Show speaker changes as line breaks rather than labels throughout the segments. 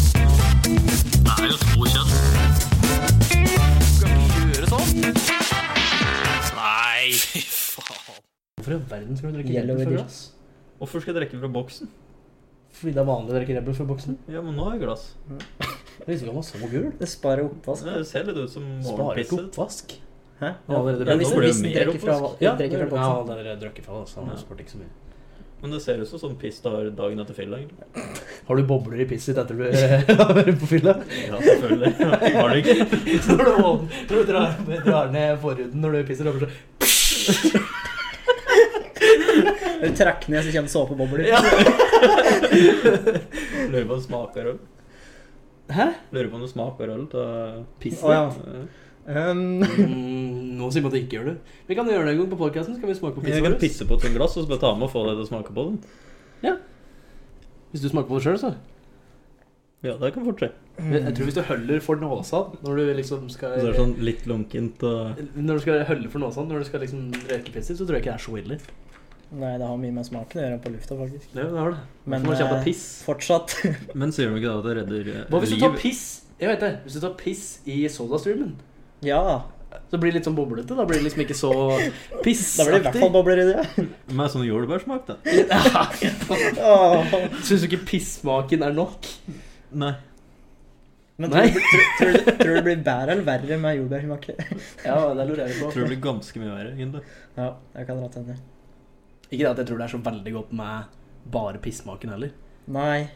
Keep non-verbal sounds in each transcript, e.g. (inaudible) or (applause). sånn?
Hvorfor i all verden skal du drikke
Yellow
Rebel fra
Edition.
glass?
Hvorfor skal jeg drikke fra boksen?
Fordi det er vanlig å drikke Rebel fra boksen?
Ja, men nå har jeg glass.
Jeg visste ikke han var så gul.
Det sparer oppvask.
Det ser litt ut som
Sparer ikke
morgenpisse.
oppvask. Ja,
Hæ?
allerede
Ja,
bra.
blir
Nå
hvis du
det
hvis du
mer
drikker fra,
oppvask.
Ja,
drikker fra
ja
boksen.
han har drukket fra oss. Han
Ja.
har spurt ikke så mye.
Men det ser ut som sånn piss du har dagen etter fylla. egentlig.
Har du bobler i pisset ditt etter du (laughs) har vært på fylla?
Ja, selvfølgelig. Har du ikke?
(laughs) Når du, åpner- når du drar, drar ned forhuden når du pisser over så sånn,
Når du trekker ned, så kommer såpebobler.
Ja.
(laughs) Lurer på om det smaker øl.
Hæ?
Lurer på om det smaker øl til
Pisset
Å, ja.
ditt?
Um,
Mm, nå sier man at det ikke gjør det. Vi kan gjøre det en gang på podkasten, så kan vi smake på
Jeg kan
pisset vårt.
pisse på et sånt glass og så bare ta med og få deg til å smake på den.
Hvis du smaker på det sjøl, så.
Ja, det kan fort skje.
(laughs) Jeg jeg tror hvis du høller for nåsa når du liksom skal
Mm. Så er det sånn litt lunkent og
Når du skal hølle for nåsa når du skal liksom røyke pisser, så tror jeg ikke det er så ille.
Nei, det har mye med smaken å gjøre på lufta, faktisk.
Det har det.
Men,
Men, man kjenne
eh,
på piss.
Fortsatt. (laughs)
Men sier de ikke da at det redder eh,
Hva hvis du tar
liv?
piss Jeg vet det, hvis du tar piss i sodastreamen,
Ja.
så blir det litt sånn boblete. Da blir det liksom ikke
(laughs)
så
Da blir det i hvert fall
pissaktig.
bobler i
(laughs)
det.
Med sånn jordbærsmak, da?
Åh.
Syns du ikke pissmaken er nok?
Nei.
Men
Nei.
tror, du- tror, tror, du- tror du det blir bedre eller verre med jordbærsmak?
Ja, det lurer jeg
Jeg
på.
tror det blir ganske mye verre, egentlig.
(laughs) Ja, jeg kan dra til henne.
Ikke det at jeg tror det er så veldig godt med bare pissmaken heller.
Nei.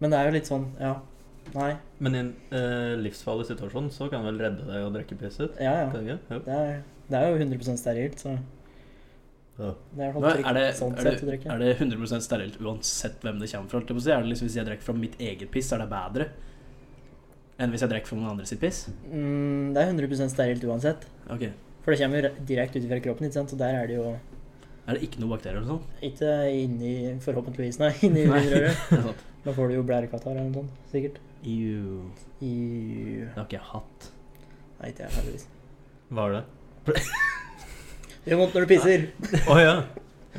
Men det er jo litt sånn, ja. Nei.
Men i en eh, livsfarlig situasjon så kan det vel redde deg å drikke pisset?
Ja, ja.
Kan det ikke?
Det er, det er jo 100 sterilt, så
Ja.
det er i hvert
Nå
fall
er, det,
trygt sånn
er,
sett å
det,
drikke.
er det 100 sterilt uansett hvem det kommer fra? holdt jeg på å si? Er det liksom, hvis jeg drikker fra mitt eget piss, er det bedre enn hvis jeg drikker fra noen andre sitt piss?
Mm, det er 100 sterilt uansett.
Ok.
For det kommer jo re- direkte ut fra kroppen, ikke sant? så der er det jo
Er det ikke noe bakterier eller noe sånt?
ikke inni Forhåpentligvis, nei. Inni
Nei.
urinrøret.
Det er sant.
Da får du jo blærekatarr eller noe sånt, sikkert.
Ew.
I
Det har ikke jeg hatt.
Nei, ikke jeg, heldigvis.
Hva er det?
Det gjør vondt når du pisser.
Å ja.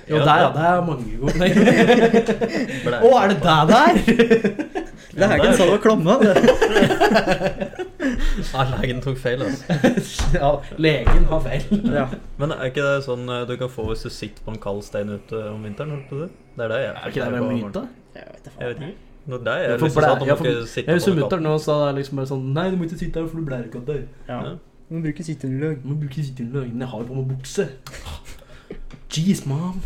Jo, der, ja. Det er mange (laughs) gode Å, er det deg der? (laughs)
Det er ikke en sånn å klomme. det.
Ja, legen tok feil, altså.
ja, legen har feil.
Ja.
Men er ikke det sånn eh, du kan få hvis du sitter på en kald stein ute om vinteren? holdt på å si? Det er det jeg
Er ikke det bare myte?
Jeg vet da
Jeg vet
faen.
ikke. Det er det jeg
Jeg
har
får
lyst til å si
blæ-
at du
jeg
må
får-
ikke sitte på
Jeg husker
noe kaldt.
mutter'n nå sa liksom bare sånn Nei, du må ikke sitte her, for du blærer ikke av deg.
Ja.
Ja.
Du må bruke sitteunderlag. (laughs)
Du må bruke sitteunderløgnen. Jeg har jo på meg bukse. Jeez, mom.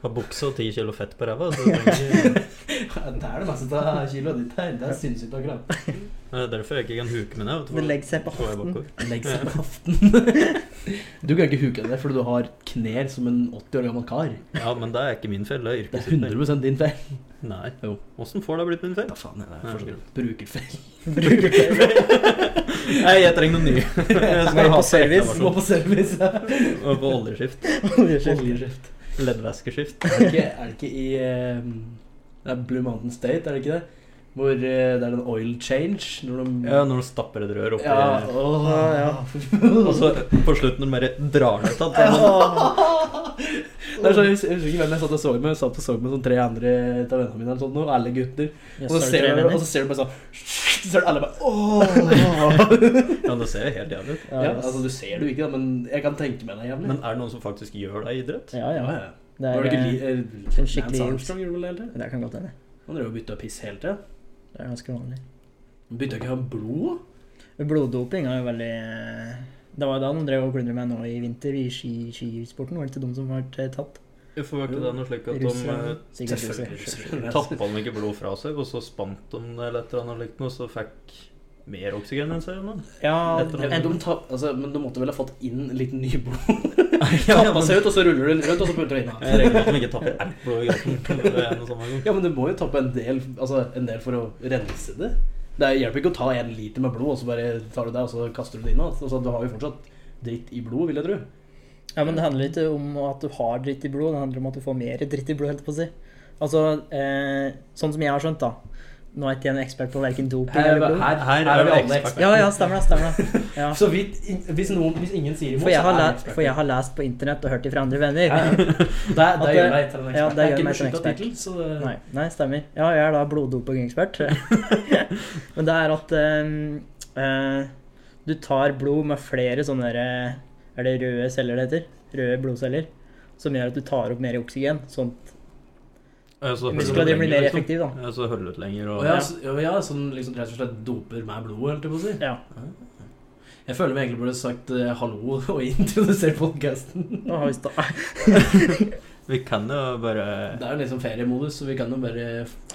Ha bukse og ti kilo fett på ræva. så du trenger-
Det er det meste av kiloet ditt her. Det er sinnssykt akkurat.
(laughs) Det er derfor jeg ikke kan huke meg ned. vet du,
Det
for
legger seg på
da får jeg
hoften.
bakover.
Legg seg på hoften. (laughs) Du kan ikke huke deg fordi du har knær som en 80 år gammel kar.
Ja, men det er ikke min feil. Det er
Det er
yrkesfeil.
100 din feil.
Nei.
Jo.
Åssen får det blitt min feil?
Da faen, det er forskjell.
(laughs)
Brukerfeil.
Bruker det.
Nei, jeg trenger noe ny.
(laughs)
Jeg
Må
skal
på
ha
service.
selekta
Må
versjon.
på service.
Og På oljeskift.
Oljeskjeft.
Leddvæskeskift.
Er det ikke, er det ikke i eh, det er Blue Mountain State, er det ikke det? Hvor eh, det er en oil change. Når de,
Ja, når du stapper et rør oppi
ja, åh,
Ah,
(laughs)
ja.
Og (laughs) så på slutten når de bare drar ned tatt.
Åh,
Det er sånn, jeg husker ikke hvem jeg satt og så med. Jeg satt og så med sånn tre andre av vennene mine. Eller sånn, og alle gutter. Og så
jøss,
ser du,
er det
og så ser du bare sånn (laughs) Så ser du
(laughs)
alle bare Åh!
Ja, det ser jo helt jævlig ut.
Ja,
Ja,
jøss.
altså, du ser det jo ikke, da, men jeg kan tenke meg det jævlig.
Men er det noen som faktisk gjør det i idrett?
ja,
ah, ja,
ja.
ja.
Det
Var det ikke
er,
li- eh,
en
Lance
skikkelig-
Armstrong gjorde vel det hele tiden?
det kan godt hende.
Han drev og bytta piss hele tida.
Det er ganske vanlig.
Bytta ikke han blod?
Bloddoping er jo veldig eh, Det var jo da de drev og plundret meg nå i vinter i ski, skisporten. Var det ikke de som ble tatt?
Hvorfor var ikke det noe slik at de
Russerne? Sikkert russere.
eh, tappa dem ikke blod fra seg, og så spant de det eller et eller annet likt noe, så fikk mer oksygen enn seg? eller noe?
Ja,
Etter
Men
en-
de, ta, altså, men de måtte vel ha fått inn litt (laughs) nyblod?
(laughs) Ja,
Tappa seg ut, og så ruller du den rundt, og så putter du inn
Jeg regner med at
igjen.
de ikke tapper alt blodet i gaten. Det er en og samme gang.
Ja, men du må jo tappe en del, altså, en del for å rense det. Det hjelper ikke å ta en liter med blod, og så bare tar du det, og så kaster du det inn. igjen. Altså, du har jo fortsatt dritt i blodet, vil jeg tro.
ja, men det handler ikke om at du har dritt i blod, det handler om at du får mer dritt i blod, holdt jeg på å si. Altså, eh, sånn som jeg har skjønt, da. Nå er ikke jeg en ekspert på verken doping
Her,
eller blod.
her,
Her
her
er
er vi
vi
alle
eksperter.
eksperter.
Ja, ja, stemmer det. stemmer det.
(laughs)
Ja.
Så vidt, in- hvis, noen, hvis ingen sier imot,
For jeg, har
vi
lært,
eksperter.
for jeg har lest på internett og hørt det fra andre venner.
Ja, ja. Det,
(laughs)
det
At det-
gjør meg til en ekspert.
ja, det
Jeg er
gjør
ikke
meg til en
beskyttet
ekspert.
tittel, så det-
Nei, nei, stemmer. Ja, jeg er da bloddopingekspert.
(laughs)
Men det er at eh, eh, du tar blod med flere sånne der, eh, Er det røde celler det heter? Røde blodceller. som gjør at du tar opp mer oksygen. Sånn at
Ja,
Sånn.
så holder
musklene
det
dine blir
lenger,
mer
liksom.
effektive.
Ja, så holder det ut lenger og
Og ja, s- ja, ja, sånn liksom rett og slett doper med blodet, holdt jeg på å si.
da. Ja.
Jeg føler vi egentlig burde sagt eh, hallo (laughs) og introdusere podkasten.
Da har vi sta (laughs)
Vi kan jo bare
Det er jo liksom feriemodus, så vi kan jo bare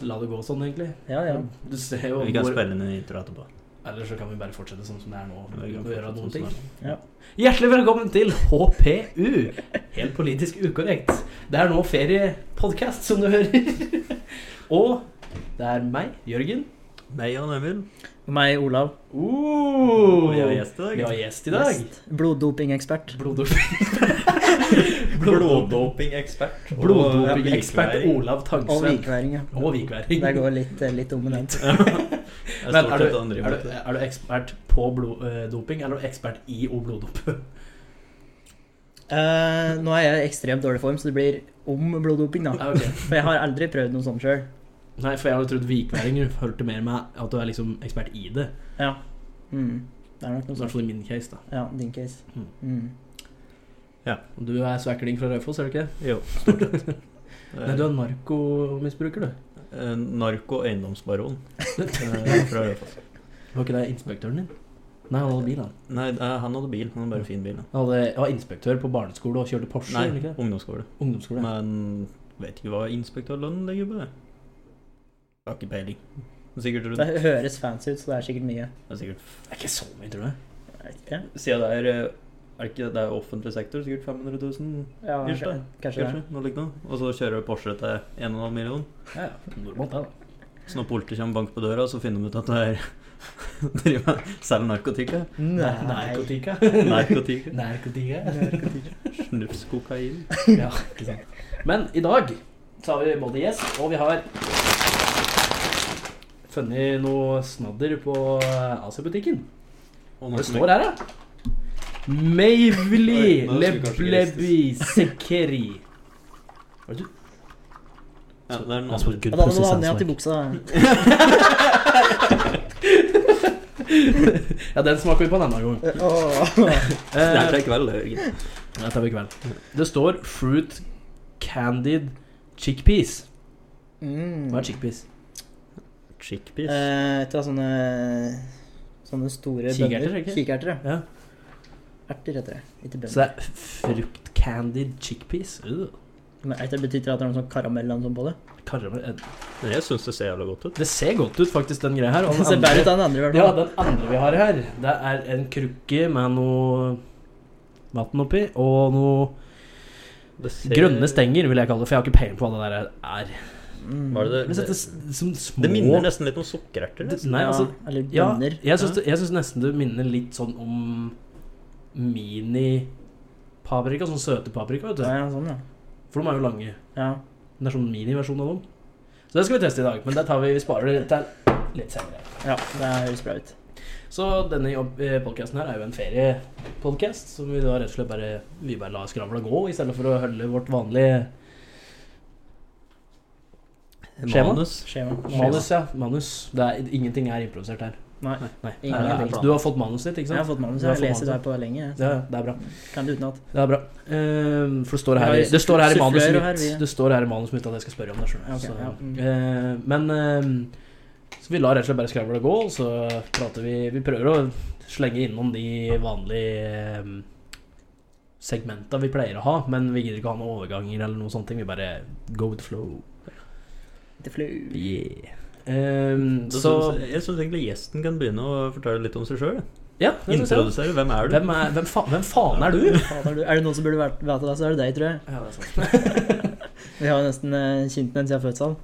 la det gå sånn, egentlig.
ja, ja.
Du ser jo
Vi kan
hvor
spille inn en intro etterpå.
Eller så kan vi bare fortsette sånn som det er nå.
Vi kan
Og gjøre
fortsette
noen
sånn
ting.
som det
Hjertelig velkommen til HPU, helt politisk ukorrekt. Det er nå feriepodkast, som du hører. Og det er meg, Jørgen.
er. Meg og Emil.
Og meg, Olav.
Uh,
Og Oh! vi har gjest i
vi har
dag.
gjest i dag.
Bloddopingekspert.
Bloddop- (laughs)
Bloddopingekspert. og
Bloddopingekspert
likeverd.
Olav
Og
Tangsved.
vikværing, ja.
Og vikværing.
Det går litt, eh, litt om med den.
Det er
(laughs) Men
stort sett
er du,
det han
er,
driver
du,
med.
er du ekspert på bloddoping, eller er du ekspert i å bloddope?
Eh, nå er jeg i ekstremt dårlig form, så det blir om bloddoping, da.
(laughs) Ja, ok.
For jeg har aldri prøvd noe sånt sjøl.
Nei, for jeg hadde trodd vikværing hørte mer med at du er liksom ekspert i det.
Ja. Mm. Det er nok
I
noe
hvert
sånt.
fall sånn i min case, da.
Ja, din case.
Mm.
Mm.
Og Du er søkling fra Raufoss, er du ikke det?
Jo, stort sett.
Nei, du er narkomisbruker, (laughs) du.
Eh, Narko eiendomsbaron. Eh, Fra Raufoss.
Var ikke det inspektøren din? Nei, han hadde bil, han.
Nei, eh, han hadde bil. Han hadde bare fin bil. da.
Han hadde, var inspektør på barneskole og kjørte Porsche.
Nei,
eller ikke det?
ungdomsskole.
Ungdomsskole.
Men vet ikke hva inspektørlønnen ligger på. jeg. Jeg Har ikke peiling. Det er Sikkert rundt.
Det høres fancy ut, så det er sikkert mye.
Det er sikkert
Det er ikke så mye, tror jeg.
Jeg vet ikke.
Siden det er, eh, er det ikke det er offentlig sektor, sikkert 500 000,
Ja, kanskje,
Kanskje.
kanskje det.
kanskje, noe lignende. Og så kjører du Porsche til 1,5 million.
Ja, ja. Normalt, det, da.
Så når politiet kommer og banker på døra, så finner de ut at det er (laughs) driver med- selger narkotika.
Nei.
Narkotika.
Narkotika.
Narkotika.
Snufskokain.
Ja, ikke sant. Men i dag så har vi både gjest, og vi har funnet noe snadder på eh, AC-butikken.
Og
Hva
noe
det står her, da? Mavely
Oi, nå skulle kanskje
Leblebi Sekeri. Hva er det du?
Ja, det er
Jeg spurte
noe.
good
Ja, da må du
process
ha den
answer.
ned til
(laughs)
buksa.
Ja, den smaker vi på en annen gang.
Eh,
Det er
Eh,
til i kveld, det, Jørgen.
det tar vi i kveld. Det står fruit candied chickpeas.
(laughs) Mm.
Hva er chickpeas?
Chickpeas.
Eh, et av sånne Sånne store
Kikerter,
bønner.
ikke?
Kikerter, ja.
Ja.
Erter heter det. Ikke
Så det
bønner.
er fruit candied chickpeas? Øh,
Men erter betyr at det er noe sånn karamell eller noe sånt på det.
karamell. Eh,
Men jeg syns det ser jævla godt ut.
Det ser godt ut, faktisk, den greia her. og
(laughs) Det
den
ser
andre-
bedre ut enn den andre. i
Ja,
hvert fall.
den andre vi har her, det er en krukke med noe vann oppi, og noe
Det ser...
grønne stenger, vil jeg kalle det, for jeg har ikke peiling på hva det der er.
Mm.
Var det
Men
det?
så er det
Det,
s- som små
det minner nesten litt om sukkererter.
Det-
nesten.
Nei,
ja,
altså
Eller
Ja,
bønner.
jeg syns, det- jeg syns nesten det minner litt sånn om mini-paprika, sånn søte paprika, vet du.
Ja, ja, sånn, ja.
For de er jo lange.
ja.
Det er sånn miniversjon av dem. Så det skal vi teste i dag, men det tar vi, vi sparer det til litt senere.
Ja, det høres bra ut.
Så denne jobb- eh, podcasten her er jo en feriepodcast, som vi da rett og slett bare, vi bare lar skravla gå, i stedet for å holde vårt vanlige Skjema?
Manus.
Skjema.
manus. Ja, manus. Det er, ingenting er improvisert her.
Nei.
Nei.
Ingen
Her er-
ting.
Du har fått manuset ditt, ikke
Jeg har
sant?
fått manus.
Du har
Jeg
fått
leser
manus,
der på lenge. så
Ja, det er bra.
Kan det utenat.
Det er bra. Ehm, for det står
Vi
her,
har
i- det står her i
sufflører
manuset
her, vi.
mitt Det står her i manuset mitt at jeg skal spørre om det. skjønner du.
Ja, ok,
Så,
ja, mm.
eh, men ehm, så vi lar rett og slett bare skravla gå, og så prater vi Vi prøver å slenge innom de vanlige um, segmenta vi pleier å ha, men vi gidder ikke ha noen overganger eller noen sånne ting. Vi bare go with the flow.
Litt flau.
Yeah. Ehm,
Så,
så
jeg syns egentlig gjesten kan begynne å fortelle litt om seg sjøl.
Ja, det synes jeg.
Introdusere. Hvem er du?
Hvem, er, hvem, fa hvem faen er du?
Fader, du- Er det noen som burde vært- vite det, så er det deg, tror jeg.
Ja, det er sant. (laughs)
Vi har jo nesten eh, kjent den siden fødselen.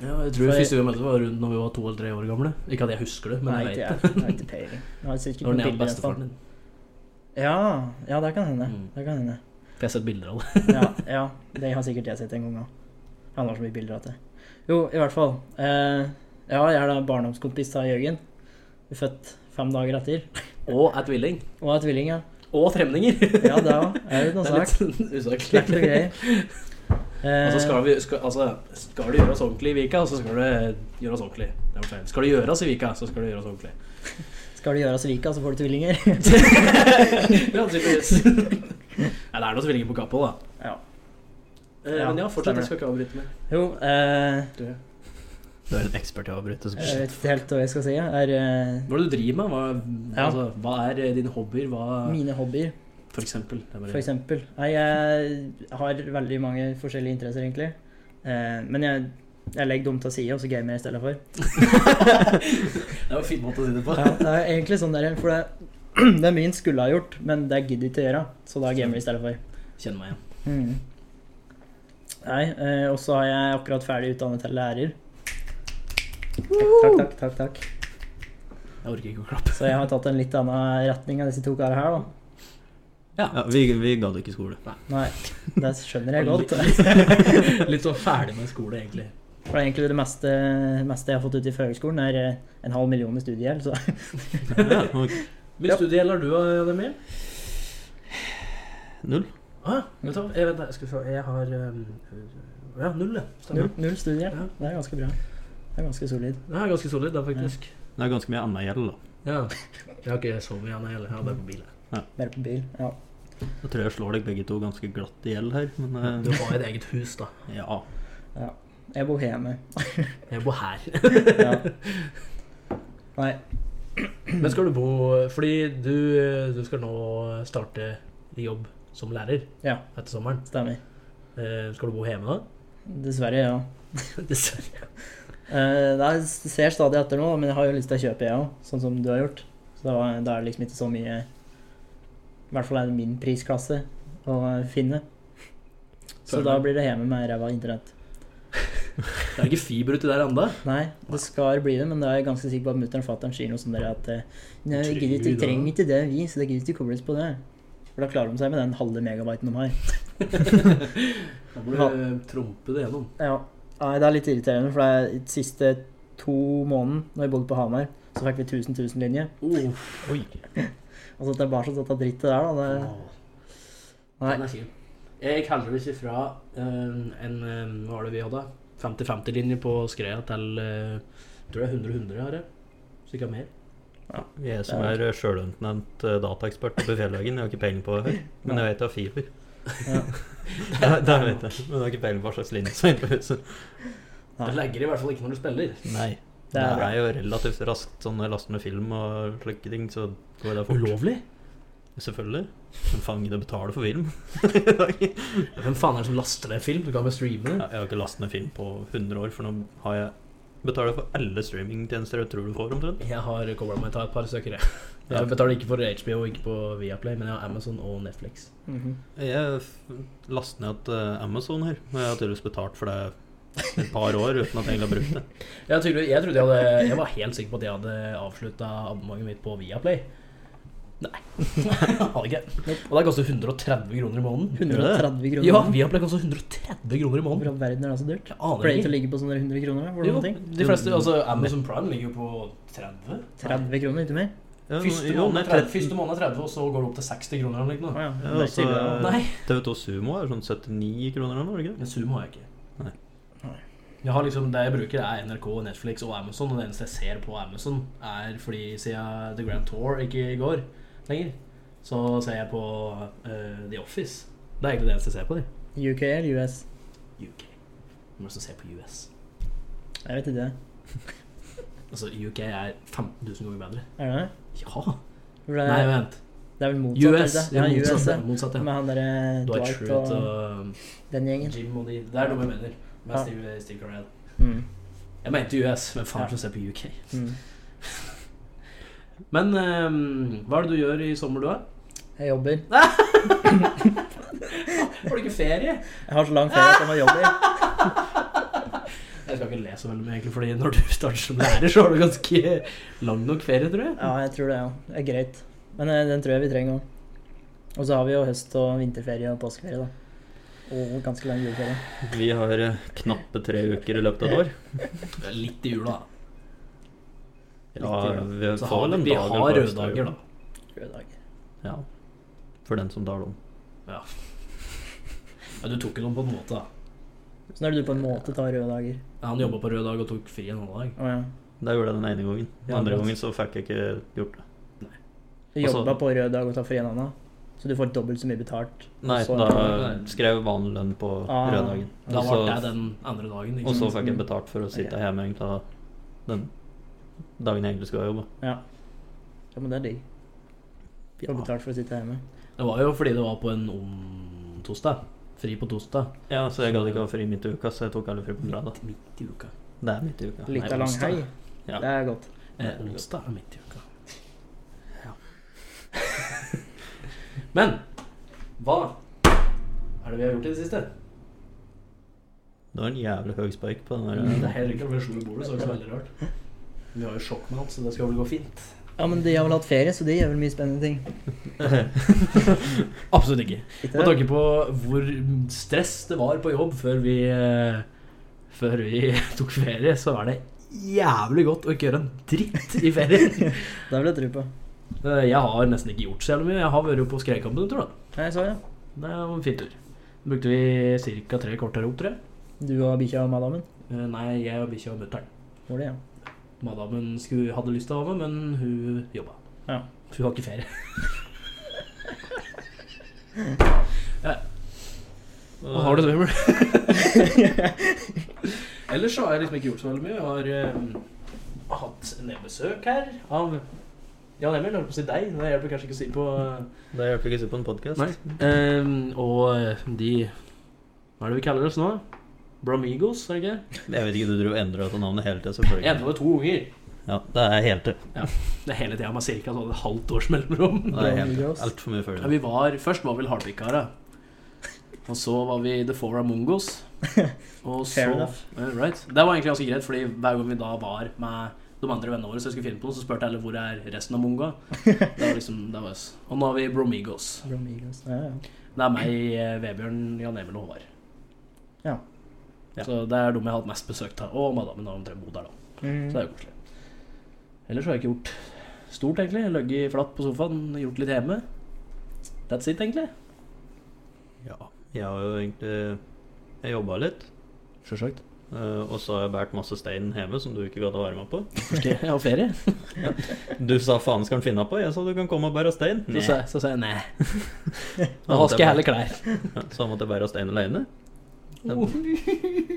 Ja, jeg tror første gang vi møtte var rundt når vi var to eller tre år gamle. Ikke at jeg husker det, men
Nei,
jeg vet
ikke
det.
jeg. Jeg har ikke peiling. Jeg har sikkert
Det var
noen
den ene
bilder i hvert fall.
bestefaren din.
Ja, ja, det kan hende.
Mm.
Det kan hende.
For jeg har sett bilder av det.
Ja, ja, det har sikkert jeg sett en gang òg. Han har så mye bilder at det Jo, i hvert fall. Eh, ja, jeg er da barndomskompis av Jørgen. Vi er Født fem dager etter.
Og er tvilling.
Og er tvilling, ja.
Og (laughs) fremninger.
Ja, det òg. Er det noe
Det er
sak?
litt
Klart
(laughs)
og
usaklig.
greier. Eh,
Altså, skal, vi, skal, altså, skal det gjøres ordentlig i Vika, så skal det gjøres ordentlig. Det var feil. Skal det gjøres i Vika, så skal det gjøres
(laughs)
ordentlig.
Eh, skal du gjøre oss rika, så får du tvillinger.
ja, tydeligvis. Nei, det er noen tvillinger på Kappå, da.
ja.
Eh,
Ja,
men ja, fortsett.
stemmer.
Jeg skal ikke avbryte mer.
Jo, eh,
Du.
Du er en ekspert i å avbryte. som
jeg
Eh,
skjer.
vet ikke helt hva jeg skal si. jeg. Er eh,
Hva er det du driver med? Hva,
Ja.
altså, hva er eh, dine hobbyer? Hva
mine hobbyer,
For eksempel. Det er bare-
for eksempel. Nei, jeg har veldig mange forskjellige interesser, egentlig. Eh, men jeg, jeg legger dem til side, og så gamer jeg i stedet for.
det var en fin måte å si det på.
Ja, det er egentlig sånn der, for det, (clears throat) det er mye en skulle ha gjort, men det gidder jeg ikke å gjøre. Så da gamer jeg i stedet for.
Kjenn meg igjen.
Mm. Nei, eh, og så er jeg akkurat ferdig utdannet til lærer. Takk, takk, takk, takk, takk.
Jeg orker ikke å klappe.
Så jeg har tatt en litt annen retning av disse to karene her, da.
Ja, vi, vi gadd ikke skole. (laughs)
Nei, det skjønner jeg godt.
Litt (laughs) sånn ferdig med skole, egentlig.
For det er egentlig det meste, meste jeg har fått ut i førhøgskolen, er eh, en halv million i studiegjeld. Så
Ja, ok.
Mye
Ja.
studiegjeld har du, Ademir?
Null.
Ah, vet du hva? Jeg, vent, da, jeg skal se. Jeg har um, Ja, null, ja.
(laughs) null,
Stemmer.
null studiegjeld.
Ja.
Det er ganske bra. Det er ganske solid.
Det er ganske solid, da, faktisk.
Det er ganske mye annet gjeld, da.
Ja. Jeg har ikke sovet igjen heller. Jeg har bare på bilen.
Bare på bil. Ja.
Jeg tror jeg slår deg begge to ganske glatt i gjeld her, men
Du
eh,
har et eget hus, da.
ja.
Jeg bor (laughs) hjemme.
Jeg bor her.
Ja. Nei.
(laughs) Men skal du bo Fordi du, du skal nå starte i jobb som lærer
Ja.
etter sommeren.
Stemmer.
Eh, skal du bo hjemme (laughs) da?
Dessverre, ja.
Dessverre.
Eh, nei, jeg ser stadig etter nå, men jeg har jo lyst til å kjøpe, jeg òg, sånn som du har gjort. Så da, da er det liksom ikke så mye I hvert fall er det min prisklasse å eh, finne. Så da blir det hjemme med ræva internett.
Det er ikke fiber uti der ennå.
Nei, det skal bli det, men da er jeg ganske sikker på at mutter'n og fatter'n sier noe sånn der at eh, Nei, vi gidder ikke, vi trenger ikke det, vi, så det gidder ikke kobles på det. For da klarer de seg med den halve megabyten de har.
Da må du eh, trumpe det gjennom.
Ja. Nei, det er litt irriterende, for det er de siste to månedene, når vi bodde på Hamar, så fikk vi 1000 1000-linje.
Oh,
Oi.
Altså tilbake til dette drittet der, da. Det, nei.
Den er fin. Jeg gikk heldigvis ifra eh, en eh, Hva var det vi hadde? 50-50-linje på Skreia til eh, jeg tror det er 100-100 her. Så ikke mer.
Jeg som er sjølutnevnt eh, dataekspert på Fjellveggen, jeg har ikke peiling på det. her, Men jeg vet jeg har fiber. (laughs)
Ja.
Det, det vet jeg, men jeg har ikke peiling på hva slags linje som er inne på huset.
Nei.
Det legger i hvert fall ikke når du spiller.
Nei.
Det
Det
er
er,
bra.
jo relativt raskt sånn når jeg laster ned film og slike ting, så går det fort.
Ulovlig?
Selvfølgelig. Men faen, gidder å betale for (laughs) film?
Hvem faen er det som laster ned film? Du kan bare streame
Ja,
det.
Jeg har ikke lastet ned film på 100 år, for nå har jeg betaler for alle streamingtjenester jeg tror du får, omtrent.
Jeg har kobla meg til et par stykker. jeg. Jeg betaler ikke for HBO og ikke på Viaplay, men jeg har Amazon og Netflix.
Mhm.
Jeg f- lastet ned et eh, Amazon her, og jeg har tydeligvis betalt for det et par år uten at jeg egentlig har brukt det.
Jeg, trodde, jeg, trodde jeg, hadde, jeg var helt sikker på at jeg hadde avslutta abonnementet mitt på Viaplay. Nei. (laughs) Hadde ikke. Og det koster 130 kroner i måneden.
130 kroner.
Ja, Viaplay koster 130 kroner i
Hvorfor i
måneden.
all verden er det så dyrt?
Jeg aner
Pleier ikke å
ikke.
ligge på sånne 100 kroner? Var det
Jo,
noen ting?
de fleste, altså Amazon Prime ligger jo på 30.
30 kroner, ikke mer?
Ja,
Første
jo,
måned
nei,
er 30, første måned er 30 og så går det opp til 60 kroner eller noe.
Å ja.
Ja,
det er ikke
altså,
ille, da.
Nei.
TV2 Sumo er sånn 79 kroner eller noe, er det ikke det?
Men Zoom har jeg ikke.
Nei.
Nei.
Jeg har liksom, Det jeg bruker, er NRK, Netflix og Amazon. Og det eneste jeg ser på Amazon, er fordi siden The Grand Tour ikke går lenger, så ser jeg på eh, The Office. Det er egentlig det eneste jeg ser på. De.
UK eller US?
UK. Du må også se på US.
Jeg vet ikke det.
Altså, UK er 15 000 ganger bedre.
Er det det?
Ja!
For det?
Nei, vent.
det er vel motsatt? er det
US.
ikke det?
Ja,
Ja, US,
motsatt,
ja.
motsatt, ja.
Med han derre
Dwight
Dwight
Schrute
og
og
den gjengen.
Jim og de Det er noe jeg mener. Med
Ja.
Steve, Steve Carell.
Mm.
Jeg mente US, men faen, ja.
Ja.
så ser jeg på UK.
Mm.
Men ehm, hva er det du gjør i sommer, du, da?
Jeg jobber.
Har du ikke ferie?
Jeg har så lang ferie at jeg må jobbe.
Jeg skal ikke le så veldig mye, egentlig, fordi når du (laughs) starter som lærer, så har du ganske lang nok ferie, tror jeg.
Ja, jeg tror det, ja. Det er greit. Men eh, den tror jeg vi trenger òg. Og så har vi jo høst- og vinterferie og påskeferie, da. Og ganske lang juleferie.
Vi har eh, knappe tre uker i løpet av et år.
Litt i jula, da.
Ja, vi
Så
får
har,
vel en
vi
dag
har
eller to
røde
ekstra i
dager,
uka.
da.
Røde dager.
Ja. For den som tar dem.
Ja. ja, du tok jo noen på en måte, da.
Sånn er det du på en måte tar røde dager.
Ja, Han jobba på rød dag og tok fri en annen dag.
Å ja.
Da gjorde jeg den ene gangen. Den
Ja,
andre
bra.
gangen så fikk jeg ikke gjort det.
Du jobba
Altså-
på rød dag og tar fri en annen. Så du får dobbelt så mye betalt.
Nei,
Så-
da skrev jeg vanlig lønn på
Ah.
røddagen.
Da
Og
ble
så-
jeg den andre dagen.
Og
Ikke
så
sant?
fikk jeg betalt for å sitte
Ok.
hjemme egentlig da, den dagen jeg egentlig skulle jobbe.
Ja. ja men det er digg. Du får
Ja,
betalt for å sitte hjemme.
Det var jo fordi det var på en om tosdag. Fri på tosdag.
ja så jeg gadd ikke ha fri midt i uka, så jeg tok alle fri på fredag.
Midt, midt i uka.
Det er midt i uka.
Litt
nei,
av lang
onsdag.
hei.
Ja.
Det er godt.
Eh, onsdag er midt i uka. (laughs) Ja. (laughs) Men hva er det vi har gjort i det siste?
Det var en jævlig høy spike på den
Mm. Det er
der. eh,
helt riktig, for jeg slo i bordet, så det var ikke så veldig rart. Vi har jo sjokkmat, så det skal vel gå fint.
Ja, men de har vel hatt ferie, så de gjør vel mye spennende ting.
(laughs) Absolutt ikke. (laughs) Med
Ikke det?
tanke på hvor stress det var på jobb før vi, eh, før vi (laughs) tok ferie, så var det jævlig godt å ikke gjøre en dritt i (laughs) ferien.
Det vil jeg tro på.
Eh, Jeg har nesten ikke gjort så jævlig mye. Jeg har vært jo på skredkampen, tror jeg.
Nei, så ja.
Det var en fin tur. Brukte vi ca. tre kvarter opp, tror jeg.
Du og bikkja og madammen?
Eh, Nei, jeg og bikkja og mutter'n.
Hvor det, ja.
Madammen skulle, hadde lyst til å være med, men hun jobba.
Ja.
Hun har ikke ferie. Og har du svømmel? (laughs) Ellers så har jeg liksom ikke gjort så veldig mye. Jeg har eh, hatt nedbesøk her av Jan Emil, holdt på å si deg. Det hjelper kanskje ikke å si på eh,
Det hjelper ikke å se på en podkast.
Ehm, og eh, de Hva er det vi kaller oss nå? Bramigos, er det ikke?
Jeg vet ikke, du driver og endrer dette navnet hele tida,
Jeg endte
selvfølgelig.
med to unger.
Ja, det er hele tida.
Det er hele tida med ca. Sånn et halvt års mellomrom.
Det er helt Altfor mye
Ja,
følgere.
vi var, først var vi vel Hardwick-kara. Og så var vi The Four Among
(laughs)
Us. Og
Fair
så-
enough.
Eh, Right. Det var egentlig ganske greit, Fordi hver gang vi da var med de andre vennene våre, så jeg skulle finne på noe, så spurte jeg alle hvor er resten av Monga.
(laughs)
Det var liksom, det var oss. Og nå har vi Bromigos.
Bromigos. Ja, ja.
Det er meg, eh, Vebjørn, Jan Emil og Håvard.
Ja.
Ja.
Så det er de jeg har hatt mest besøk av. Og madammen har omtrent bodd her, da. Så det er
Mm.
jo koselig. Ellers har jeg ikke gjort stort, egentlig. Jeg har Ligget flatt på sofaen, gjort litt hjemme. That's it, egentlig.
Ja, jeg har jo egentlig Jeg jobba litt,
Sjølsagt.
eh, og så har jeg båret masse stein hjemme som du ikke gadd å være med på.
Jeg har ferie.
Du sa faen skal han finne på? Jeg sa du kan komme og bære stein.
Så sa, så sa jeg nei.
Da
Nå
måtte
vasker jeg
jeg
heller klær.
Ja, (laughs) Så han måtte bære stein alene. Det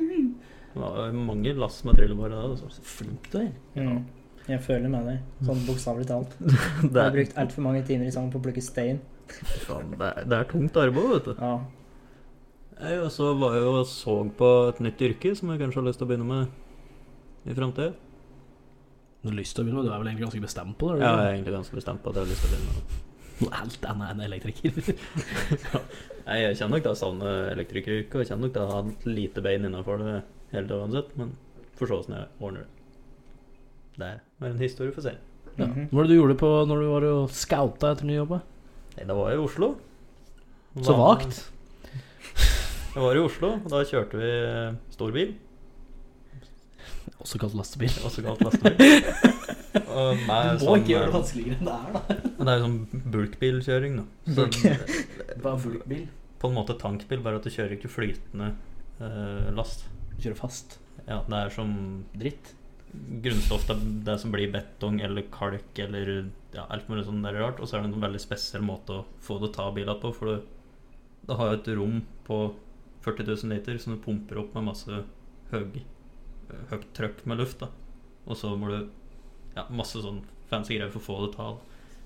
Oh.
var mange lass med trillebår der. Altså.
Flink du er.
Mm. Jeg føler med deg, sånn bokstavelig
(laughs)
talt.
Det,
Jeg har
er-
brukt altfor mange timer i sammen på å plukke stein.
faen, det, er- det er tungt arbeid, vet du.
Ja.
Jeg og så var jeg og så på et nytt yrke som jeg kanskje har lyst til å begynne med i framtida.
Du har lyst til å begynne, men du er vel egentlig ganske bestemt på det?
Jeg er egentlig ganske bestemt på at jeg har lyst til å begynne med det.
Noe Alt annet enn elektriker. (laughs)
Nei, Jeg kjenner nok det å savne elektrikeryrket, og jeg kjenner nok det å ha lite bein innafor det hele tida uansett, men får se åssen jeg ordner det. Det er en historie for seg.
Ja.
Mhm.
Hva var det du gjorde på når du var og scouta etter ny jobb? da?
Nei, da var jeg i Oslo. Var-
Så vagt.
Jeg var i Oslo, og da kjørte vi stor bil,
Også kalt lastebil.
også kalt lastebil. (laughs) Og med sånn,
vanskeligere enn det er, da.
Men det er jo sånn bulkbilkjøring, da. Så
Bare fulgbil.
på en måte tankbil, bare at du kjører ikke flytende eh, last.
Kjøre fast.
Ja, det er som
Dritt.
grunnstoff til det som blir betong eller kalk eller ja, alt mulig sånn der rart. Og så er det en veldig spesiell måte å få det ta bilen på, for du, det har jo et rom på 40 000 liter som du pumper opp med masse høy, høyt trøkk med luft, da. Og så må du ja, masse sånn fancy greier for å få det ta.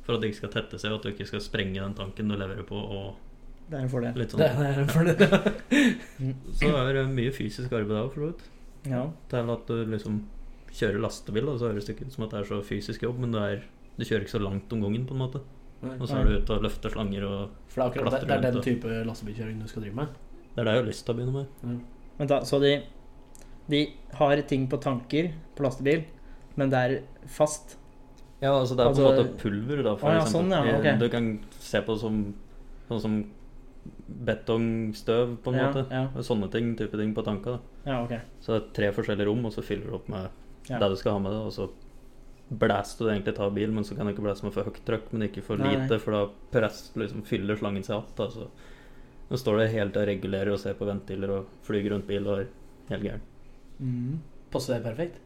For at det ikke skal tette seg, og at du ikke skal sprenge den tanken du leverer på, og
Det er en fordel.
litt
Det
sånn.
er for det.
Så er det mye fysisk arbeid der, for så vidt.
Ja.
til at du liksom kjører lastebil, da, så høres det ikke ut som at det er så fysisk jobb, men det er, du kjører ikke så langt om gangen, på en måte. Og så er du ute og løfter slanger, og
For det er akkurat det, det er den type lastebilkjøring du skal drive med.
det er det jeg har lyst til å begynne med.
Vent da, så de, de har ting på tanker på lastebil, men det er fast.
Ja, altså det er på en
Altså-
måte pulver, da, for
Å, ja,
eksempel. Eh,
sånn, ja, ok.
Du kan se på det som sånn som betongstøv, på en
ja,
måte.
Ja,
Sånne ting, type ting på tanka. Da.
ja ok.
Så det er tre forskjellige rom, og så fyller du opp med
Ja.
det du skal ha med deg, og så blæster du egentlig ta bil, men så kan du ikke blæse med for høyt trøkk, men ikke for
Nei, nei.
lite, for da press liksom fyller slangen seg att. da, så Nå står det helt og regulerer og ser på ventiler og flyr rundt bil og er helt gæren.
Mhm.
Passer det perfekt?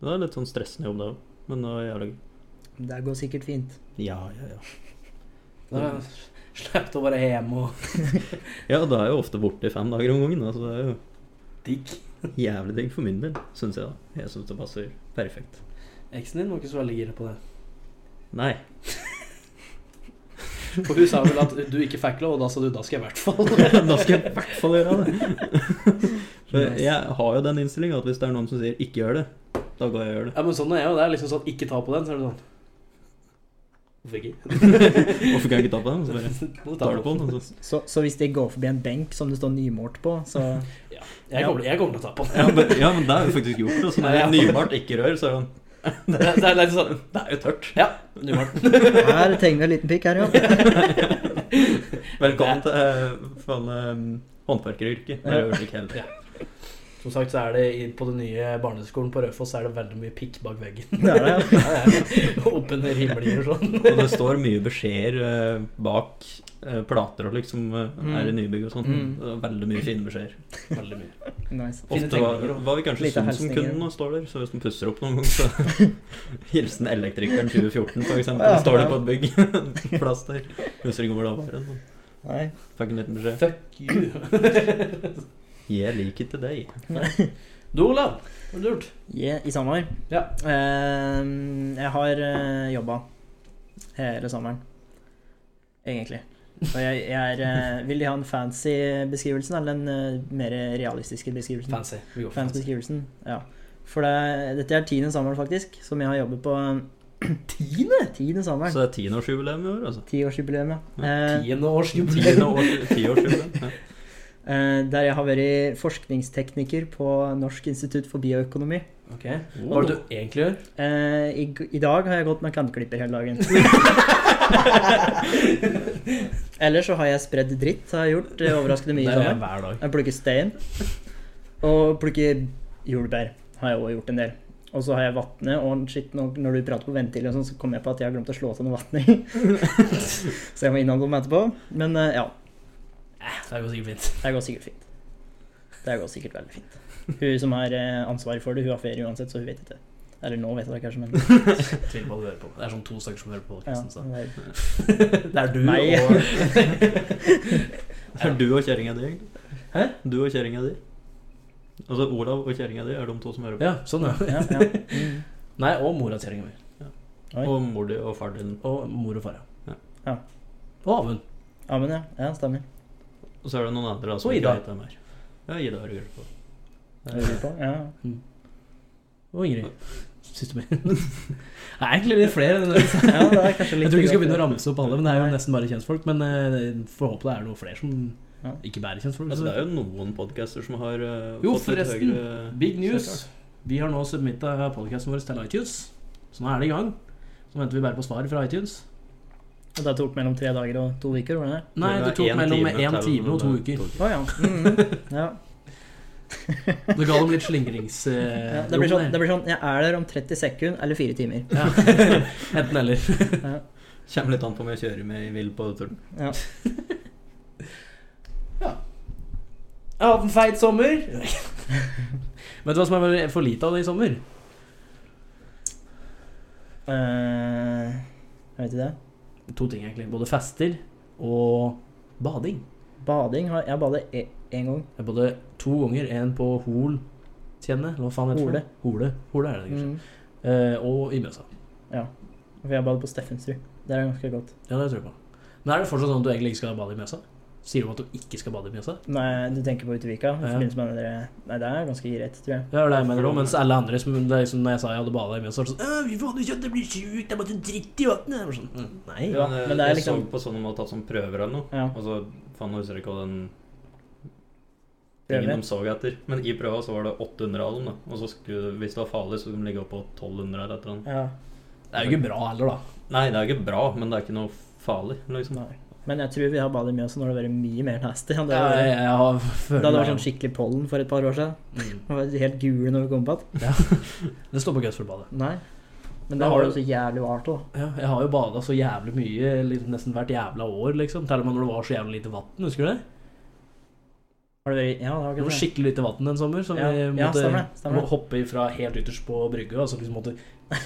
Det er litt sånn stressende jobb, det òg, men det er jævlig gøy.
Det går sikkert fint.
Ja, ja, ja.
Da slapp det å være hjemme og
Ja, da er jeg jo ofte borte i fem dager om gangen. da, Så det er jo
digg.
jævlig digg for min del, syns jeg. da Jeg syns det passer perfekt.
Eksen din var ikke så veldig gira på det.
Nei.
For hun sa vel at du ikke fikk lov, og da sa du da skal jeg i hvert
(laughs)
fall.
da skal jeg i hvert fall gjøre (laughs) det. For jeg har jo den innstillinga at hvis det er noen som sier 'ikke gjør det', da går jeg og (laughs) gjør det.
Ja, men sånn er jo det. er Liksom sånn, ikke ta på den, så er det sånn Hvorfor ikke? (laughs)
Hvorfor kan jeg ikke (laughs) ta på den? Så bare
Nå tar
tar
du
du på den. og Så.
Så, så hvis de går forbi en benk som det står nymålt på, så
(laughs)
Jeg kommer, jeg kommer til å ta på den.
Ja, men,
(laughs)
ja, men det er jo faktisk gjort. Og så når jeg nymalt ikke rør, så er (laughs) det
Det, er- det er litt sånn
sånn Det er jo tørt.
Ja, du var den.
Her tegner jeg en liten pikk her, ja.
(laughs) Velkommen til eh, faen, eh, håndverkeryrket. Det er jo slik hele tiden.
(laughs) Som sagt så er det i- på den nye barneskolen på Raufoss så er det veldig mye pikk bak veggen.
Det er det, ja.
(laughs) Ja, ja. Oppunder himler og sånn.
Og det står mye beskjeder eh, bak eh, plater og liksom eh, er i nybygg og sånn.
Mm.
Det er Veldig mye fine beskjeder.
Veldig mye.
Nice.
Fine
Ofte hva,
tegninger og-
hva vi kanskje
Lite
syns om
hilsninger.
kunden nå står der, så hvis den pusser opp noen gang,
(laughs)
så Hilsen elektrikeren 2014, for eksempel.
Ja,
står det
ja.
på et bygg. (laughs) Plass der. Husker ikke hvor det var. men
Nei.
Fikk en liten beskjed.
Fuck you.
Jeg liker ikke deg.
(laughs) Du, Olav. Hva har du gjort?
Yeah, I sommer?
Ja.
Eh, jeg har uh, jobba hele sommeren. Egentlig. Og jeg, jeg er eh, Vil de ha en fancy beskrivelsen eller den eh, mer realistiske beskrivelsen?
Fancy. Vi går for fancy.
Fansbeskrivelsen, ja. For det, dette er tiende sommeren, faktisk, som jeg har jobbet på. (clears throat) tiende? Tiende sommeren.
Så det er tienårsjubileum i år, altså.
Tiårsjubileum, ja. Eh,
Tiendeårsjubileum.
Tiende
(laughs)
år- Tiårsjubileum.
(laughs)
Ja.
eh, der jeg har vært forskningstekniker på Norsk institutt for bioøkonomi.
Ok. Hva er det du egentlig gjør?
Eh, i, g- I dag har jeg gått med kantklipper hele dagen. Ellers så har jeg spredd dritt, har jeg gjort eh, overraskende mye. i
Det gjør jeg
sommer.
hver dag.
Jeg plukker stein. Og plukker jordbær har jeg også gjort en del. Og så har jeg vannet, og shit, når, når du prater på ventil og sånn, så kom jeg på at jeg har glemt å slå til noe vann i. (laughs) så jeg må innom dem etterpå. Men eh, ja,
Det går sikkert
(laughs)
fint.
det går sikkert fint. Det går sikkert veldig fint. Hun som har eh, ansvaret for det, hun har ferie uansett, så hun vet ikke. Eller nå vet jeg det kanskje, men
(laughs) Tviler på at du hører på. Det er sånn to stykker som hører på
ja,
podcasten, så. (laughs)
det er-
Det er du
Meg.
og
(laughs)
Er du og kjerringa di, egentlig?
Hæ?
Du og kjerringa di? Altså Olav og kjerringa di er de to som hører på.
Ja, sånn, ja.
ja, (laughs) ja. Mm.
Nei, og mora til kjerringa mi.
Oi.
Og mor di og far din.
Og mor og far,
Ja.
ja.
Ja.
Og Amund.
Ja, men ja. ja, stemmer.
Og så er det noen andre da, som
Og Ida.
ikke vet hvem er. Ja, Ida har du hørt på.
Det lurer jeg på. Ja.
Og Ingrid. Siste min. (laughs) Det er egentlig litt flere. enn det.
(laughs) ja, det er kanskje litt
Jeg tror ikke vi skal
greit,
begynne å
ja.
ramse opp alle, men det er jo
Nei.
nesten bare kjentfolk. Men eh, får håpe det er noen flere som
Ja.
ikke bærer kjentfolk.
Altså, det
så-
er jo noen podcaster som har eh, fått
Jo,
litt
forresten,
høyere-
Big news. Vi har nå submitta podcasten vår til iTunes, så nå er det i gang. Så venter vi bare på svar fra iTunes.
Og Det tok mellom tre dager og to uker, var det det?
Nei,
Men
det
er
tok
en
mellom
time
én
til
time og to uker.
Å ja. Mm. (laughs) ja.
Det ga dem litt slingrings... eh,
ja det, blir sånn,
rom
det
der.
blir sånn Jeg er der om 30 sekunder eller fire timer. (laughs)
Ja. Enten eller.
Kommer litt an på om jeg kjører med i vill på turen.
Ja.
Jeg har hatt en feit sommer. (laughs) Vet du hva som er veldig- for lite av det i sommer?
Eh, jeg vet ikke det.
To ting, egentlig. Både fester og bading.
Bading har Jeg badet én gang.
Jeg både to ganger. En på Hol tjene, eller hva faen heter det? Hole. Hole er det, kanskje.
Mm.
Eh, og i Mjøsa.
For jeg badet på Steffensrud. Det er ganske godt.
Ja, det tror jeg på. Men er det fortsatt sånn at du egentlig ikke skal bade i Mjøsa? Sier du at du ikke skal bade i Mjøsa?
Nei, du tenker på Utevika? i
Ja.
forbindelse med den der- Nei, det er ganske greit, tror jeg.
Ja, det er det jeg mener også, mens alle andre som det er liksom, Når jeg sa jeg hadde bada i Mjøsa, var det sånn «Åh, Fy faen, du kjente det blir sjukt, det er bare sånn dritt i vannet. Jeg var Sånn, «Mm, Nei.
Ja,
men, eh,
men det er
jeg så
liksom-
på sånne man har tatt som prøver eller noe.
Ja.
Og så faen, jeg husker ikke hva den
Prøver.
tingen de så etter. Men i prøva så var det 800 av dem. da. Og så skulle, hvis det var farlig, så skulle de ligge opp på 1200 eller et eller annet.
Ja.
Det er jo ikke bra heller, da.
Nei, det er ikke bra, men det er ikke noe farlig, liksom.
Nei. Men jeg tror vi har badet mye også når det har vært mye mer nasty. enn det
Ja,
har vært.
jeg, jeg har
Da
føler
det var sånn skikkelig pollen for et par år siden.
Mm.
Det var helt gule når vi kom på at.
Det står på Gausfjordbadet.
Nei. Men
Da
det
har
var jo
du-
så jævlig vart òg.
Ja, jeg har jo bada så jævlig mye liksom, nesten hvert jævla år, liksom. Til og med når det var så jævlig lite vann, husker du det?
Har det vært Ja, det har
Det var
kanskje det.
skikkelig lite vann en sommer, så vi
Ja, ja,
måtte
stemmer det, stemmer det.
hoppe fra helt ytterst på
(laughs)
brygga, og så liksom måtte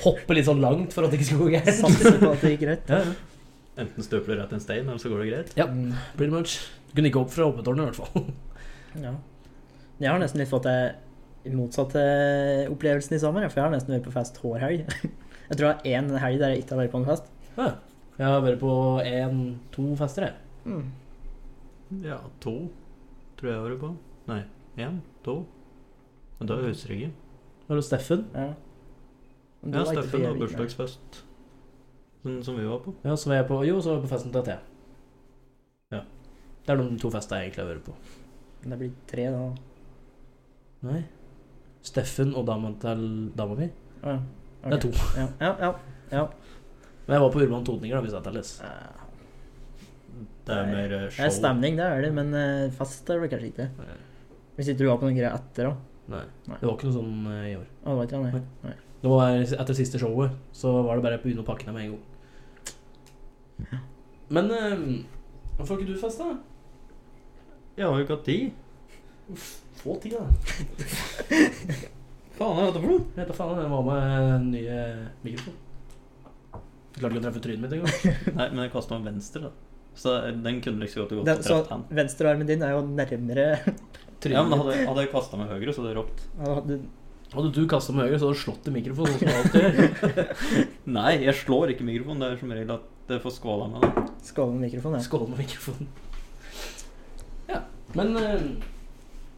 hoppe litt sånn langt for at det ikke skulle gå gærent.
Satser på at det gikk rett.
Ja, ja.
Enten støper du rett i en stein, eller så går det greit.
Ja.
Mm,
Pretty much. Du kunne ikke opp fra hoppetårnet, i hvert fall.
ja. Men Jeg har nesten litt fått det motsatte opplevelsen i sommer, ja, for jeg har nesten vært på fest hver helg. (laughs) Jeg tror jeg har én helg der jeg ikke har vært på en fest.
Ja. Jeg har vært på én, to fester, jeg.
Ja, to tror jeg var det på. Nei, én, to. Men da er jeg usikker.
Var det Steffen?
Ja. Men du
Ja,
var ikke
Steffen
frivillig,
og
nei.
bursdagsfest som, som vi var på.
Ja, så var jeg på Jo, så var jeg på festen til Thea.
Ja.
Det er de to festene jeg egentlig har vært på.
Det blir tre, da.
Nei. Steffen og dama til dama mi.
Å, ja.
Det
Ok.
er to.
Ja, ja. ja.
Men jeg var på Urban Totninger, da, hvis det telles.
Eh,
Det er
Nei,
mer eh,
Det er
show.
stemning, det er det, men eh, fest er det kanskje ikke.
Nei.
Hvis ikke du var på noen greier etter, da.
Nei.
Nei.
Det var ikke noe sånn eh, i år.
Å, det var ikke det, nei. nei.
Det var etter siste showet, så var det bare å begynne å pakke ned med en gang. Men eh, hvorfor har ikke du fest, da?
Jeg har jo ikke hatt tid.
Få ting, da.
Faen, jeg vet det for noe. (laughs)
Jeg vet da faen, jeg var med nye mikrofon. Klarte ikke å treffe trynet mitt engang.
Nei, men jeg kastet meg venstre, da. Så eh, den kunne like så godt gått
Den,
til
så
rett hand.
venstrearmen din er jo nærmere (laughs)
Ja, men da hadde, jeg- hadde jeg kastet meg høyre, så hadde det råpt. (laughs)
Ja, du-
Hadde du kastet med høyre, så hadde du slått i mikrofonen. Sånn som du alltid gjør.
Nei, jeg slår ikke mikrofonen. Det er som regel at jeg får skåla med det.
Skål med mikrofonen, ja.
Skål med mikrofonen. Ja, men eh,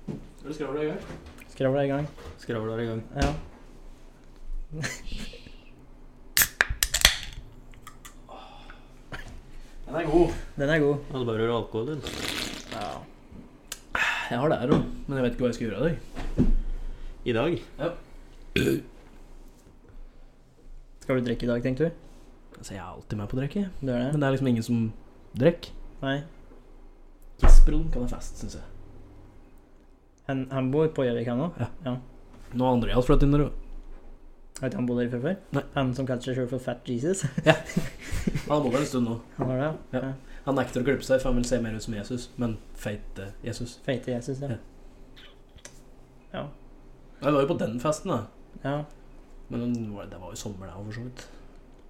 Er det skravl i gang?
Skravla i gang.
Skravler i gang.
Ja.
Den er god.
Den er god.
Jeg hadde bare rørt alkohol din.
Ja.
Jeg har det her òg, men jeg vet ikke hva jeg skal gjøre av det.
I dag
Skal du drikke i dag, tenker du?
Altså, jeg er alltid med på å drikke,
Du gjør det?
men det er liksom ingen som drikker.
Nei.
Gisperon kan ha fest, syns jeg.
Han, han bor på Gjøvik, han òg.
Nå har Andreas flyttet inn der òg.
Vet du han bodde der fra før?
Nei.
Han som kalte seg selv for Fat Jesus? (laughs)
Han har bodd der en stund nå.
Han var det, ja.
Ja.
ja.
Han nekter å klippe seg, for han vil se mer ut som Jesus, men feite Jesus.
Feite Jesus, ja.
Ja.
Ja.
Jeg var jo på den festen, da.
ja.
Men den var- det var jo sommer, det òg, for så vidt.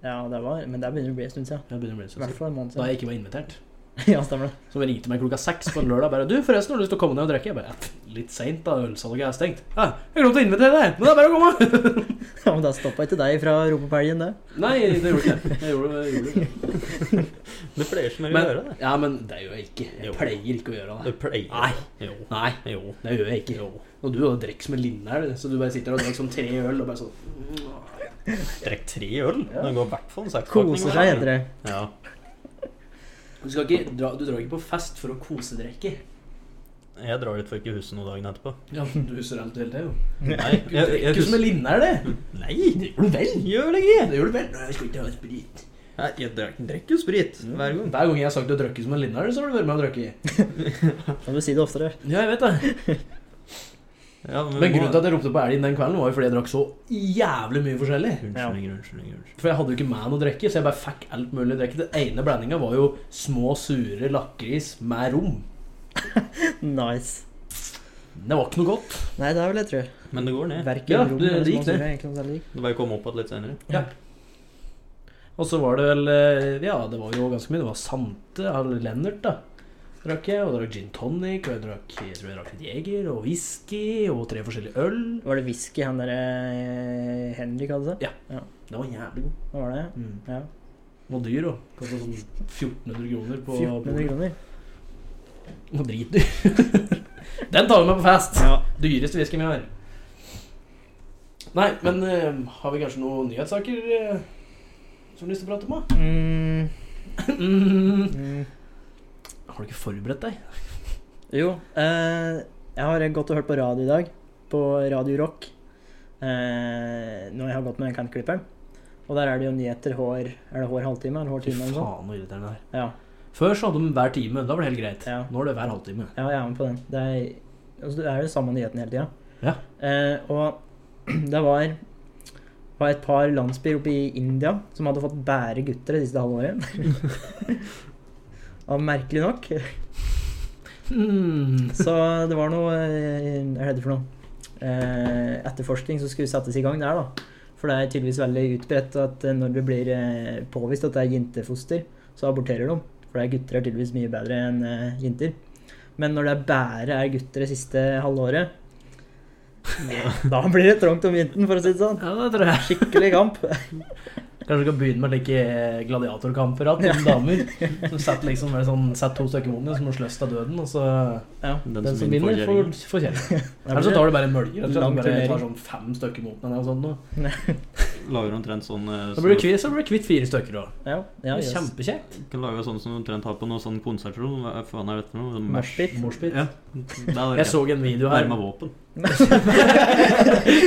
Ja, det var Men det begynner å bli en stund siden.
Jeg begynner å bli litt
I hvert
søt.
fall en måned
Da
siden.
jeg ikke var invitert.
(laughs) ja, stemmer det.
Så ringte meg klokka seks på en lørdag bare 'Du, forresten, har du lyst til å komme ned og drikke?' Jeg bare «Ja, 'Litt seint, da. Ølsalget er stengt.' 'Ja, jeg glemte å invitere deg, men det er bare å komme.' (laughs)
Ja, men da stoppa ikke deg fra å rope på elgen, det.
Nei, det gjorde ikke jeg. jeg gjorde, jeg gjorde det.
Det pleier som regel å gjøre
Men,
det.
ja, men det gjør jeg ikke.
Jo.
Jeg pleier ikke å gjøre det.
Det pleier
Nei.
Jo.
Nei,
Jo.
det gjør jeg ikke. Og du drikker som en linne her, du. så du bare sitter og drikker som tre øl og bare sånn
Drekk tre øl.
Ja.
Det går i hvert fall en sekspakning.
Koser seg, heter det.
Ja.
Du, skal ikke dra, du drar ikke på fest for å kosedrikke.
Jeg drar dit for ikke å huske noe dagen etterpå.
Ja, du husker alt du hele tida, jo.
(laughs) Nei,
Du
jeg, jeg,
drikker som en
husker
linne her, det.
Nei,
Det gjør du vel.
gjør vel ikke!
Det gjør du vel. Nei, jeg skal ikke ha sprit.
Nei, Jeg drekk- drikker jo sprit hver gang.
Hver gang jeg har sagt du har drukket som en linne her, så har du vært med og drukket.
Kan du si det oftere?
Ja, jeg vet det.
Ja,
Men grunnen til at jeg ropte på elgen den kvelden, var jo fordi jeg drakk så jævlig mye forskjellig.
Unnskyldning, unnskyldning, unnskyldning.
For jeg hadde jo ikke med noe å drikke, så jeg bare fikk alt mulig å drikke. Den ene blandinga var jo små, sure lakris med rom.
Nice.
Det var ikke noe godt.
Nei, det er vel det, tror jeg.
Men det går ned.
Verken
Ja,
rom
det-
eller
det gikk
småsuger
ned.
er egentlig noe særlig.
Det bare kom opp igjen litt senere.
Og så var det vel eh, Ja, det var jo ganske mye. Det var Sante eller Lennart, da. Drakk jeg, og jeg drakk gin tonic, og jeg drakk jeg tror jeg drakk litt Jeger og whisky og tre forskjellige øl.
Var det whisky han der eh, Henrik hadde seg?
Det var jævlig god.
Hva var det?
Mm.
Ja.
Den var dyr òg. Kosta sånn 1400 kroner på
1400 kroner.
Den var dritdyr. (laughs) Den tar vi med på fest.
Ja.
Dyreste whiskyen vi har. Nei, men eh, har vi kanskje noen nyhetssaker eh, som du har lyst til å prate
(laughs)
om? da?
Mm,
Mm. (laughs)
mm.
Har du ikke forberedt deg?
Jo, eh, jeg har gått og hørt på radio i dag. På Radio Rock. Eh, når jeg har gått med den kantklipperen. Og der er det jo nyheter hver Er det hver halvtime eller hver
Fy
time?
faen
Eller noe?
så irriterende det er.
Ja,
Før så hadde de hver time. Da var det helt greit.
Ja.
Nå er det hver halvtime. (laughs)
ja, jeg er med på den. Det er, altså, det er jo samme nyheten hele tida.
Ja.
Eh, og (clears throat) det var, var et par landsbyer oppe i India som hadde fått bære gutter det siste halvåret. (laughs) Og merkelig nok.
Mm.
Så det var noe eh, Hva er det for noe? Eh, etterforskning som skulle settes i gang der, da. For det er tydeligvis veldig utbredt at eh, når det blir eh, påvist at det er jentefoster, så aborterer de. For det er gutter er tydeligvis mye bedre enn eh, jenter. Men når det er bare er gutter det siste halvåret, (laughs) da blir det trangt om vinteren, for å si det sånn.
Ja, det tror jeg.
Skikkelig kamp.
Kanskje du kan begynne med like gladiatorkamper igjen, med damer.
(laughs)
Som setter liksom bare sånn, setter to stykker mot hverandre, som må slåss til døden, og så
Ja,
Den,
Den som vinner, får,
kjerringa.
får (laughs) kjeft.
da
Eller så
blir
tar du bare en mølje. rett og slett,
Lang
og Bare tar
turnering.
sånn fem stykker mot hverandre og sånn. nå.
Lager omtrent sånn eh,
Så blir du
som-
kvitt, så blir du kvitt fire stykker òg.
ja, ja, yes.
Kjempekjekt.
Kan lage sånn som du omtrent har på noen sånn konsertrom. Hva faen er dette for noe?
Moshpit.
Moshpit.
Ja. Det er
Jeg så en video her
Nærme
(laughs)
våpen. (laughs)
(laughs)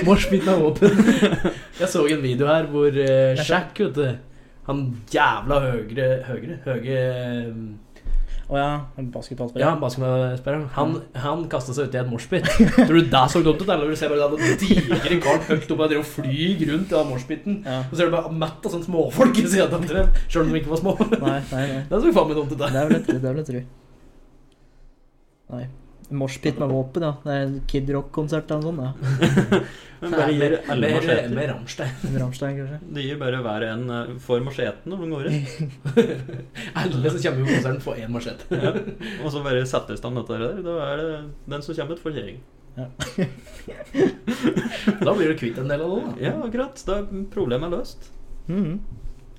Moshpit med våpen. Jeg så en video her hvor eh, Shaq, vet du Han jævla høyre Høyre? Høye eh,
Å ja, en basketballspiller.
Ja, basketballspilleren. Han, han kasta seg uti et moshpit. Tror du det så dumt ut? Eller vil du se bare den digre karen høyt oppe og driver og flyr rundt i den moshpiten?
Ja.
Og så er det bare mett av sånne småfolk i siden av hverandre, selv om de ikke var små.
Nei, nei, nei.
Det så faen meg dumt ut,
Det
det.
er vel et, det er vel et ru. Nei. Moshpit med våpen, ja. Det er en Kid Rock-konsert eller noe sånt.
Men bare gir
Med-
alle
Med,
macheter.
med Rammstein.
Ja. En Rammstein, kanskje.
Det gir bare hver en eh, for macheten når de går inn.
Alle som kommer på konserten, får én machete.
Ja. (laughs) Og så bare setter i stand dette der. Da er det den som kommer ut, får kjerring.
Da blir du kvitt en del av det. da.
Ja, akkurat. Da er problemet løst.
Mhm.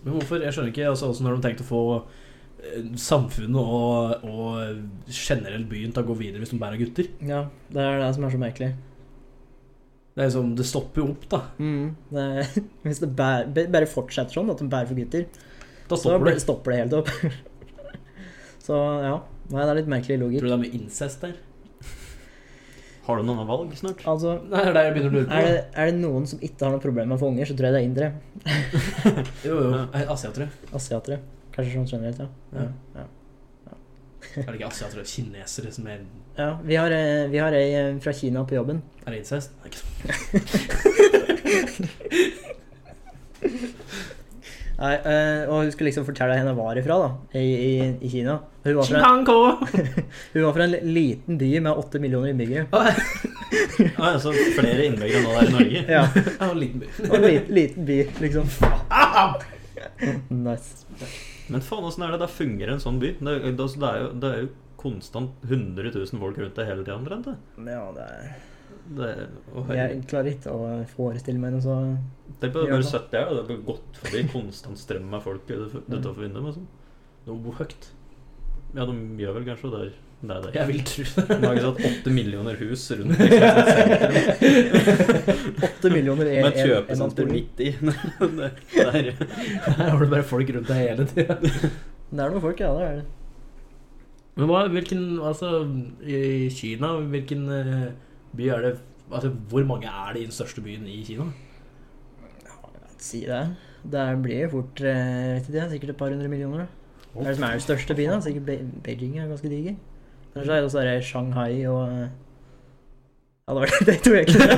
Men hvorfor? Jeg skjønner ikke altså, hvordan har de tenkt å få eh, samfunnet og, og generelt byen til å gå videre hvis de bare er gutter.
Ja, det er det som er så merkelig.
Det er liksom, det stopper jo opp, da.
Mhm. Det er, (laughs) hvis det bæ- bæ- bare fortsetter sånn, at de bærer for gutter,
Da
så
stopper
blir-
det.
stopper det helt opp. (laughs) Så ja. Nei, det er litt merkelig
Tror
logikk.
du det er med incest der?
Har du noen valg snart?
Altså,
Nei, det er det jeg begynner å lure på.
er det, er det noen som ikke har noe problem med å få unger, så tror jeg det er indere.
Jo, jo. Asiatere.
Asiatere. Kanskje sånn generelt, ja.
Ja.
ja. ja.
Er det ikke asiatere? Kinesere som er
ja vi, har, eh, vi har ei eh, fra Kina på jobben.
Er det incest? Det er ikke så-
Nei, eh, og hun skulle liksom fortelle henne hvor hun var ifra, da, i, i, i Kina. Hun var, fra, (laughs) hun var fra en li- liten by med åtte millioner innbyggere.
Ah, ja, så flere innbyggere nå der i Norge?
(laughs)
Ja,
Ja, en liten by.
og en liten, liten by, liksom. Nice.
Men faen, åssen er det? Da fungerer en sånn by. Det, det, det, er, jo, det er jo konstant 100 000 folk rundt deg hele tida, omtrent. det.
Ja, det er
Det er- å,
Jeg
herregud.
klarer ikke å forestille meg noe så
Tenk på det når du sitter her, da. det har gått forbi konstant strøm av folk utafor vinduet. og sånn.
Noe høyt.
Ja, de gjør vel kanskje det. er- Det er det.
Jeg vil tro det.
Det er ikke sånn åtte millioner hus
(laughs)
rundt Texas sentrum,
Åtte millioner i
med et
en- en
kjøpesenter
bolig.
midt i. Det er-
Her har du bare folk rundt deg hele tida.
Det er noen folk, ja. det er det.
Men hva, hvilken Altså, i Kina, hvilken eh, by er det Altså, hvor mange er det i den største byen i Kina?
Si det. Det blir fort eh, vet ikke det, sikkert et par hundre millioner. da. Det er det som er den største byen. altså. da, Sikkert Be- Beijing er ganske diger. Ellers er det også er det Shanghai og eh, Ja, det (laughs) var det to jeg kunne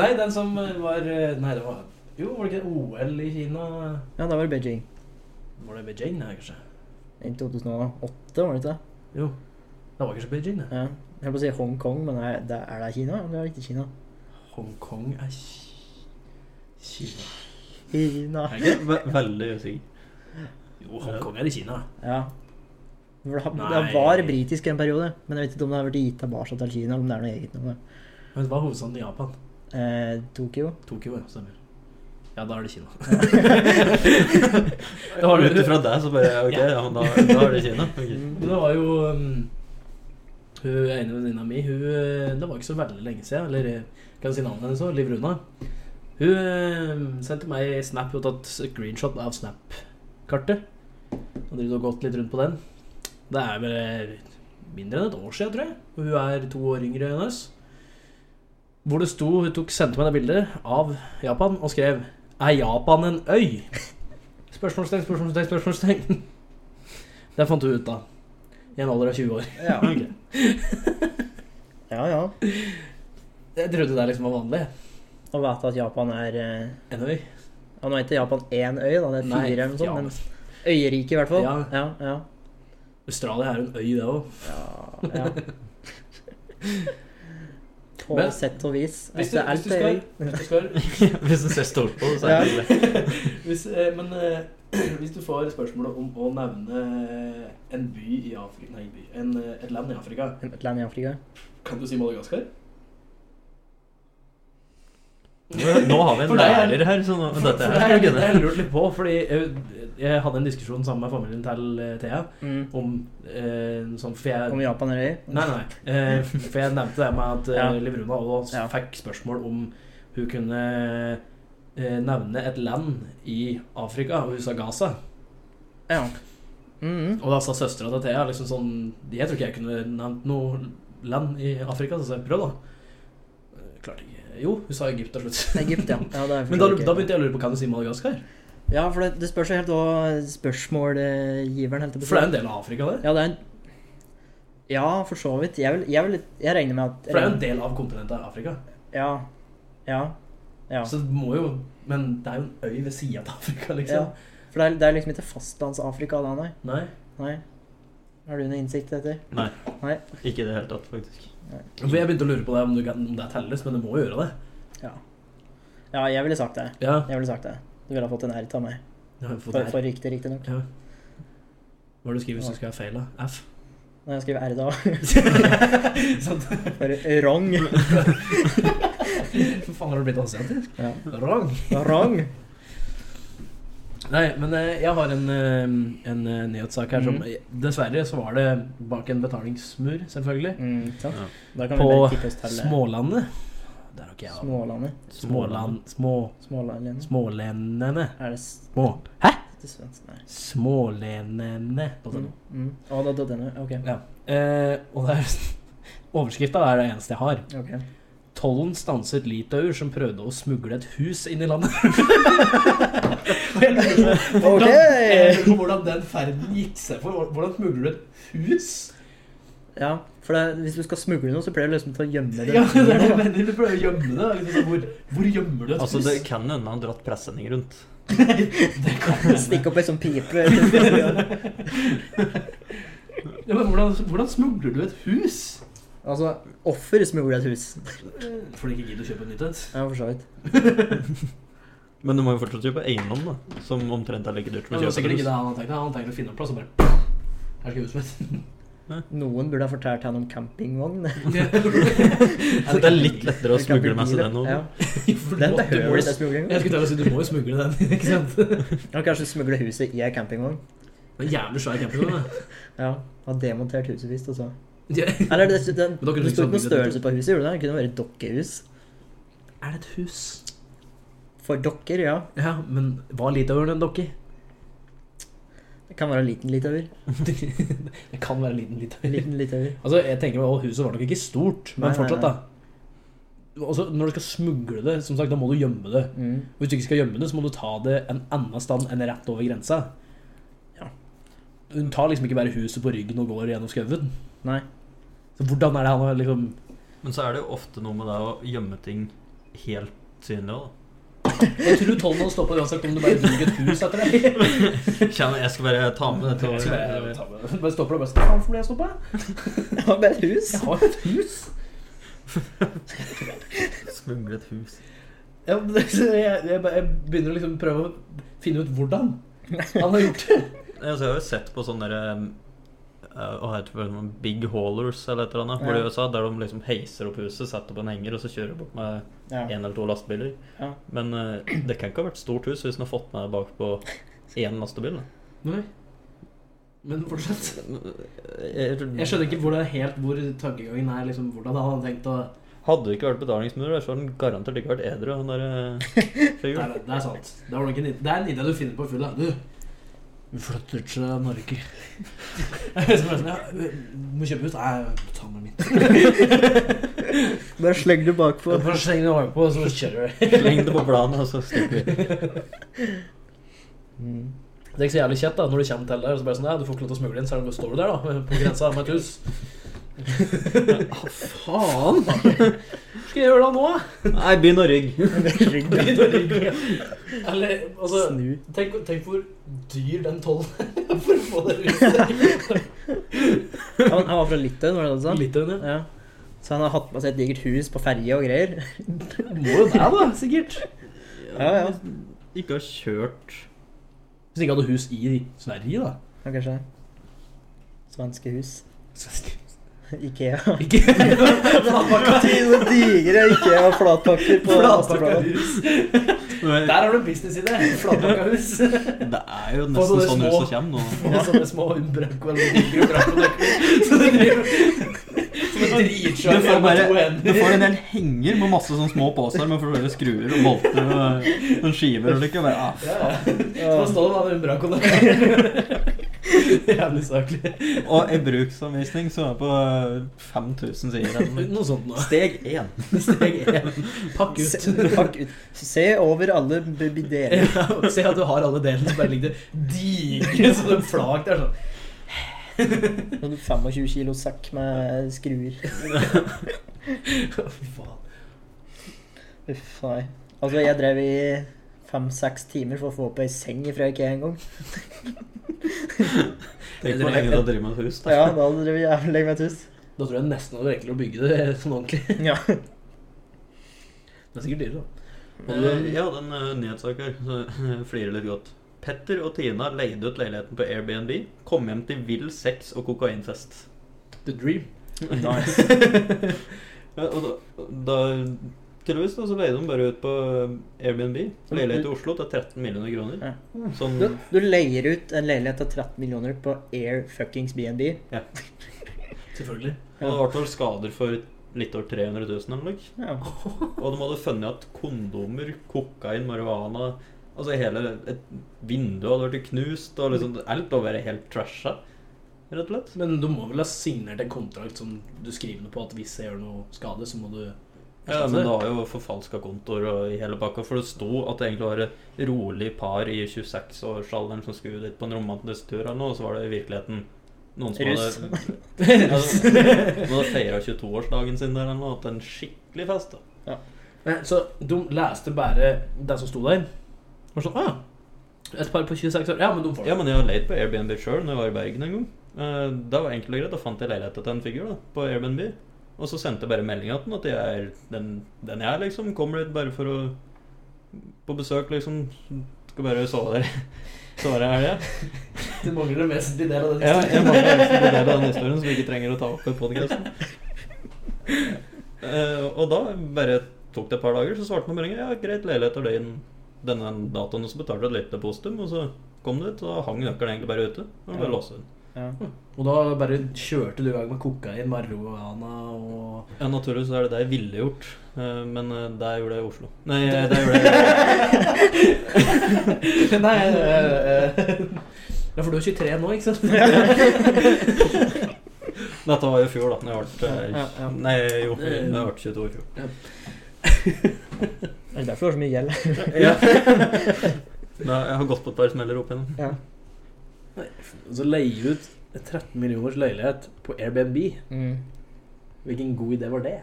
Nei, den som eh, var eh, Nei, det var Jo, var det ikke OL i Kina?
(laughs) Ja, da var det Beijing.
Var det Beijing, nei, kanskje?
I 2008, var det ikke det?
Jo. Det var kanskje Beijing, det.
Ja. Jeg holdt på å si Hongkong, men er det, er det Kina? Eller er det ikke Kina?
Hongkong er Ki- Kina
Kina.
Er det ikke?
Ve- Veldig usikker.
Jo, Hongkong er i Kina.
Ja. For det, det
Nei.
var britisk en periode, men jeg vet ikke om det har vært gitt tilbake til Kina, eller om det er noe eget noe.
Men hva er hovedstaden i Japan?
Eh, Tokyo.
Tokyo, ja. Stemmer. Ja, da er det Kina. (laughs)
Da har du ut ifra deg, så bare Ok, ja, men da, da er det Kina. Ok.
Men det var jo um, Hun ene venninna mi hun, eh, Det var ikke så veldig lenge siden, eller eh, kan jeg si navnet hennes òg, Liv Runa. Hun eh, sendte meg en snap og tatt screenshot av Snap-kartet. Og driver og gått litt rundt på den. Det er vel eh, mindre enn et år siden, tror jeg. Og hun er to år yngre enn oss. Hvor det sto Hun tok, sendte meg det bildet av Japan og skrev Er Japan en øy? Spørsmålstegn, spørsmålstegn, spørsmålstegn. (laughs) Det fant hun ut av. I en alder av 20 år.
Ja. ja, ja.
Jeg trodde det liksom var vanlig.
Å vite at Japan er eh,
En øy.
Ja, nå er ikke Japan én øy, da. Det er fire
Nei,
eller noe sånt.
ja,
Men øyerike, i hvert fall.
Ja.
Ja, ja.
Australia er jo en øy, det òg.
ja,
(laughs)
ja. På
Men-
sett og vis.
Hvis
Altså,
du- hvis
alt
du
er
skal-
øy. (laughs)
Hvis du skal-
Hvis du ser stort på det, så er det
Hvis, eh, (clears throat) men eh, Hvis du får spørsmålet om å nevne eh, en by i Afrika Nei, en by. En, eh, et land i Afrika,
Et land i Afrika.
kan du si Madagaskar?
Nå har vi en
For deg er-
lærer her, så nå,
For
dette
det
her
er litt
kunne
jeg lurt litt på, fordi jeg, jeg hadde en diskusjon sammen med familien til eh, Thea om eh, sånn For jeg
Om Japan eller ei?
Nei, nei. Eh, for jeg nevnte det med at eh,
Ja.
Livruna også
Ja.
fikk spørsmål om hun kunne eh, nevne et land i Afrika, og hun sa Gaza.
Ja. Mhm.
Og da sa søstera til Thea liksom sånn Jeg tror ikke jeg kunne nevnt noe land i Afrika, så sa jeg prøv, da. Eh, Klarte ikke Jo, hun sa Egypt til
(laughs)
slutt.
Egypt, ja. ja det er
Men da,
forståelig.
da begynte jeg å lure på kan du si Madagaskar?
Ja, for det, det spørs jo helt hva spørsmålgiveren helt
For det er jo en del av Afrika, det.
Ja, det er en Ja, for så vidt. Jeg, vil, jeg, vil, jeg regner med at
For det er jo en del av kontinentet Afrika.
Ja. Ja. Ja.
Så det må jo Men det er jo en øy ved sida av Afrika,
ja.
liksom.
For det er, det er liksom ikke fastlands-Afrika da, nei.
Nei.
nei. Har du noe innsikt etter?
Ikke i det hele tatt, faktisk.
For jeg begynte å lure på det om, du kan, om det telles, men det må jo gjøre det.
Ja. Ja, jeg ville sagt det.
Ja.
Jeg ville sagt det. Du ville ha fått en R av meg.
Jeg har fått
For,
R.
for riktig, riktignok.
Ja. Hva er det du skriver hvis du skal ha feil, da? (laughs) F?
Når jeg skriver
(laughs)
R, da.
Sant?
For wrong.
Hva faen har du blitt asiatisk?
Ja.
Wrong.
Wrong.
Nei, men eh, jeg har en, eh, en eh, nyhetssak her som Dessverre så var det bak en betalingsmur, selvfølgelig.
Mm, ikke sant?
Ja.
Da kan vi
På
bare kippe oss til eh,
Smålandet. Der har ikke jeg
Smålandet.
Småland Små...
Smålandet.
Smålenene.
Er det s-
Små...
til svensk? Nei.
Smålenene.
Mm. Mm. Å, da døde den, ok.
Ja. Eh, og det er (laughs) Overskrifta er det eneste jeg har. (laughs)
Ok.
Tollen stanset litauer som prøvde å smugle et hus inn i
(laughs)
landet. Og jeg lurer på hvordan-
Ok.
jeg lurer på hvordan den ferden gikk seg for. Hvordan smugler du et hus?
Ja, for det, hvis du skal smugle noe, så pleier du liksom til å gjemme det.
Ja, det er det jeg mener. (laughs) Du prøver å gjemme det. da. Liksom sånn, hvor, hvor gjemmer du et
Altså,
hus?
det kan hende han dratt presenning rundt.
(laughs) Det kan hende.
Stikk opp ei sånn
(laughs)
pipe.
ja, men hvordan, hvordan smugler du et hus?
altså, offer smugler et hus.
Fordi de ikke gidder å kjøpe et nytt et.
Ja, for så vidt.
Men du må jo fortsatt kjøpe eiendom, da. Som omtrent er like dyrt
Men
som å
det var
kjøpe
sikkert
hus.
ikke det han hadde tenkt. Han hadde tenkt å finne en plass og bare Her skal huset mitt.
Noen burde ha fortalt han om campingvogn.
Så Altså, det er litt lettere å smugle med seg det nå.
Ja.
(laughs) For du må- du må
Den behøver
jo-
ikke smugling.
Jeg skulle til å si du må jo smugle den, (laughs) ikke sant?
Han kanskje smugle huset i ei campingvogn.
Det er en jævlig svær campingvogn. da.
Ja, ha demontert huset visst, og så
Ja.
Eller det, det,
da kunne du
det
ikke
sto ikke noen
bygge det
størrelse på huset, gjorde det? Det kunne vært et dokkehus.
Er det et hus?
For dokker, ja.
Ja, men var Litauen en dokke?
Det kan være en liten litauer.
Det kan være en liten
En
Litauen.
Liten litauer.
Altså, jeg tenker meg, å, Huset var nok ikke stort, men
Nei, nei,
fortsatt, da. Altså, Når du skal smugle det, som sagt, da må du gjemme det.
Mm.
Og Hvis du ikke skal gjemme det, så må du ta det en annen stand enn rett over grensa.
Ja.
Hun tar liksom ikke bare huset på ryggen og går gjennom skauen.
(laughs) Nei.
Så Hvordan er det han har liksom
Men så er det jo ofte noe med det å gjemme ting helt synlig òg, da.
Jeg tror tollen hadde stoppa uansett om du bare bygde et hus etter det.
Kjenner, jeg skal bare ta med dette over.
Bare stopper og bare Faen, hvorfor ble jeg stoppa?
Det var bare et hus.
Jeg har et hus.
Smugle et hus.
Ja, men det- så jeg, jeg, bare- jeg begynner å liksom prøve å finne ut hvordan han har gjort det.
Ja, så jeg har jo sett på sånne der, um, uh, hva heter det, for noe, Big Haulers eller et eller annet, hvor
Ja.
i USA, der de liksom heiser opp huset, setter opp en henger, og så kjører de bort med
Ja.
en eller to lastebiler.
Ja.
Men uh, det kan ikke ha vært stort hus hvis den har fått med bakpå én lastebil. da.
Nei. Men fortsett.
Jeg,
Jeg skjønner ikke hvordan, helt hvor tankegangen er. liksom Hvordan han har tenkt å
Hadde det ikke vært betalingsmurer, så hadde den garantert ikke vært edru. Han der,
(laughs)
uh,
Det
fyren.
er, det er sant. Det, var nok en, id- det er en idé du finner på full. da. Du, vi flytter til (laughs) Norge. Så bare sånn, ja, vi må kjøpe hus. Nei, ta med mitt.
(laughs)
(laughs)
Bare slegg det bakpå.
Bare sleng det over på, så kjører vi.
Sleng det på planen, og så stikker vi.
Mm.
(laughs) Det er ikke så jævlig kjett da, når du kommer til der, og så bare sånn, ja, du får ikke lov til å smugle inn, så er det bare, står du der da, på grensa med et hus. faen! Hva (laughs) skal jeg gjøre da nå?
Nei, begynn å
(laughs)
rygge.
(laughs)
Slegg det.
Eller, altså,
Snu.
tenk, tenk hvor dyr den tollen er (laughs) for å få det huset.
Han, han var fra Litauen, var det det du sa?
Litauen,
Ja. Så han har hatt med seg et digert hus på ferje og greier.
Må jo det da, sikkert.
Ja, ja.
Ikke har kjørt
Hvis de ikke hadde hus i Sverige, da.
Ja, kanskje. Svenske hus. (laughs)
Svenske-
Ikea.
Ikke (laughs)
Flatpakka til noen digre Ikea-flatpakker på
Flatpakka
Asterpladet.
hus.
Men
Der har du en businessidé! Flatpakka hus.
Det er jo
Få
nesten
sånne
sånn
små-
huset kommer nå.
Sånne små umbraco eller
(laughs)
digre umbraco-nøkler. Så du driver som en
Du får
dritsjarm med
bare-
to
Du
hender.
får en del henger med masse sånne små påser med flere skruer og bolter og eh, noen skiver og like. og bare, ah,
Ja, ja. Så da står det med
(laughs)
umbraco-nøkler. Jævlig saklig.
Og en bruksanvisning som er på 5000 sider. eller noe.
Noe sånt nå.
Steg én.
(laughs) Steg én. Pakk ut.
Se, fuck ut. Se over alle bideler.
(laughs) Ja, og Se at du har alle delene, så bare ligger det digre som en flak der. sånn. (laughs)
En 25 Sånn kilo sekk med skruer.
Fy faen.
Uff, nei. Altså, jeg drev i fem-seks timer for å få opp ei seng fra Ikea en gang.
Tenk hvor lenge du har drevet med et hus. da.
Ja, da hadde drevet jævlig lenge med et hus.
Da tror jeg nesten hadde vært enklere å bygge det sånn ordentlig.
Ja.
Det er sikkert dyrere, da.
Eh, Ja, den eh, nyhetssak her så, (laughs) flirer litt godt. Petter og Tina leide ut leiligheten på Airbnb, kom hjem til vill sex og kokainfest.
The dream.
Nice. (laughs) ja, og da, da Tydeligvis da, så leide de bare ut på eh, Airbnb. Leilighet i Oslo til 13 millioner kroner. Sånn,
Du, du leier ut en leilighet til 13 millioner på Air fuckings BNB.
Selvfølgelig.
og det ble vel skader for litt over 300 000 eller noe.
Ja.
Og de hadde funnet at kondomer, kokain, marihuana Altså hele et vindu hadde blitt knust, og liksom alt var bare helt trasha, rett og slett.
Men du må vel ha signert en kontrakt som du skriver noe på at hvis jeg gjør noe skade, så må du
Ja, men det har jo forfalska kontoer og i hele pakka, for det sto at det egentlig var et rolig par i 26-årsalderen som skulle dit på en romantisk tur eller noe, og så var det i virkeligheten noen som
Russ.
hadde (laughs) Ja, som- som hadde feira 22-årsdagen sin der eller noe, hatt en skikkelig fest, da.
Nei, Eh, Så de leste bare det som sto der. Og sånn, ah, ja. Et par på 26 år. Ja, men de får det.
Ja, men jeg har leid på Airbnb sjøl når jeg var i Bergen en gang. Eh, Det var enkelt og greit. Da fant jeg leiligheta til en figur da, på Airbnb. Og så sendte jeg bare meldinga til den at jeg er den, den jeg er, liksom. Kommer dit bare for å På besøk, liksom. Skal bare sove der. (laughs) Sove der i helga.
Det mangler det vesentlige del av det.
Ja, jeg mangler liksom en del av den historien som vi ikke trenger å ta opp i podkasten. (laughs) Eh, og da bare tok det et par dager, så svarte man meldinga. Ja, greit, leilighet er din denne datoen, og så betalte du et lite depositum, og så kom du dit, og da hang nøkkelen egentlig bare ute. Og bare
Ja.
låste den.
Ja.
(laughs) Og da bare kjørte du i gang med kokain, marihuana og
Ja, naturligvis er det det jeg ville gjort, eh, men eh, det jeg gjorde jeg i Oslo. (laughs) Nei, eh, det gjorde jeg
(laughs)
(laughs)
Nei eh, eh, Ja, for du er 23 nå, ikke sant? (laughs)
Dette var i fjor, da. Når jeg ble eh,
Ja, ja.
Nei, jo, når jeg ble 22 i fjor.
Det er derfor det er så mye gjeld.
Ja. (laughs) Da, jeg har gått på et par smeller opp igjennom.
Ja.
Så leie ut 13 millioners leilighet på Airbnb.
Mm.
Hvilken god idé var det?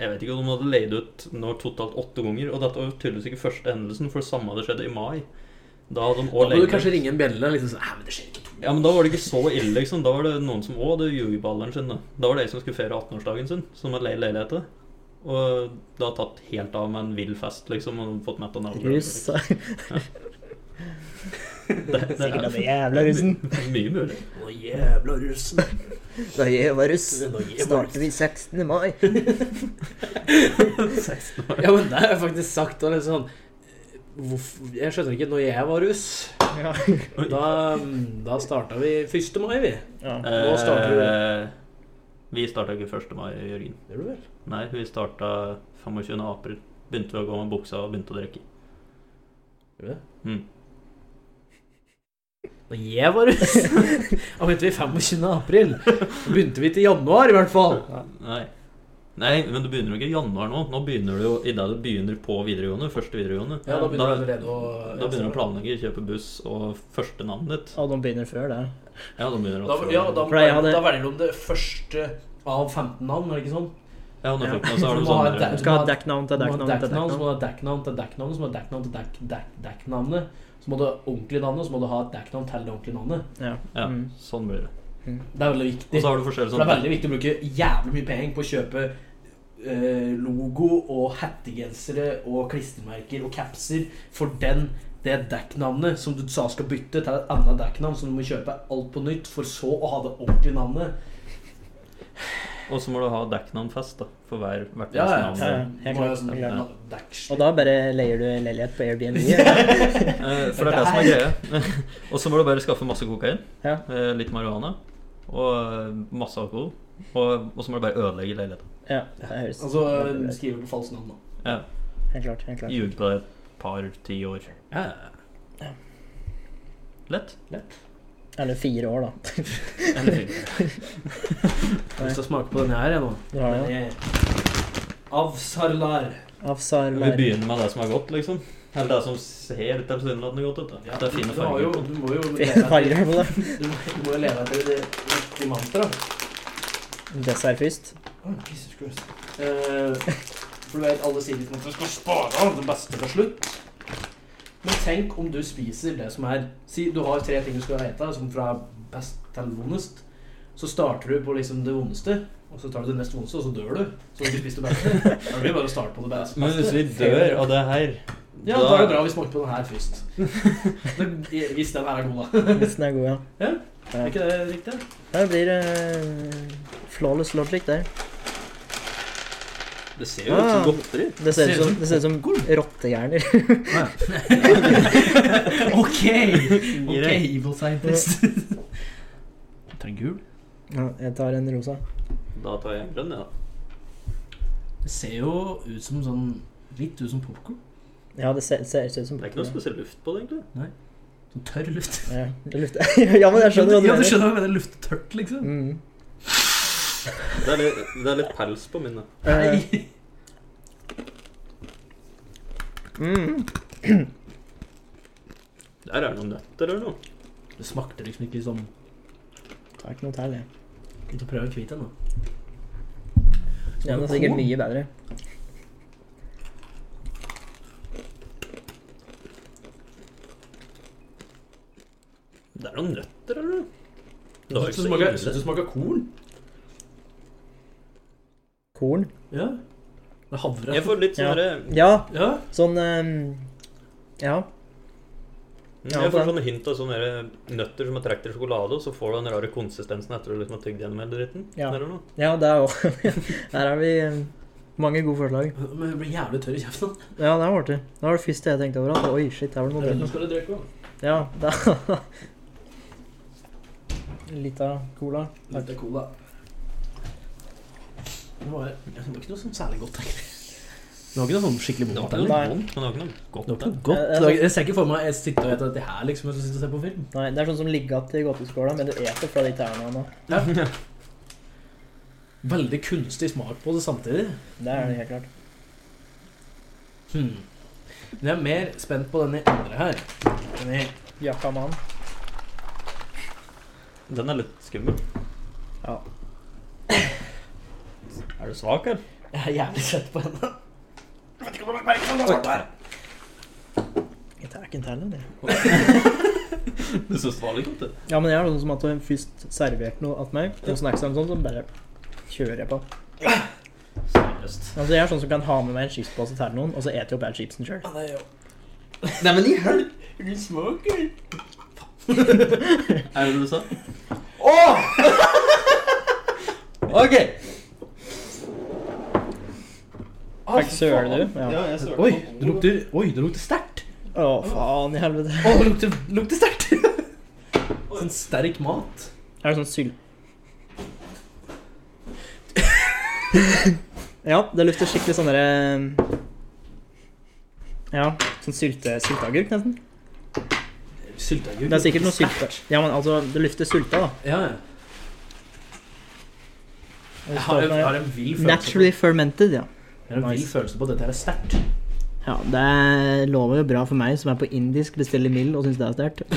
Jeg vet ikke om de hadde leid ut nå totalt åtte ganger, og dette var jo tydeligvis ikke første hendelsen, for det samme hadde skjedd i mai. Da hadde de også
Da må du
leid
kanskje
ut.
ringe en bjelle. Liksom sånn, «Nei, men det skjer ikke to
Ja,
(laughs)
men da var det ikke så ille, liksom. Da var det noen som òg hadde ljuget på alderen sin. Da Da var det ei som skulle feire 18-årsdagen sin, som hadde leid leilighet til. Og det har tatt helt av med en vill fest, liksom, og fått mett av navlen.
Russ.
Det, det
(laughs) Sikkert
er
den jævla russen.
(laughs) mye mulig.
Å, jævla russen.
Da jeg var russ,
Da jeg var russ.
startet vi 16. mai.
Ja, men det har jeg faktisk sagt. Og liksom, hvorfor, jeg skjønner ikke Når jeg var russ,
Ja.
(laughs) da, da starta vi 1. mai, vi.
Ja.
Nå starter du.
Eh, vi starta ikke 1. mai, Jørgen.
Gjør du vel?
Nei, vi starta 25. april. Begynte vi å gå med buksa og begynte å drikke.
Gjør du det?
Mm.
Da jeg var (laughs) russ, da begynte vi 25. april. Da begynte vi til januar, i hvert fall.
Nei. Nei, men du begynner jo ikke i januar nå. Nå begynner du jo i det du begynner på videregående. Første videregående.
Ja, da
da,
begynner du allerede å
da begynner du å planlegge, kjøpe buss og første navnet ditt.
Og de begynner før det.
Ja, da begynner du
Da,
å
ja, da,
For jeg hadde-
da velger du om det første av 15 navn, er det ikke sånn?
Ja, nå fikk man, så
Ja.
er det
(laughs) Du må ha
sånn
et
der-
Du skal ha dekknavn til
Du må ha
dekknavn
dekknavn, så
til dekknavn.
må du ha dekknavn til dekknavn, så må du ha dekknavn til dekk- dekk- dekknavnet. Så må du ha ordentlig navn, og så må du ha et dekknavn til det ordentlige navnet.
Ja.
Ja,
Mm.
sånn blir det.
Det sånn- er veldig
Og
viktig.
så har du forskjellige sånn-
For det er
sånne
veldig viktig å bruke jævlig mye penger på å kjøpe eh, logo og hettegensere og klistremerker og capser for den det dekknavnet som du sa skal bytte til et annet dekknavn, så du må kjøpe alt på nytt for så å ha det ordentlige navnet.
Og så må du ha dekknavnfest da, for hver, hvert
Ja, ja.
navn.
ja, ja.
Må
Helt
jeg ha
klart.
sånn
Helt klart.
dekkslip.
Og da bare leier du leilighet på Airbnb. eller?
Eh, For det er det som er greia. (laughs) Og så må du bare skaffe masse kokain,
Ja.
eh, litt marihuana og eh, masse alkohol. Og, og så må du bare ødelegge leiligheten.
Ja, det høres
Altså
veldig bra ut.
skriver på falskt navn, da.
Ja,
Helt klart. helt klart.
Ljuge på det et par-ti år. Lett.
Eller fire år, da.
Eller fint.
Jeg har lyst til å smake på denne her, jeg nå.
Du har det.
Avsarlar.
Afsar
Vi
(laughs)
begynner med det som er godt, liksom. Eller det som ser tilsynelatende godt ut. da. Det er fine
du har jo-
farger. på den.
Du må jo leve etter,
Farger på det.
du må- du må jo leve etter det riktige mantraet.
Dessert først.
Å, Jesus Christ. Eh, for du vet, alle sier liksom at du skal spare det beste til slutt. Men tenk om du spiser det som er Si du har tre ting du skal ete, som fra best til vondest. Så starter du på liksom det vondeste, og så tar du det nest vondeste, og så dør du. Så har du ikke spist det beste. Da blir det bare å starte på det beste.
Men hvis vi dør av det her
Ja, da er det bra vi smakte på den her
(laughs)
først. Det- Hvis den her er god, da.
Hvis den er god, ja.
Ja,
Ja.
Er ikke det riktig?
Her blir det eh, flawless logic der.
Det ser jo ut som godteri.
Det ser ut som, det ser ut som rottehjerner.
(laughs) OK!
Gir
OK,
det.
evil
(laughs)
scientist. Trenger gul.
(laughs) Ja, jeg tar en rosa.
Da tar jeg en grønn, ja.
Det ser jo ut som sånn Litt ut som popkorn.
Ja, det ser, ser ut som
Det er ikke noe spesiell luft på det, egentlig.
Sånn tørr luft.
Ja, det lukter- (laughs) ja, men jeg skjønner hva du
ja, du
mener.
skjønner hva jeg mener. Lufttørt, liksom.
Mm.
Det er litt, det er litt pels på min. da.
Eh,
Nei. (laughs)
mm.
Der er det noen nøtter eller noe.
Det smakte liksom ikke som
Det er ikke noe tall, jeg.
Begynte å prøve en hvit en, da.
Ja, det er sikkert mye bedre.
Det er noen nøtter eller noe. Det var
Jeg
ikke
syns
så
det
ille.
smaker korn.
Korn.
Ja. Det er havre.
Jeg får litt sånn
Ja.
derre-
Ja,
Ja.
sånn eh, Ja. Ja,
Jeg får
på
sånne hint av sånne derre nøtter som er trukket i sjokolade, og så får du den rare konsistensen etter du liksom har tygd gjennom hele dritten.
Ja.
Eller noe.
ja, det er jo (laughs) Her har vi eh, mange gode forslag.
Men jeg blir jævlig tørr i kjeften. da.
Ja, det er artig. Det var det første jeg tenkte over. At, Oi, shit, her var det
Jeg
noe
vet
dritt.
ikke skal du drikke da.
Ja, det (laughs) Litt av cola.
Litt av cola. Det var, det var ikke noe sånn særlig godt, egentlig. Det var ikke noe sånn skikkelig
Det var
vondt
ikke
heller.
Nei.
noe vondt, men det var ikke noe godt.
Det var ikke
da.
noe godt.
Jeg- jeg-
Det var- Jeg ser ikke for meg jeg sitter og spiser det her liksom, mens jeg sitter og ser på film.
Nei, det er sånn som ligger igjen til godteskåla, men du eter fra de tærne nå.
Veldig kunstig smak på det samtidig.
Det er det helt klart.
Hmm. Men jeg er mer spent på denne andre her. Denne
Jakka mann.
Den er litt skummel.
Ja.
Er du svak, eller?
Jeg er jævlig svett på henne.
Jeg tar ikke en tærne, det.
(laughs) Du syns det var litt godt, det.
Ja, men jeg er sånn som at hun først serverte noe til meg, noen snacks eller noe sånt, så bare kjører jeg på.
Seriøst.
Altså, jeg er sånn som kan ha med meg en chipspose til noen, og så eter jeg opp hele chipsen sjøl.
Ja, det er jo. Nei, men i helvete! Du smaker
Er det det du sa?
Åh!
OK!
Fikk søle du? Ja.
Ja, jeg sølte på
Oi, det
bordet.
lukter, oi, det lukter sterkt.
Å, faen i helvete.
Åh, det lukter, lukter sterkt. (laughs) Sånn sterk mat.
Er det sånn syl... ja, det lukter skikkelig sånn derre Ja, sånn sylte, sylteagurk, nesten.
Sylteagurk.
Det er sikkert noe sylte... Ja, men altså, det lukter sylta, da.
Ja, ja. Jeg har, jeg har en vill følelse
Naturally fermented, ja.
på, jeg har en vill
Nice.
følelse på at dette her er
(laughs)
sterkt.
Ja, Det lover jo bra for meg som er på indisk, bestiller mild og syns det er sterkt.
Ja,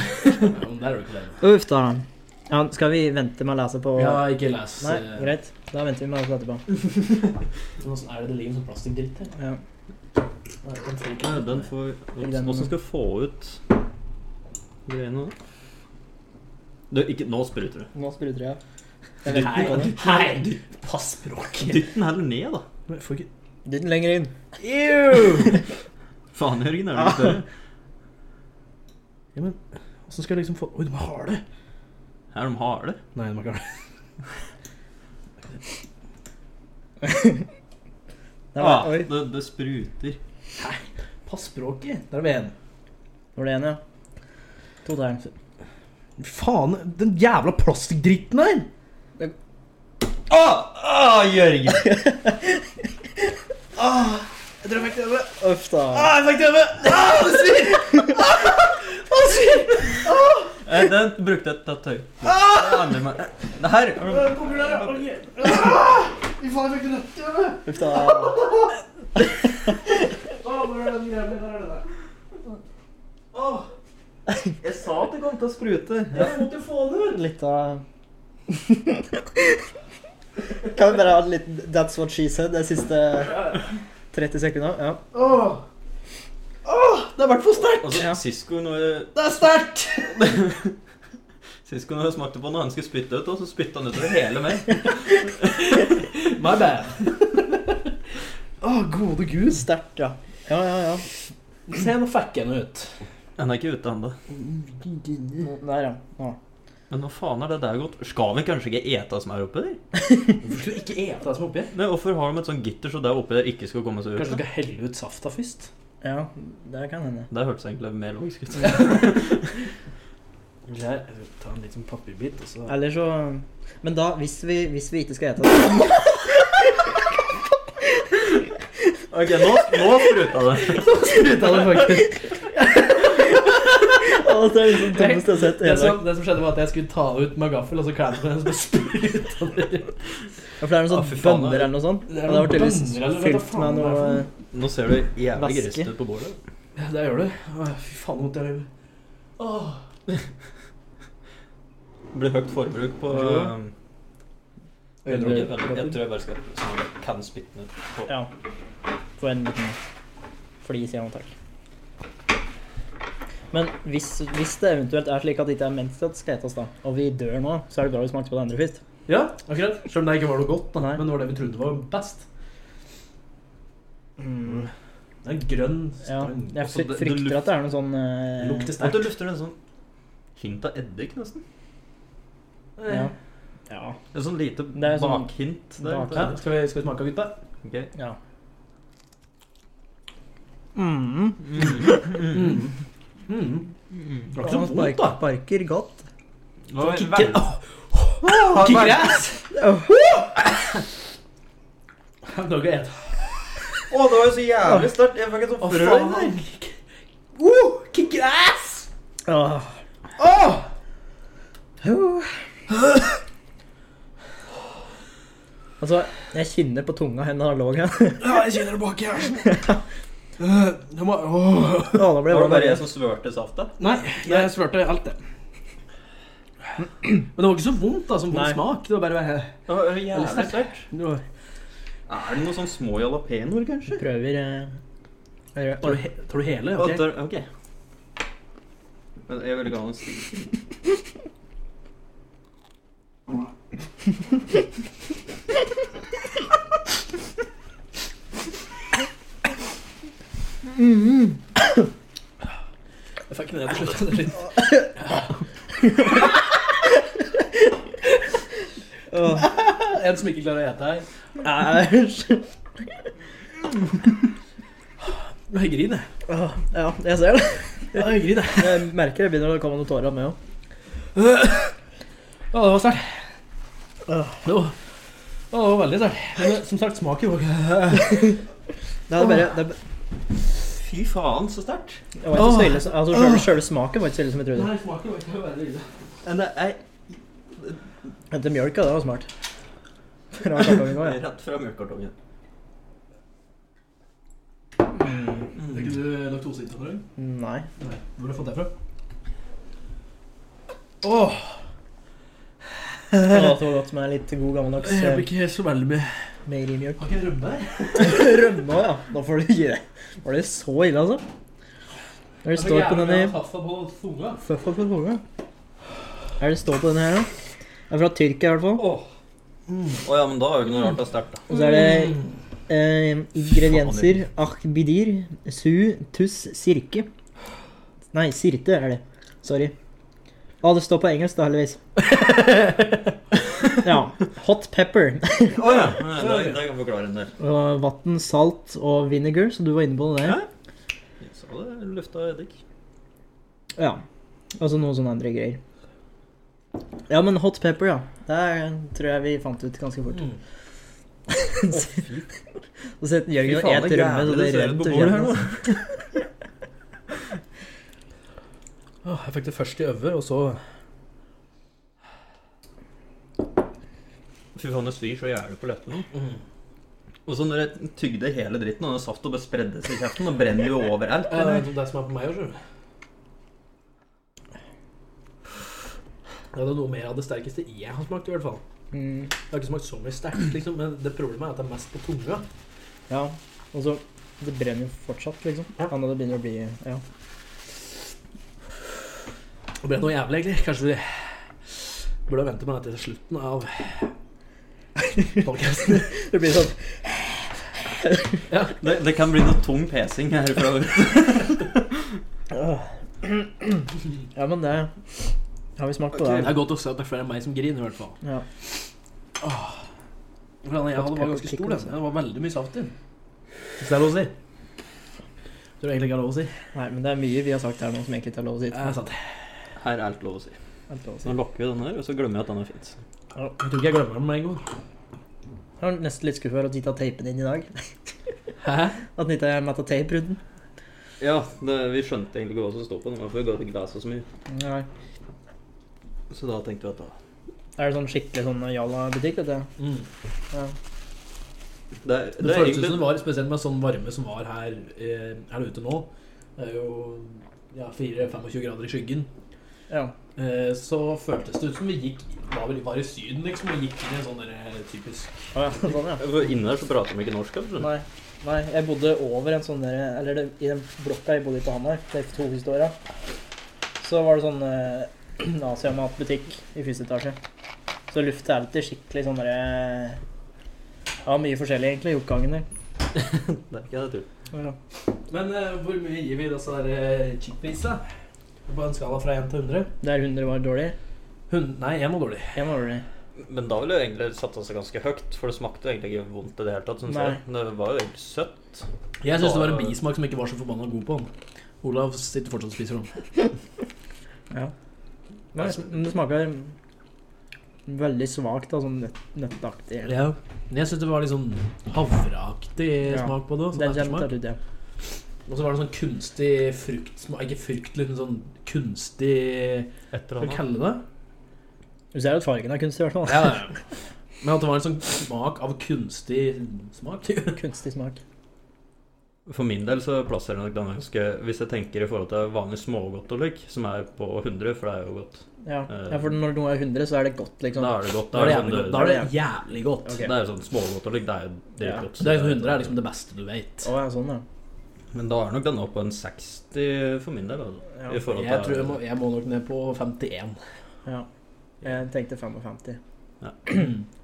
men der er jo ikke det.
Uff da. Ja, skal vi vente med å lese på
Jeg har ikke lest
Nei,
eh,
greit. Da venter vi med å lese etterpå.
Hvordan er det det ligger en sånn plastikkdritt her?
Ja.
Nei, den får ikke-
Ja, den får
den-
Åssen skal jeg få ut greiene da? Du, ikke Nå spruter du.
Nå spruter jeg.
Hei, hei, pass språket!
Dytt den heller ned, da.
Men jeg får ikke
Dytt den lenger inn. (laughs)
Ew!
Faen, Jørgen, er du litt større?
Ja, men åssen skal jeg liksom få Oi, de er harde!
Er de harde?
Nei, de er ikke harde.
Der var,
Ah,
oi.
det, det spruter.
Pass språket. Der er vi igjen.
Var det en, ja? To tegn.
Faen, den jævla plastikkdritten her!
Ah, ah, Jørgen!
Jeg tror jeg fikk det.
Uff da.
Ah, jeg fikk det! Ah, det svir! Ah, det Ah. svir!
Eh, Den brukte jeg til tøy.
Ah.
Det er med meg. Det her er
Fy faen, jeg fikk det rett i øret!
Uff da.
Jeg sa at det kom til å sprute.
Litt av (laughs) Kan vi bare ha litt 'That's what she said' de siste 30 sekundene? Ja.
Det har vært for sterkt!
Altså, Sisko, når jeg-
Det er sterkt!
Sisko når jeg smakte på den, og han skulle spytte ut, og så spytta han utover hele meg.
My bad. Å, gode gud.
Sterkt, ja. Ja, ja, ja.
Se, nå fikk jeg den ut.
Han er ikke ute ennå.
Nå- Der, ja. Nå.
Men hva faen er det der godt? Skal vi kanskje ikke ete det som er oppi der?
Hvorfor skal du ikke ete det som er oppi?
Nei, Hvorfor har de et sånt gitter så det oppi der ikke skal komme seg ut?
Kanskje du skal helle ut safta først?
Ja, det kan hende.
Det hørtes egentlig mer logisk ut.
Eller her, jeg vil ta en liten papirbit, og så
Eller så Men da, hvis vi, hvis vi ikke skal ete det
Ok, nå, nå spruta det.
Spruta det faktisk.
Å, Det er liksom dummeste jeg har sett. i
Det
hele dag.
som, det som skjedde, var at jeg skulle ta ut med gaffel, og så klemte jeg den, og så spruta det ut.
Ja, for det er noen
Å, fy
sånne
faen,
bønner
det er-
eller noe sånt.
Det
Det
er
har
noen
vært tydeligvis
bønner, eller hva
fylt med
faen det er
noe
for
Nå ser du jævlig
Væske.
grist ut på bordet.
Ja, det gjør du. Å, Fy faen, så vondt jeg har i hodet. Åh.
Det blir høyt forbruk på
Vær
Jeg tror, jeg,
Øyedråper.
jeg tror jeg bare skal sånn at jeg kan spytte den ut. på-
Ja. Få en liten flis igjen, takk. Men hvis, hvis det eventuelt er slik at det ikke er ment til at det skal etes, da, og vi dør nå, så er det bra vi smakte på det andre først.
Ja, akkurat. Selv om det ikke var noe godt, da.
Nei.
men det var det vi trodde var best. Mm. Det er en grønn
Ja,
stang.
jeg
Altså, det-
fryk-
det
frykter
luk-
at det er noe sånn
Det
eh,
lukter
At du
sterkt.
lufter en sånn hint av eddik, nesten.
Ja. ja.
En sånn lite
Det er sånn-
bakhint.
bak-
Ja,
Der.
skal, vi, skal vi smake, gutta?
Ok.
ja. Mm.
Mm. Mm. Det var ikke så vondt, da.
Sparker godt.
Nå er vi
Kikker-
veldig-
Kikker ass!
Åh.
Det (laughs) var ikke et
Å, det var jo så jævlig sterkt. Jeg fikk et sånt frø i der.
Oh, kick your ass!
Åh.
Oh!
Åh. Altså, jeg kjenner på tunga henne har låg her. (laughs)
Ja, jeg kjenner det bak i (laughs) halsen. Øh, det må, åh.
Åh, nå
Det var
ble det
bare jeg
bare
som svørte safta.
Nei, jeg svørte alt det. Men det var ikke så vondt da, som vond
Nei.
smak. Det var bare
Det var jo jævlig
Veldig
sterkt.
det var,
Er det noen sånn små jalapeñoer, kanskje?
prøver eh,
tar,
å gjøre-
du he, tar du hele?
Å,
ok?
der- Ok. Men jeg vil ikke ha noen stil.
Jeg fikk den ned til slutt. (laughs) Det er litt-
Åh,
En som ikke klarer å ete her.
Æsj.
Jeg griner. jeg.
Åh, Ja, jeg ser det.
Jeg griner. jeg.
(laughs) Jeg merker det begynner å komme noen tårer av meg òg.
Ja, det var sterkt. Det var, ja, det var veldig sterkt. Men det- som sagt, smaken var ikke
Det er bare det, er b-
Fy faen, så sterkt.
det var ikke så ille som- altså, selve, selve smaken var ikke så ille som jeg trodde.
Nei, smaken var ikke veldig ille.
Men det er
Hente mjølk, ja. Det var smart. Fra kartongen også, ja.
rett fra melkekartongen.
Er ikke du laktoseintolerant?
Nei.
Nei, Hvor har du fått det fra? Åh,
Eh.
Det var så godt med litt god gammeldags
jeg
eh,
blir ikke så veldig med
meierimjølk.
Har ikke en rømme her?
(laughs) Rømme også, ja. Da får du gi deg. Var det så ille, altså? Hva er det står på den i
tunga.
Fuff opp for hodet. Hva er det står på den her, da? Det er fra Tyrkia, i hvert fall.
Åh.
Å ja, men da er jo ikke noe rart det er sterkt, da.
Mm,
Mm. Og så er det Eh, ingredienser akbidir, su, tuss, sirke. Nei, sirte er det. Sorry. Å, det står på engelsk,
(laughs)
da, heldigvis. ja. Hot pepper.
Å ja.
Da, da kan vi forklare en del.
Og vann, salt og vinegar, så du var inne på det der.
Så det lufta eddik.
Ja. Og så noen sånne andre greier. Ja, men hot pepper, ja. Det er- tror jeg vi fant ut ganske fort. (laughs)
Mm.
Og så heter Jørgen
Fy
og
faen,
et
det er
rømme, så
jævlig du
det
ser
rent
på
og altså.
bordet her
kjennes.
Åh, jeg fikk det først i øver, og så
Fy faen, det svir så jævlig på leppene. Og så når jeg tygde hele dritten, og den safta bare spredde seg i kjeften, og brenner jo overalt.
Ja, Det er det som er på meg òg, sjøl. Det er noe mer av det sterkeste jeg har smakt, i hvert fall.
Mm.
Det har ikke smakt så mye sterkt, liksom, men det problemet er at det er mest på tunga.
Ja, og så Det brenner jo fortsatt, liksom.
Ja.
Ja. Når det begynner å bli Ja.
Det ble noe jævlig, egentlig. Kanskje vi burde vente med dette til slutten av podcasten.
Det blir sånn
Det, det kan bli noe tung pesing herfra.
øh. Ja, men det har vi smakt på,
Det
det.
er godt å se at det er flere enn meg som griner, i hvert fall.
Ja.
For den jeg hadde, var ganske stor, den. Det var veldig mye saft i den. Hvis det er lov å si. Tror jeg egentlig ikke det er lov å si.
Nei, men det er mye vi har sagt her nå som egentlig ikke er lov å si.
Jeg er sant.
Her er alt lov å si.
Alt lov å si.
Nå lokker vi den her, og så glemmer jeg at den er fint.
Jeg tror ikke jeg glemmer den med en gang.
Jeg var nesten litt skuffa over at de ikke har tapet den i dag. (laughs)
Hæ?
At den ikke er matta tape rundt den.
Ja, det, vi skjønte egentlig ikke hva som sto på den, for vi ga det glasset så mye.
Nei.
Så da tenkte vi at da,
Er det sånn skikkelig sånn jalla-butikk, dette?
Mm.
Ja.
det, er-
Det,
det er
føles ut som det
egentlig
var spesielt med sånn varme som var her, eh, her ute nå. Det er jo ja, 4-25 grader i skyggen.
ja.
Eh, så føltes det ut som vi gikk var, vel- var i Syden, liksom, og gikk inn i en sånn der, eh, typisk
Å ja. Sånn, ja.
For Inne her så prater de ikke norsk, kanskje?
Nei. Nei, jeg bodde over en sånn der Eller det, i den blokka jeg bodde i på Hamar, de to siste åra, så var det sånn eh, (clears throat) Asiamatbutikk i første etasje. Så lufta er alltid skikkelig sånn derre Ja, mye forskjellig, egentlig, i oppgangen der.
Det er ikke det, jeg tror.
Ja.
Men eh, hvor mye gir vi disse der, eh, chickpeasa? På en skala fra 1 til 100?
Der 100 var dårlig,
Hun- nei, 1 var dårlig.
én var dårlig.
Men da ville jeg egentlig satt seg ganske høyt, for det smakte egentlig ikke vondt i det hele tatt, synes jeg. Det var jo egentlig søtt.
Jeg syns det var en bismak som ikke var så forbanna god på den. Olav sitter fortsatt og spiser den.
Ja. Nei, men det smaker veldig svakt, da, sånn nøtt, nøttaktig.
Ja. Men Jeg syns det var litt sånn havreaktig
Ja.
smak på det.
Den
Sånn ettersmak.
kommer til å ta ut, ja.
Og så var det sånn kunstig fruktsmak Ikke frukt, litt sånn kunstig
Etter
Hva kaller du det?
Du ser jo at fargen er kunstig, i hvert fall.
Ja, ja. Men at det var en sånn smak av kunstig smak.
(laughs) Kunstig smak.
For min del så plasserer jeg nok den ganske Hvis jeg tenker i forhold til vanlig smågodt og lik, som er på 100, for det er jo godt.
Ja.
Eh.
ja, for når noe er 100, så er det godt, liksom.
Da er det godt.
Da er det
sånn
jævlig
det-
godt. Da er det jævlig godt.
Ok.
Det er jo sånn smågodt og lik, det er jo dritgodt.
Så det er 100 er liksom det beste du vet.
Å ja, sånn, ja.
Men da er nok den oppe på en 60 for min del. Altså.
Ja.
I forhold til
Jeg tror jeg må, jeg må nok ned på 51.
ja. Jeg tenkte 55.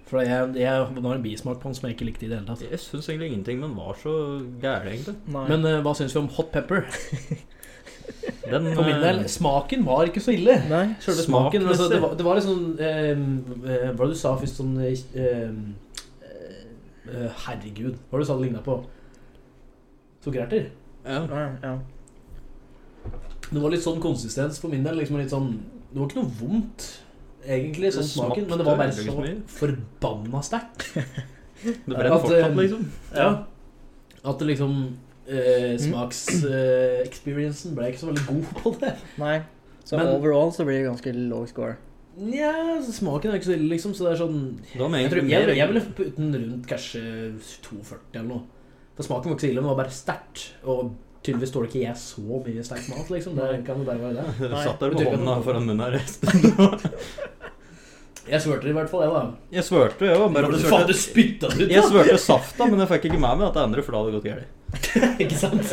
For jeg, jeg har en bismak på den som jeg ikke likte i det hele tatt.
Altså, Jeg syns egentlig ingenting, men var så gæren, egentlig.
Nei.
Men eh, hva syns vi om hot pepper?
Den,
For min del,
eh,
smaken var ikke så ille.
Nei.
Selve
Smak,
smaken altså,
liksom.
det, var, det var litt sånn eh, eh, Hva var det du sa først sånn eh, eh, eh, Herregud, hva var det du sa det ligna på? Sukkererter?
Ja.
Ja, ja.
Det var litt sånn konsistens for min del. Liksom litt sånn, det var ikke noe vondt, egentlig,
Det
sånn smaken, men det
smakte
var bare
egentlig
så
ikke
forbanna sterkt.
Det
At,
brenner fortsatt,
eh,
liksom.
Ja. At det liksom
Mm.
eh, Smaks-experiencen ble ikke så veldig god på det.
Nei. Så
Men-
overall så blir det ganske lav score.
Nja, smaken er ikke så ille, liksom, så det er sånn
Da må
Jeg,
jeg
tror,
egentlig
jeg,
mer-
jeg ville putte den rundt kanskje 2,40 eller noe. For smaken var ikke så ille, men det var bare sterkt. Og tydeligvis tåler ikke jeg så mye sterk mat, liksom. Det kan jo bare være det.
Jeg
Nei,
(laughs) satt der
det
med
betyr ikke
hånda
at-
foran munnen her.
Jeg svørte i hvert fall, jeg, da.
Jeg svørte, jeg òg. Bare at jeg
Faen, du
svørte.
spytta det ut,
Jeg svørte safta, men jeg fikk ikke med meg at det andre, for da hadde det gått galt.
(laughs) ikke
(laughs)
sant?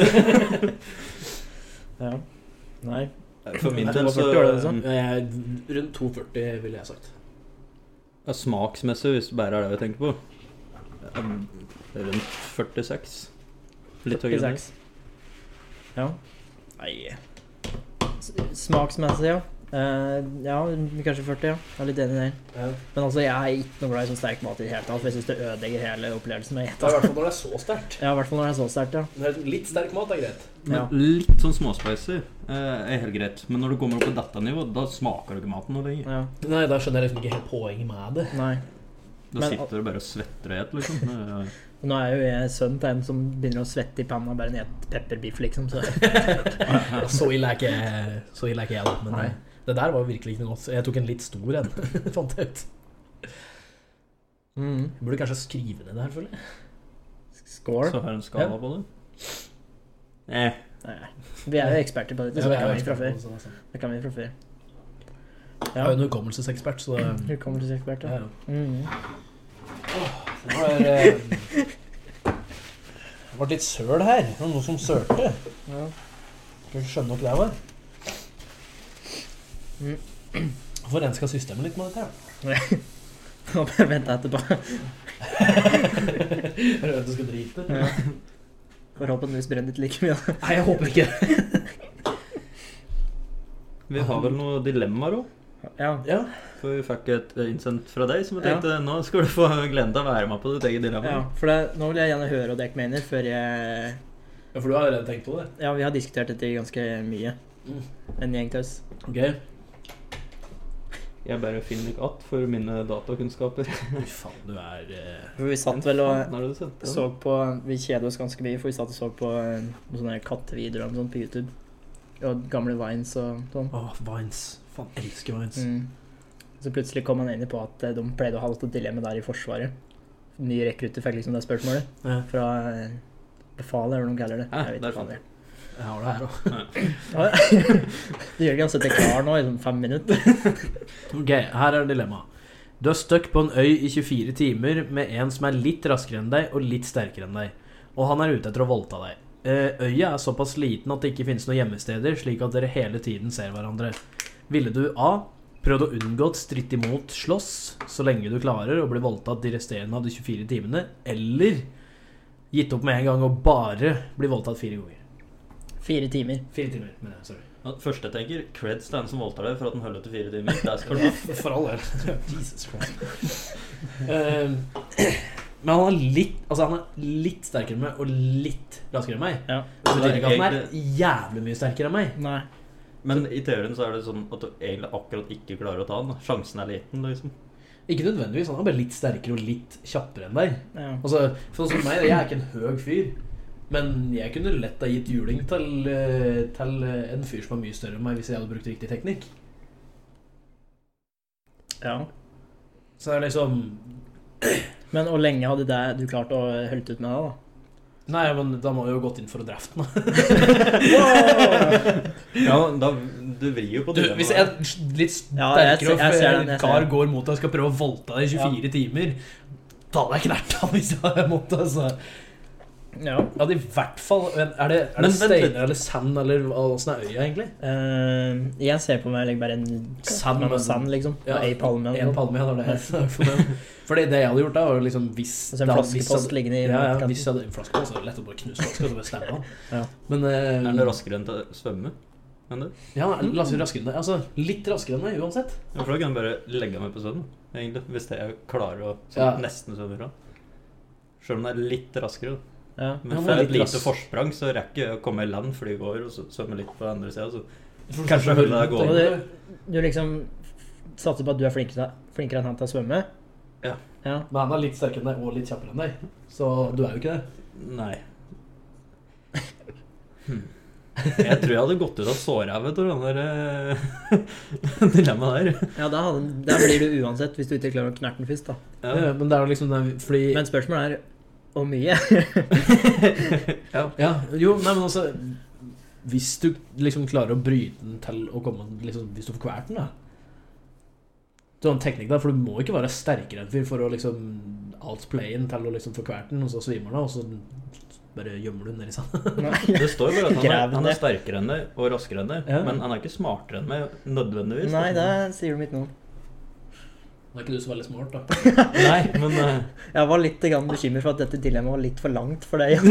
Ja. Nei.
For min
Nei,
del så
42 var det
liksom.
sånn.
Jeg- Rundt 2,40 ville jeg sagt.
ja, Smaksmessig, hvis det bare er det vi tenker på um, rundt 46. Litt høyere. enn det.
46. Ja. S- Smaksmessig, ja. Eh, ja, kanskje 40, ja. Jeg er litt enig der.
Ja.
Men altså, jeg er ikke noe glad i så sterk mat i det hele tatt, for jeg syns det ødelegger hele opplevelsen med å
Det er i
ete.
hvert fall når det er så sterkt.
Ja, i hvert fall når det er så sterkt, ja.
Når det er Litt sterk mat er greit.
Men
Ja.
Litt sånn småspicer eh, er helt greit. Men når du kommer opp på dette nivået, da smaker du ikke maten noe lenger.
ja.
Nei, da skjønner jeg liksom ikke helt poenget med (laughs) det.
Nei.
Da
Men-
sitter du bare og svetter og et,
(laughs)
liksom. Det er-
Nå er jo jeg sønn til en som begynner å svette i panna bare ned pepperbiff, liksom. Så.
(laughs)
Så ille er ikke, så ille er ikke jeg, da. Men
Nei.
det, det der var jo virkelig ikke noe godt. Jeg tok en litt stor en, (laughs) fant jeg ut.
Mm.
Jeg burde kanskje skrive ned det her, føler jeg.
Score.
Så har du en skala på det. Eh,
Nei. Vi er jo eksperter på dette, så det kan vi fra før. Det kan vi fra før.
Jeg er jo en hukommelsesekspert, så det-
Hukommelsesekspert,
ja,
ja.
ja.
Mm.
Det var, eh, det ble litt søl her. Det var noen som sølte.
ja. (laughs)
Skal ikke skjønne hva det var.
Mm.
(clears throat) Får renska systemet litt med dette. her. (laughs)
Nå bare vente etterpå.
Jeg Hører at du skal drite.
Ja. Forhåpentligvis brenner det ikke like mye.
Nei, jeg håper ikke det.
vi har vel noen dilemmaer òg.
Ja.
Ja.
For vi fikk et eh, innsendt fra deg som jeg
Ja.
tenkte nå skal du få gleden av å være med på ditt eget dilemma.
ja. For det, nå vil jeg gjerne høre hva dere mener, før jeg
Ja, For du har allerede tenkt på det?
Ja, vi har diskutert dette ganske mye.
Mm.
En gjeng til oss.
Ok.
Jeg bare finner ikke att for mine datakunnskaper.
Fy faen, du er eh,
For vi satt vel og
Når har du sett den?
så på Vi kjeda oss ganske mye, for vi satt og så på eh, noen sånne kattevideoer og sånn på YouTube. Og gamle vines og sånn.
Åh, Vines. Faen, jeg elsker Vines.
Mm. Så plutselig kom han inn på at eh, de pleide å ha dette dilemma der i Forsvaret. Nye rekrutter fikk liksom det spørsmålet
Ja,
fra eh, befalet, eller hva de kaller det.
Hæ,
Jeg vet
der
ikke hva det er.
Ah, jeg har det her òg.
Ja, det gjør ikke han sitter klar nå i sånn fem minutter.
Ok, her er dilemmaet. Du er stuck på en øy i 24 timer med en som er litt raskere enn deg og litt sterkere enn deg, og han er ute etter å voldta deg. Eh, Øya er såpass liten at det ikke finnes noen gjemmesteder, slik at dere hele tiden ser hverandre. Ville du A. Prøvd å unngå et stritt imot slåss så lenge du klarer å bli voldtatt de resterende av de 24 timene, eller gitt opp med en gang og bare bli voldtatt fire ganger?
Fire timer.
Fire timer, mener jeg. Sorry.
Ja, Første jeg tenker, creds til den som voldtar deg for at den holder til fire timer. Der
(laughs)
skal du
For all del. Jesus Christ. Eh, men han er litt Altså han er litt sterkere enn meg og litt raskere enn meg.
Ja.
Det betyr ikke at han er jævlig mye sterkere enn meg.
Nei.
Men i teorien så er det sånn at du egentlig akkurat ikke klarer å ta den. da. Sjansen er liten,
(laughs)
liksom.
Ikke nødvendigvis. Han er bare litt sterkere og litt kjappere enn deg.
Ja.
Altså, for sånn som meg, jeg er ikke en høg fyr. Men jeg kunne lett ha gitt juling til, eh, til eh, en fyr som er mye større enn meg, hvis jeg hadde brukt riktig teknikk.
ja.
Så det er liksom
Men hvor lenge hadde det du klart å holde ut med det, da?
Nei, men da må vi jo gått inn for å drepe den.
Ja, da, du vrir jo på
Du, hvis en litt
Ja, jeg
sterkere
ser- jeg ser den,
og
jeg ser
kar
den.
går mot deg og skal prøve å voldta deg i 24 timer Da hadde jeg knert han hvis jeg hadde måttet. Altså.
Ja.
Jeg hadde i hvert fall men Er det, er
Men
det
vent litt.
steiner eller sand eller hva- åssen er øya, egentlig?
Eh, jeg ser på meg like, bare en
Sand,
med
men-
sand, liksom.
Ja,
og ei palme.
En
Og
palme, ja. Det er det. jeg- (laughs) Fordi det jeg hadde gjort, da, var jo liksom hvis
så en
da- hvis jeg
flaskepost
hadde-
liggende i
ja, ja,
kanten.
hvis jeg hadde en flaskepost, så er det lett å bare knuse flaska og så bare stemme han.
Ja.
Men eh,
Er den raskere enn til å svømme? Men det?
ja, la oss si raskere enn deg. Altså, litt raskere enn meg, uansett.
Ja, for da kan jeg bare legge meg på søvn, egentlig. Hvis jeg klarer å sånn,
Ja.
nesten svømme fra. Selv om det er litt raskere. da.
Ja.
Ja,
Men
men
for et
litt
lite
rask-
forsprang så rekker jeg å komme i land før de går, og så svømme litt på den andre sida.
Kanskje
Kanskje hullet er
Og
gående.
det, du liksom satser på at du er flinkere, flinkere enn han til å svømme?
Ja.
ja.
Men han er litt sterkere enn deg og litt kjappere enn deg, så du er jo ikke det.
Nei. Hmm. Jeg tror jeg hadde gått ut av sårhevet av den der eh, (laughs) dilemmaet der.
Ja, da, hadde, da blir du uansett hvis du ikke klarer å knerte den først, da.
Ja, men det er jo liksom den Fordi
Men spørsmålet er hvor mye?
ja.
Ja, jo, nei, men altså Hvis du liksom klarer å bryte den til å komme liksom, Hvis du får kvært den, da. Du har en teknikk der, for du må ikke være sterkere enn fyr for å liksom outplaye den til å liksom få kvært den, og så svimer den, og så bare gjemmer du den nedi sanden.
Nei.
Det står bare at han
Grav
er,
den
han er
ned.
sterkere enn deg og raskere enn deg,
Ja.
(laughs) men han er ikke smartere enn meg nødvendigvis.
Nei, det sier de ikke noe om.
er ikke du så veldig smart, da.
Nei, men eh,
Jeg var litt grann bekymret for at dette dilemmaet var litt for langt
(laughs)
for deg. (laughs)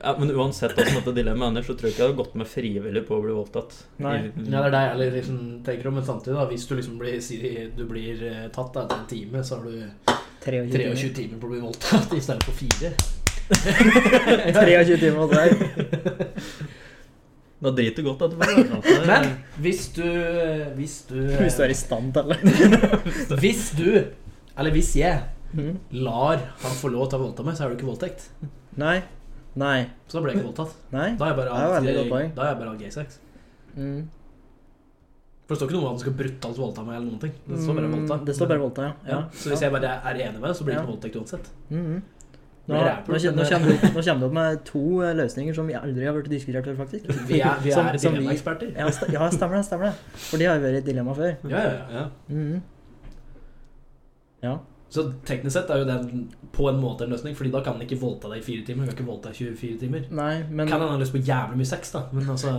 ja, Men uansett hvordan dette dilemmaet ender, så tror jeg ikke jeg hadde gått med frivillig på å bli voldtatt.
Nei.
I-
Ja, det er det jeg heller liksom tenker om, men samtidig, da, hvis du liksom blir, sier du blir eh, tatt da, etter en time, så har du 23
(laughs)
timer på å bli voldtatt i stedet for 4.
23 timer hos deg.
Da driter du godt etterpå. da.
(laughs) Men hvis du eh, Hvis du
Hvis du er i stand til
(laughs)
det.
Hvis du, eller hvis jeg,
Mm.
lar han få lov til å voldta meg, så er det ikke voldtekt.
Nei. Nei.
Så da ble jeg ikke voldtatt.
Nei.
Da er jeg bare
Det er
hatt-
veldig godt poeng.
da er jeg bare hatt gay sex.
Mm.
For det står ikke noe om at han skal brutalt voldta meg eller noen ting. Det står bare voldta.
Mm, Det står bare voldta, ja.
Ja, så hvis jeg bare er enig med det, så blir det ikke voldtekt uansett.
Mhm. Nå,
Blir ræpult,
nå, kjen- nå,
men-
kommer det opp, nå kommer det opp med to eh, løsninger som vi aldri har vært diskutert før, faktisk.
Vi er, vi
(laughs) Som-
er
som vi-
dilemmaeksperter.
Ja, st ja, stemmer det. stemmer det For de har jo vært et dilemma før.
Ja, ja, ja.
Mhm. Ja.
Så teknisk sett er jo det en- på en måte en løsning, Fordi da kan han ikke voldta deg i fire timer. Han kan ikke voldta deg i 24 timer.
Nei, men
Kan han ha lyst på jævlig mye sex, da, men altså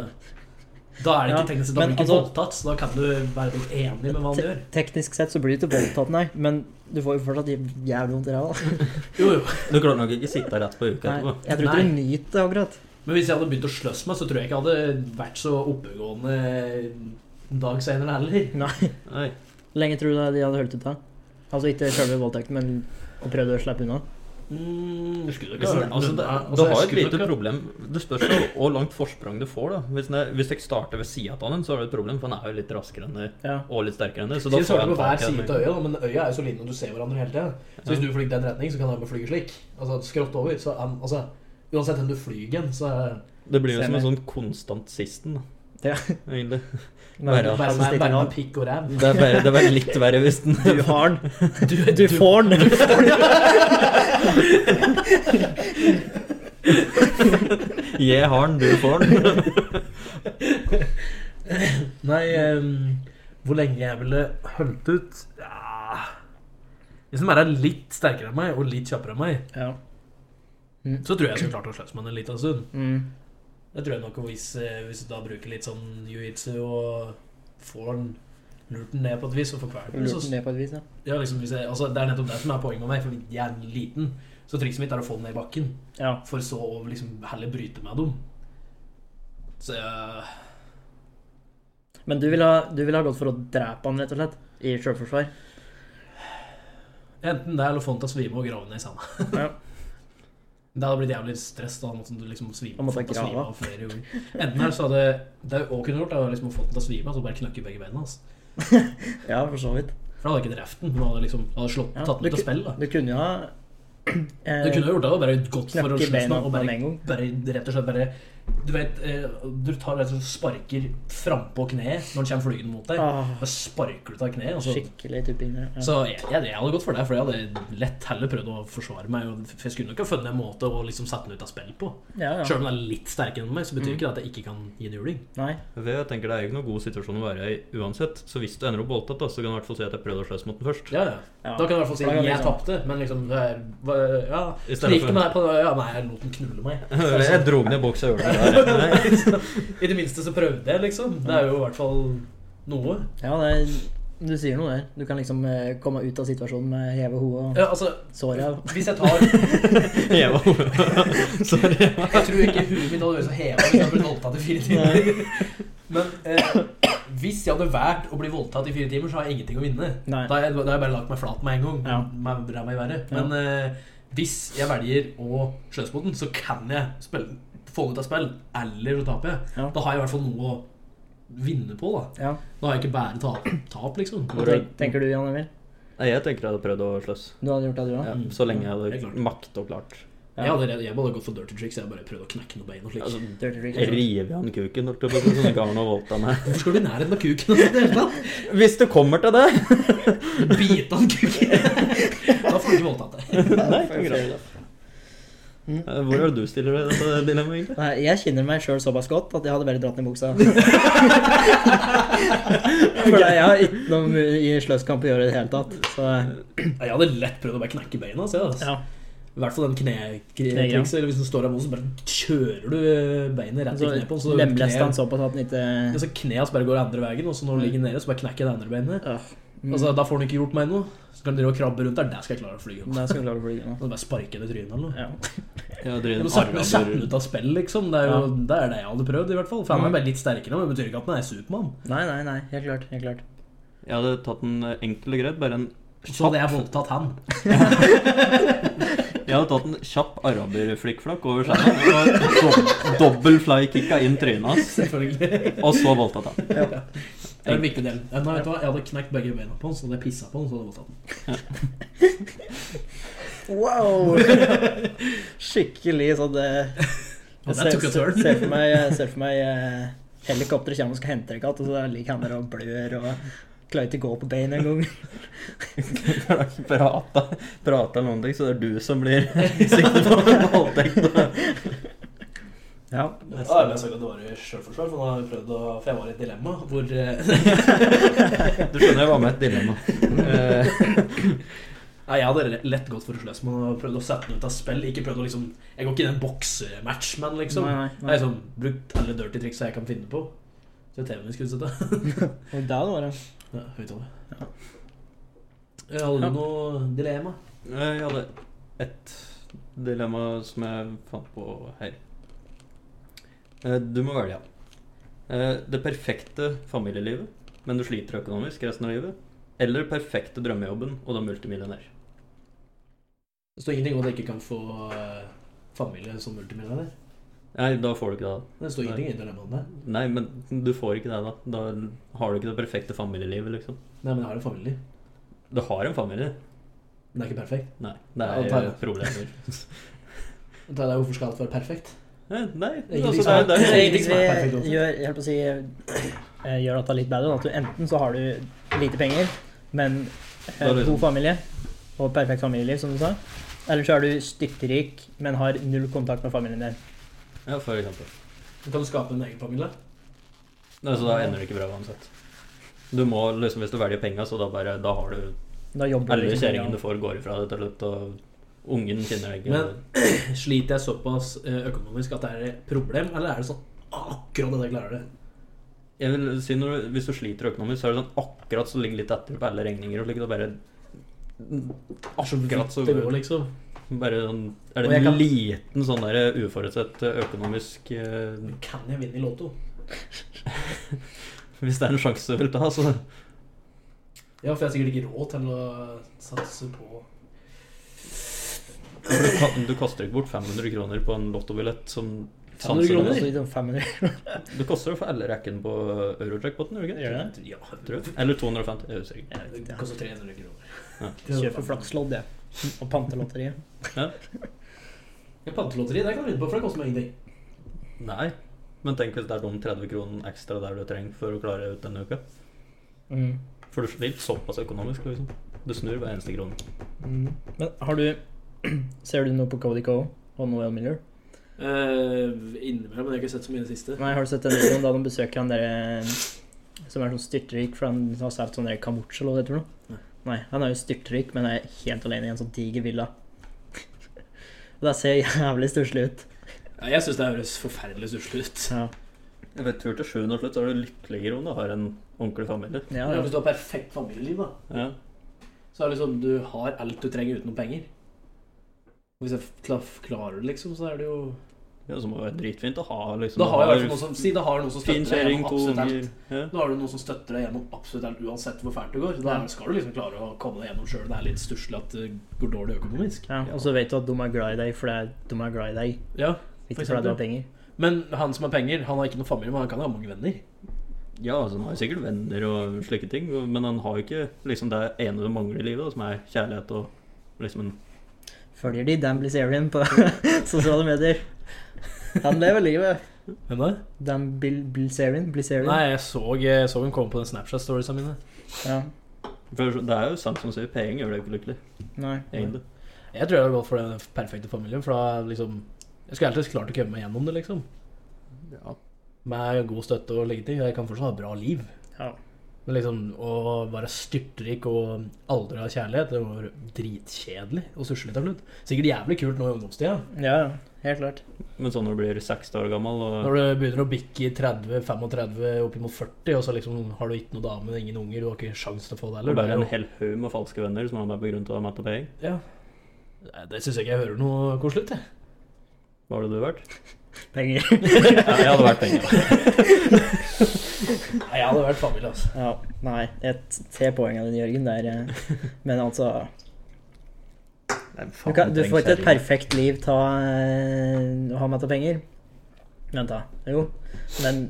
Da er det ikke
Ja,
teknisk sett, da
men
blir du ikke
altså-
voldtatt, så da kan du være litt enig med hva han
Te-
gjør.
Teknisk sett så blir du ikke voldtatt, nei. Men du får jo fortsatt jævlig vondt i ræva. (laughs) da.
Jo, jo.
Du klarer nok ikke sitte rett på uka
Nei,
etterpå.
Jeg tror ikke du nyter det akkurat.
Men hvis jeg hadde begynt å sløss meg, så tror jeg ikke jeg hadde vært så oppegående en dag senere heller.
Nei.
Nei.
Lenge tror du de hadde holdt ut da? Altså ikke selve voldtekten, men å prøvd å slippe unna?
Mm, du skulle ikke
Hvis
ha
den,
hørt
altså,
noe.
det,
Altså,
du
jeg
har et
skulle
lite
ikke ha-
problem. Det spørs jo hvor langt forsprang du får. da Hvis, den er, hvis jeg starter ved sida av han, så har du et problem, for han er jo litt raskere enn det,
Ja.
og litt sterkere enn det. Så da
Sier
får
svarte
jeg
på hver
tak i
side
den.
til øya, da, men øya er jo så liten, og du ser hverandre hele tida. Så hvis
Ja.
du flyr i den retning, så kan han bare flyge slik. Altså skrått over. Så han, altså Uansett hvor du flyr hen, så
Det blir jo
Ser
som en
meg.
sånn konstant sisten, da.
Ja.
Egentlig.
Men,
Bare-
Bare
altså,
med,
stikker
bare
han
med pikk og
(laughs)
ræv.
Det
(laughs)
er bare, det er bare litt verre hvis den (laughs)
Du har den. (laughs) Du, får den.
Jeg har den, du får (laughs) den.
(laughs) Nei, ehm, hvor lenge jeg ville holdt ut ja. Hvis de bare er litt sterkere enn meg og litt kjappere enn meg,
(laughs) Ja.
så tror jeg jeg skulle klart å slåss med henne en liten stund.
Mm.
Det tror jeg nok og hvis, eh, hvis du da bruker litt sånn jiu-jitsu og får den lurt den ned på et vis og får kvalt den,
Lurt den
så
ned på et vis, ja.
ja, liksom, hvis jeg, altså, Det er nettopp det som er poenget med meg, for jeg er liten. Så trikset mitt er å få den ned i bakken,
ja.
for så å liksom heller bryte med dem. Så eh, jeg
Men du ville ha, du vil ha gått for å drepe han, rett og slett? I selvforsvar?
Enten det eller få den til å svime og grave ned i sanda.
Ja.
(laughs) Det hadde blitt jævlig stress da, måtte du liksom svime,
Da måtte
få den til å
jeg grave.
svime av flere ganger. Enten her så hadde det jeg også kunne gjort, er å liksom få den til å svime, og så bare knakke begge beina altså. hans.
Ja, for så vidt.
For da hadde jeg ikke drept den, men hadde liksom hadde slått,
Ja,
tatt den
du
ut av
ku-
spill. da.
Du kunne jo ha (clears throat) eh,
Du kunne jo gjort det, og bare gått for å
knakke
slåss
beina
med, og
på han
bare,
en gang.
bare rett og slett bare Du vet, eh, du tar rett og slett og sparker frampå kneet når den kommer flygende mot deg.
Ah,
Da sparker du av kneet, og så
skikkelig tupping der. Ja.
Altså, Så jeg, jeg, jeg hadde gått for det, for jeg hadde lett heller prøvd å forsvare meg. og- For jeg skulle nok ha funnet en måte å liksom sette den ut av spill på.
ja, Mm. ja.
Selv om den er litt sterkere enn meg, så betyr ikke det at jeg ikke kan gi den juling.
Nei.
For Jeg tenker Det er jo ikke noen god situasjon å være i uansett. Så hvis du ender opp voldtatt, da, så kan du i hvert fall si at jeg prøvde å sløse mot den først.
Ja, ja.
Ja.
Da kan du i hvert fall si
Da kan
at
du
jeg
liksom-
tapte, men liksom det er, hva- Ja,
I
så
stedet
gikk det
for
med deg på det, Ja, nei, jeg lot den knulle meg.
(laughs) Jeg dro ned boksa og gjorde det der. (laughs)
I det minste så prøvde jeg, liksom. Det er jo i hvert fall noe.
Ja, det er, du sier noe der. Du kan liksom eh, komme ut av situasjonen med heve hodet og
Ja, altså,
sår av.
hvis jeg tar Jeg
Jeg var- (laughs) Sorry.
tror ikke huet mitt hadde vært så heva hvis jeg hadde blitt voldtatt i fire timer. Men eh, hvis jeg hadde valgt å bli voldtatt i fire timer, så har jeg ingenting å vinne.
Nei.
Da har jeg, da har jeg bare lagt meg flat med en gang.
Ja.
Med ræva i været.
Ja.
Men eh, hvis jeg velger å sløse mot den, så kan jeg spille, få den ut av spill. Eller så taper jeg.
Ja.
Da har jeg i hvert fall noe å vinne på. Da
Ja.
Da har jeg ikke bare tap, tap liksom.
Hvor er-
Tenk, tenker du, Jan Emil?
Nei, jeg tenker jeg hadde prøvd å sløse.
Du hadde gjort det, du òg?
Ja, så lenge jeg
Helt
hadde
Mm. klart.
makt og klart.
Ja.
Jeg hadde, jeg hadde gått for dirty tricks. Jeg hadde bare prøvd å knekke noen bein og slik.
Altså,
Dirty trick.
jeg river han kuken, holdt jeg på å si,
(laughs)
sånn at jeg ikke har noe voldt av meg.
Hvorfor skal du i nærheten av kuken? og sånt i det hele tatt?
(laughs)
Hvis det kommer til det!
(laughs) Bite han
(laughs)
kuken? da får du ikke voldtatt deg.
Nei, ikke greit.
Mm.
Eh, Hvor er det du stiller deg i dette dilemmaet, egentlig?
Nei, jeg kjenner meg sjøl såpass godt at jeg hadde bare dratt ned
(laughs)
buksa. For jeg har ikke noe mu- i sløskamp å gjøre i det hele tatt. Så
Jeg hadde lett prøvd å bare knekke beina. Så, altså.
ja.
I hvert fall den
Knegreia.
knetrikset. Eller hvis du står der med den, så bare kjører du beinet rett i
Så
kneet på den. Så
lemlesta han
kneet
såpass at han ikke
ja, så kneet hans bare går andre veien, og så når du ligger nede, så bare knekker det andre beinet.
Øh, mm.
Altså, Da får han ikke gjort meg noe. Så kan han drive og krabbe rundt der. Der skal jeg klare å fly.
Men jeg skal klare å fly unna.
Og så bare sparke det i trynet eller noe.
Mm. Ja.
Ja, det er
Ja,
en
men Sette sette
arrabber-
den ut av spill, liksom. Det er jo det, er det jeg hadde prøvd, i hvert fall. For
Mm.
han er bare litt sterkere, men det betyr ikke at han er Supermann.
Nei, nei, nei. Helt klart. Helt klart.
Jeg hadde tatt en eh, enkel og greit, bare en
Så hadde jeg voldtatt han. (laughs)
Jeg hadde tatt en kjapp araberflikkflakk over skjermen og dob dobbel flykicka inn trynet hans,
Selvfølgelig.
og så voldtatt han.
Det er en viktig del. Nei, vet du hva? Jeg hadde knekt begge beina på han, så hadde jeg pissa på han, så hadde jeg voldtatt han.
Wow! (laughs) Skikkelig sånn (laughs) eh,
Ja,
jeg
der tok jeg
ser-
turn.
ser for meg, (laughs) jeg ser for meg eh, helikopteret kommer og skal hente en katt, og så ligger han der og blør og klarer ikke å gå på bein engang.
Prata, prata eller noen ting, så det er du som blir (laughs) siktet på en voldtekt.
Ja.
Ja, men jeg sa ikke at det var i sjølforsvar, for nå har jeg prøvd å For jeg var i et dilemma hvor eh, (laughs)
Du skjønner jeg var med i et dilemma. Eh,
Nei, jeg hadde le- lett gått for å sløse med og prøvd å sette den ut av spill. Ikke prøvd å liksom Jeg går ikke i den boksematch, men liksom. Jeg
Nei,
har
nei, nei.
liksom brukt alle dirty tricks jeg kan finne på. Så TV-en min skulle sette (laughs)
Og da var det
Ja, høyttaler. Eh, Hadde
Ja.
du noe dilemma?
Eh, Jeg hadde ett dilemma som jeg fant på her. Eh, Du må velge. Eh, Det perfekte familielivet, men du sliter økonomisk resten av livet. Eller perfekte drømmejobben, og du er multimillionær.
Det står ingenting om at jeg ikke kan få eh, familie som multimillionær.
Nei, da får du ikke det. da.
Det står ingenting i dilemmaet der.
Nei, men du får ikke det, da. Da har du ikke det perfekte familielivet, liksom.
Nei, men jeg har en familie.
Du har en familie.
Den er ikke perfekt.
Nei, det
Ja,
er
tar jeg. (laughs)
problemer.
Da er det hvorfor skal alt være perfekt?
Nei, nei
Det er
altså, det
ingenting
er, det
som
er altså. ingenting
er- som
Hvis vi
perfekt også.
gjør, jeg holdt på å si, eh, gjør dette litt bedre, da, at du enten så har du lite penger, men eh,
Da er det
god
sånn.
familie og perfekt familieliv, som du sa. Eller så er du styrtrik, men har null kontakt med familien din.
Ja, for eksempel.
Så kan du skape en egen familie. (clears throat)
Nei, så da ender det ikke bra uansett. Du må liksom, Hvis du velger penga, så da bare Da har du
Da jobber
Alle
liksom
kjerringene du får, går ifra deg til slutt, og ungen kjenner deg ikke.
Men- Sliter jeg såpass eh, økonomisk at det er et problem, eller er det sånn akkurat det jeg klarer det?
Jeg vil si når du, Hvis du sliter økonomisk, så er det sånn akkurat så ligger litt etter på alle regninger og slik. Da bare
Så
Akkurat
vidt
så
det går, liksom.
Bare sånn, er
Og
det
jeg
en
kan-
liten sånn der uforutsett økonomisk eh,
Kan jeg vinne i Lotto?
Hvis det er en sjanse du vil ta, så
Ja, for jeg har sikkert ikke råd til å satse på
for du, kan, du kaster ikke bort 500 kroner på en lottobillett som
500
sanser-
kroner?
Altså, liksom
(laughs)
500.
Du koster det for alle rekken på eurojackpoten, gjør du ikke?
Gjør det?
Ja,
Tror jeg. Eller 250. Jeg er usikker.
Jeg vet
det
ikke,
koster 300 kroner. (laughs)
Ja.
jeg Kjøper flakslodd, jeg. Og pantelotteriet.
Ja, Pantelotteri, det kan du vinne på, for det koster meg ingenting.
Nei. Men tenk hvis det er de 30 kronene ekstra der du trenger for å klare ut denne uka.
Mm.
For du sliter såpass økonomisk, liksom. Du snur hver eneste krone.
Mm. Men har du (clears throat) Ser du noe på Cody Co og Noel Miller?
Uh, Innimellom, men jeg har ikke sett så mye i det siste.
Nei, har du sett den videoen da de besøker han der eh, som er sånn styrtrik, for han har sagt sånn der kamucha eller hva det heter for
Nei.
noe? Nei, han er jo styrtrik, men er helt alene i en sånn diger villa. (laughs) Og det ser jævlig stusslig ut.
Ja, jeg syns det høres forferdelig stusslig ut.
Ja.
Jeg vet, tror til sjuende og slutt så er du lykkeligere om du har en ordentlig familie.
Ja,
Ja,
ja.
hvis du har perfekt familieliv, da,
Ja.
så er det liksom du har alt du trenger uten noe penger. Og Hvis jeg kla- klarer det, liksom, så er det jo
Ja, så må det være dritfint å ha liksom
Da har jeg i hvert fall
du
noen som Si da har du noen som
Fin
støtter deg
kjerring,
gjennom
to
absolutt alt.
unger ja.
Da har du noen som støtter deg gjennom absolutt alt, uansett hvor fælt det går. Da
Ja.
skal du liksom klare å komme deg gjennom sjøl. Det er litt stusslig at det går dårlig økonomisk.
ja. Og så vet du at de er glad i deg fordi de er glad i deg,
Ja, For
ikke fordi du
eksempel.
har penger.
Men han som har penger, han har ikke noen familie, men han kan jo ha mange venner.
ja, altså han har jo sikkert venner og slike ting, og- men han har jo ikke liksom det ene du mangler i livet, da, som er kjærlighet og liksom en
Følger de Dan Blizzarian på (laughs) sosiale medier? Han lever livet.
Hvem da?
Dan Bil Blizzarian? Blizzarian?
Nei, jeg så, jeg så hun komme på den Snapchat-storiesa mine.
Ja.
For det er jo sant som sier, penger gjør deg ikke lykkelig,
Nei.
egentlig.
Jeg tror jeg hadde gått for den perfekte familien, for da liksom Jeg skulle alltid klart å komme meg gjennom det, liksom.
Ja.
Med god støtte og slike ting. Jeg kan fortsatt ha bra liv.
Ja.
Men liksom å være styrtrik og aldri ha kjærlighet, det var dritkjedelig og susselig til slutt. Sikkert jævlig kult nå i ungdomstida.
Ja, ja. Helt klart.
Men sånn når du blir 60 år gammel og
Når du begynner å bikke i 30-35, oppimot 40, og så liksom har du ikke noen dame, ingen unger, du har ikke sjans til å få det
og
heller.
bare en
Det,
hel haug med falske venner som er med på grunn av Matt og Peg.
er jo- ja. det syns jeg ikke jeg hører noe koselig til.
Hva hadde du vært?
(laughs)
Penger.
Ja, jeg hadde vært penger.
(laughs)
Nei, jeg hadde vært familie, altså.
Ja, nei. Jeg ser poengene dine, Jørgen. Der, eh, men altså du, kan, du får ikke et perfekt liv ta, eh, å ha masse penger. Vent, da. Jo. Men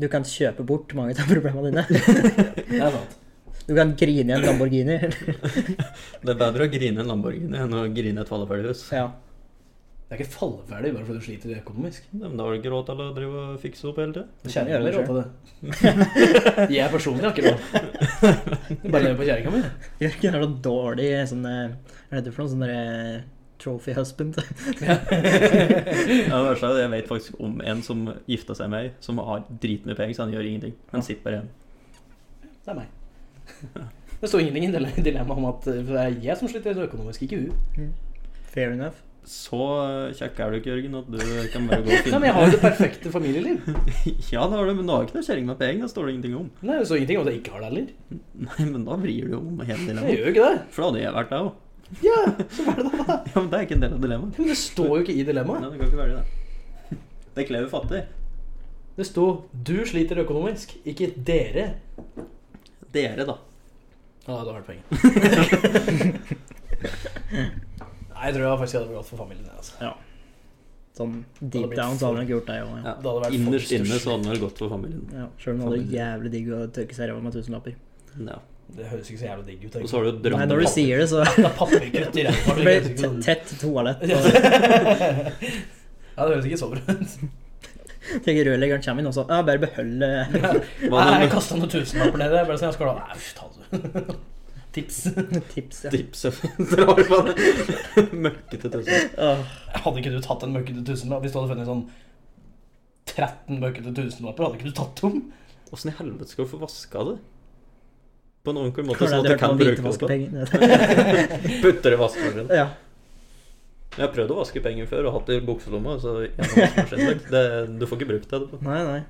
du kan kjøpe bort mange av (laughs) problemene dine.
Det er sant.
Du kan grine i en Lamborghini.
Det er bedre å grine en Lamborghini enn å grine et falleferdighus.
Ja.
Det er ikke falleferdig bare fordi du sliter økonomisk.
Ja, Men da har du ikke råd til å drive og fikse opp hele tida.
Kjerringa mi råd til det. Jeg personlig har ikke råd. Jeg Bare lever på kjerringa mi.
Jørgen er så dårlig sånn eh, Hva heter det for noe? Sånn derre trophy husband. (laughs)
Ja, det verste er at Jeg vet faktisk om en som gifta seg med ei som har dritmye penger, så han gjør ingenting. Han sitter bare igjen.
Det er meg. Det står ingenting i dile- dilemmaet om at det er jeg som sliter økonomisk, ikke hun.
Fair enough.
Så eh, kjekk er du ikke, Jørgen, at du kan bare
(laughs)
gå og
Nei,
finne
men jeg har jo det perfekte familieliv.
(laughs) Ja, det har du, men du har ikke noe kjerring med penger. Det står det ingenting om. (laughs)
Nei, Det står ingenting om at jeg ikke har det heller.
Nei, men da vrir du jo om hele
Jeg
dilemmaet.
gjør jo ikke det.
For da hadde jeg vært der òg.
Ja, så var det da.
(laughs) Ja, men det er ikke en del av dilemmaet.
Men det står jo ikke i dilemmaet.
Nei, du kan ikke velge det. Det klever fattig.
Det sto 'du sliter økonomisk', ikke 'dere'.
Dere, da.
Ja, da har du penger. Nei, jeg tror jeg faktisk hadde gått for familien. jeg, Altså.
Sånn
hadde
deep
blitt
down så hadde han ikke gjort det. Jo, ja.
Ja,
Det hadde vært
Innerst
folk
inne
størst.
så hadde han vel gått for familien.
Ja, Sjøl om det hadde vært jævlig digg å tørke seg i ræva med tusenlapper.
Ja.
Det høres ikke så jævlig digg ut.
Og så har du jo
Nei,
drømmen
når du sier det, så
(laughs) Det er papirkutt i ræva. det
(laughs) det blir
høres ikke
det
sånn-
tett toalett.
(laughs) Ja,
Og
det høres ikke så bra
(laughs)
ut.
tenker rørleggeren kommer inn og så Ja, bare eh, beholde
Hva
Nei,
er
jeg kasta noen tusenlapper ned der. Bare sånn, jeg skal da Nei, fy, ta det. Tips.
(laughs) tips. Ja.
(laughs) tipset drar på (laughs) det? Møkkete tusen.
Åh,
Hadde ikke du tatt en møkkete tusenlapp hvis du hadde funnet sånn 13 møkkete tusenlapper? Hadde ikke du tatt dem?
Åssen i helvete skal du få vaska det? På en ordentlig måte,
hvordan
sånn at
er det
du kan
du
bruke det. (laughs) Putter det i vaskemaskinen.
(laughs) Ja.
Jeg har prøvd å vaske penger før og hatt det i bukselomma. Så gjennom vaskemaskinen. det, du får ikke brukt det
(laughs)
etterpå.
Nei, nei.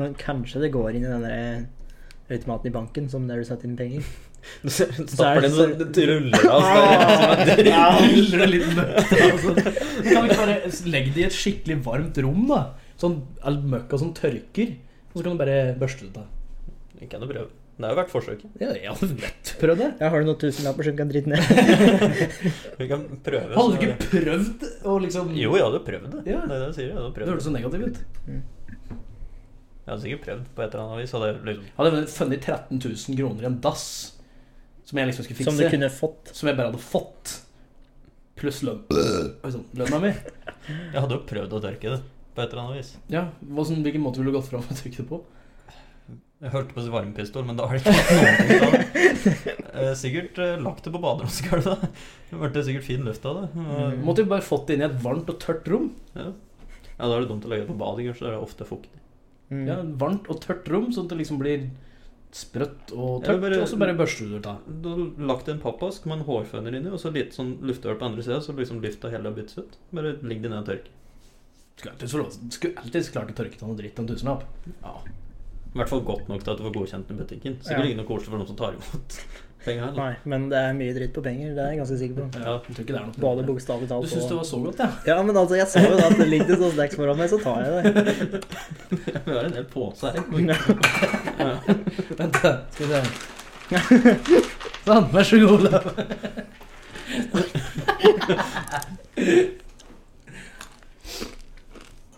Men kanskje det går inn i den der eh, automaten i banken som der du setter inn penger.
Du stapper den, så
så-
det ruller av
(laughs)
sted.
Ruller en liten møkk, altså. Kan vi ikke bare legge det i et skikkelig varmt rom, da? Sånn all møkka som tørker. Og så kan du bare børste det av.
(laughs) Vi kan jo prøve. Det har jo vært forsøket.
Ja, (laughs) jeg hadde lett prøvd det.
Ja, har du noen tusenlapper som du kan drite ned?
(laughs)
Vi kan prøve.
Hadde du
så-
ikke prøvd å liksom
Jo, jeg hadde prøvd det.
Ja.
Det er det jeg sier. Jeg hadde
Det
prøvd
hørtes så negativt ut.
Jeg hadde sikkert prøvd på et eller annet vis. Hadde jeg liksom,
Hadde jeg funnet 13 000 kroner i en dass som jeg liksom skulle fikse,
Som du kunne fått.
som jeg bare hadde fått, pluss lønn. Oi sann, lønna mi.
jeg hadde jo prøvd å tørke det på et eller annet vis.
Ja, hva som, Hvilken måte ville du gått fram og trykt det på?
Jeg hørte på varmepistol, men da har det ikke vært (laughs) noe av det. Eh, Sikkert eh, lagt det på baderomsgulvet. da. Det ble sikkert fin luft av det. Og-
Mm.
Måtte jo bare fått det inn i et varmt og tørt rom.
Ja, Da er det dumt å legge det på badet, kanskje. Da er det ofte fuktig.
Mm.
Ja, et varmt og tørt rom, sånn at det liksom blir sprøtt
Eller
og tørt,
bare-
og så bare børster du det ut. av.
Du har lagt en pappvask med en hårføner inni, og så litt sånn lufthull på andre sida, så liksom lufta hele byttes ut. Bare ligg det ned og tørk.
Skulle alltid, så lov- skulle alltid klart å tørke av noe dritt en tusenlapp.
I hvert fall godt nok til at du får godkjent den i butikken. Sikkert
Ja.
ikke noe koselig for noen som tar imot (laughs) penger heller.
Nei, men det er mye dritt på penger, det er jeg ganske sikker på.
Ja, jeg tror ikke det er noe
Både bokstavelig talt
Du syns det var så godt, ja?
Ja, men altså, jeg sa jo da at det ligger sånn snacks foran meg, så tar jeg det.
(laughs) Vi har en hel pose her.
Vent, da, skal vi se. (laughs) Sånn, vær så god, Olav.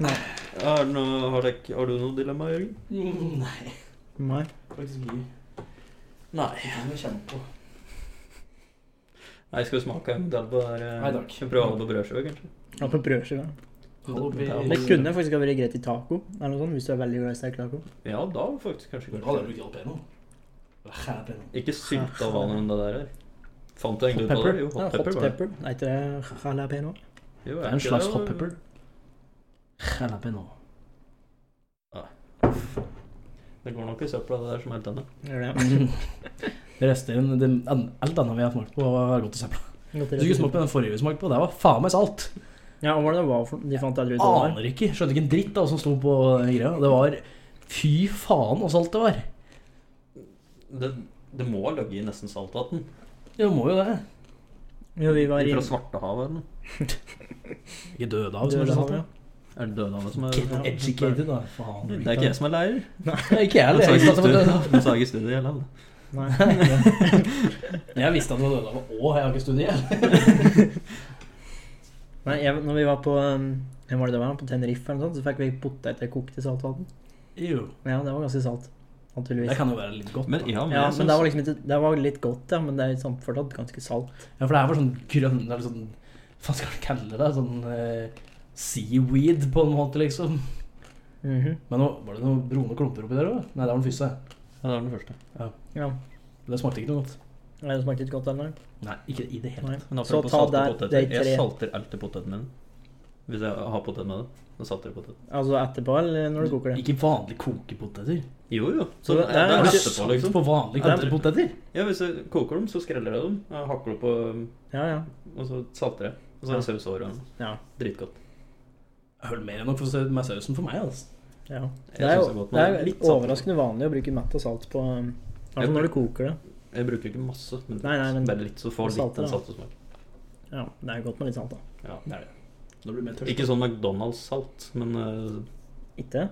Er det noe, har, dere- har du noe dilemma, Jørgen?
Mm, Nei,
Nei.
faktisk ikke.
Nei.
Ikke noe å kjenne på.
Nei, Skal vi smake en del på det her? eh,
Nei, takk.
Skal vi prøve alle på brødskiva, kanskje?
Ja, på brødskiva.
Oppi-
Det kunne faktisk ha vært greit i taco, eller noe sånt, hvis du er veldig glad i sterk taco.
Ja, da faktisk kanskje
Da hadde jeg
godt.
brukt jalapeno. Eller jalapeno.
Ikke sylta vann enn det der her. Fant du egentlig ut av
Pepper?
det? Jo,
Ja,
hot
hot
pepper. var det.
pepper. Er ikke det jalapeno?
Jo, er
Det er en
ikke
slags
det,
hot
da?
pepper. Jalapeno.
Det går nok i søpla, det der som helt ennå.
Gjør det,
Mm. Det rester en det, an- Alt annet vi har smakt på, var godt å se på.
ja.
Du skulle smakt på den forrige vi smakte på, det var faen meg salt!
Ja, og hva var det det var for De fant aldri ut hva det var.
Aner ikke. Skjønte ikke en dritt av hva som sto på den greia. Det var Fy faen hvor salt det var!
Det, det må ha ligget i nesten saltvann.
Ja, må jo det.
Jo, vi var i
Fra Svartehavet eller noe.
Ikke døde av, som er sånn. så
Dødehavet.
salt.
ja.
ja.
Er det Dødehavet som er
Get educated, da. Faen.
Det er ikke jeg som er lærer.
Nei, ikke jeg
Jeg
heller.
sa
Jeg
ikke i
visste at det var
studiet-
dødehav.
jeg sa ikke i studiet heller. da.
Nei. (laughs)
Jeg visste at det var dødehav. Å, jeg har ikke studiert.
Nei, jeg, når vi var på um, Hvem var det det var? På Tenerife eller noe sånt, så fikk vi poteter kokt i saltvann.
Jo.
Ja, det var ganske salt.
Det
Naturligvis.
kan jo være litt godt.
Men
da.
ja, men
Ja,
jeg
men det var
syns
liksom ikke Det var litt godt, ja, men det er sånn fortsatt ganske salt.
Ja, for det her var sånn grønn det er litt sånn, Hva skal man kalle det? Sånn eh, seaweed, på en måte, liksom.
Mhm.
Men nå, var det noen brune klumper oppi der òg? Nei, det var den første.
Ja, det var den første.
Ja.
Det smakte ikke noe godt.
Nei, Det smakte ikke godt heller.
Nei, ikke i det hele
Nei.
tatt.
Men
Så
apropos
ta
salte
der de
poteter.
tre.
Jeg salter alltid poteten min. Hvis jeg har potet med det, så salter jeg potet.
Altså etterpå, eller når du koker det?
Ikke vanlige kokepoteter.
Jo, jo. Så
Så
det,
det- det er
det er
ikke
etterpå, liksom.
På vanlige
Ja,
kokte
det-
poteter?
Ja, hvis jeg koker dem, så skreller jeg dem. Jeg hakker dem på, um,
Ja, ja.
og så salter jeg. Og så er det saus over. og
Ja.
Dritgodt.
Høl mer enn nok for å se- med sausen for meg, altså.
ja.
Jeg synes det
Det er
er
jo
godt,
det
men
er
litt salt.
overraskende vanlig å bruke mett og salt på um,
Jeg-
Altså når du koker det.
Jeg bruker ikke masse, men,
Nei, nei, men-
bare litt, så får litt
salter,
den
da.
saltesmak.
Ja, det er godt med litt salt, da.
Ja.
Det er det. Da blir du mer tørst.
Ikke sånn McDonald's-salt, men eh,
Ikke?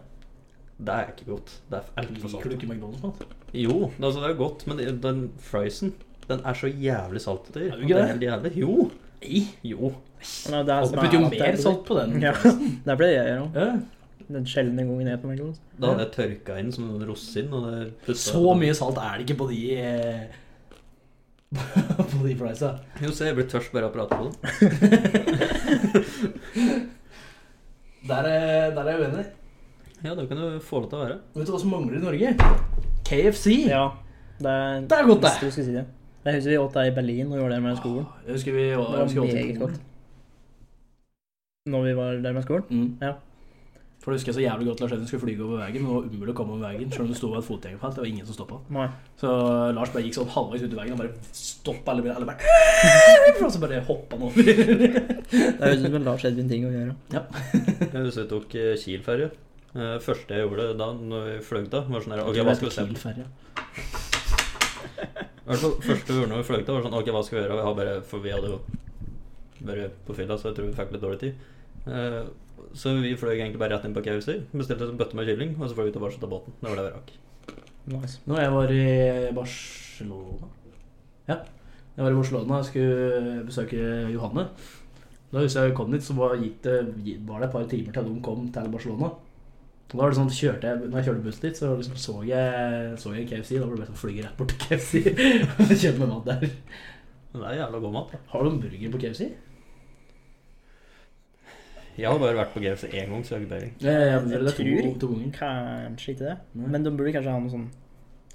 det er ikke godt. Det er altfor
Liker du
salt.
ikke McDonald's-mat?
Jo, altså det er godt, men den friesen, den er så jævlig saltete.
Er du ikke det?
helt jævlig. Jo.
Nei.
Jo.
Nei, det er
Jeg
som
putter jo
er at det er
mer salt på den.
(laughs) Ja, det ble det jeg gjør òg.
Ja.
Den sjeldne gangen jeg er på McDonald's.
Da hadde jeg tørka inn som en rosin. Og det puttet-
Så mye salt er det ikke på de eh, (laughs) På de friesa.
Jo, se, jeg blir tørst bare av å prate på det.
(laughs) Der, er- der er jeg uenig.
Ja, det kan du få lov til å være.
Vet du hva som mangler i Norge? KFC.
Ja, det er,
Det er godt, det.
hvis Du skal si det. Jeg husker vi åt det i Berlin og gjorde det med skolen.
Jeg husker vi var,
Det
husker
var
vi
meget
alltid-
godt. Når vi var der med skolen.
Mm.
Ja.
For det husker jeg så jævlig godt Lars Even skulle flyge over veien, og det var umulig å komme over veien, selv om det sto et fotgjengerfelt. Det var ingen som stoppa.
Nei.
(laughs)
Så Lars bare gikk sånn halvveis ut i veien og bare stoppa alle bilene. Alle bare (laughs) Og så bare hoppa han over.
Det høres ut som en Lars Edvin ting å gjøre.
Jeg husker jeg tok eh, Kiel-ferje. Eh, første jeg gjorde da når vi fløy da, var sånn her Ok, hva skal vi se på?
Kielferja.
I hvert fall første vi gjorde når vi fløy da, var sånn Ok, hva skal vi gjøre? Vi har bare, for vi hadde jo bare på fylla, så jeg tror vi fikk litt dårlig tid. Eh, så vi fløy egentlig bare rett inn på KFC, bestilte en bøtte med kylling, og så fløy vi tilbake til båten. Det var det vi rakk.
Nice.
Når jeg var i Barcelona Ja, jeg var i Barcelona Jeg skulle besøke Johanne Da husker jeg jeg kom dit Så var, gikk det, var det et par timer til de kom til Barcelona Og da var det sånn kjørte jeg, Når jeg kjørte buss dit Så liksom, så, jeg, så jeg en KFC Da var det bare sånn flyger rett bort til (laughs) KFC Og kjøper meg mat der
Men det er jævla god mat, da.
Har du en burger på KFC?
Jeg har bare vært på KFC én gang, så jeg har ikke peiling.
Ja, ja, ja, det
Jeg
er to,
tror ikke.
to ganger
Kanskje ikke det.
Mm. Nei.
Men de burde kanskje ha noe sånn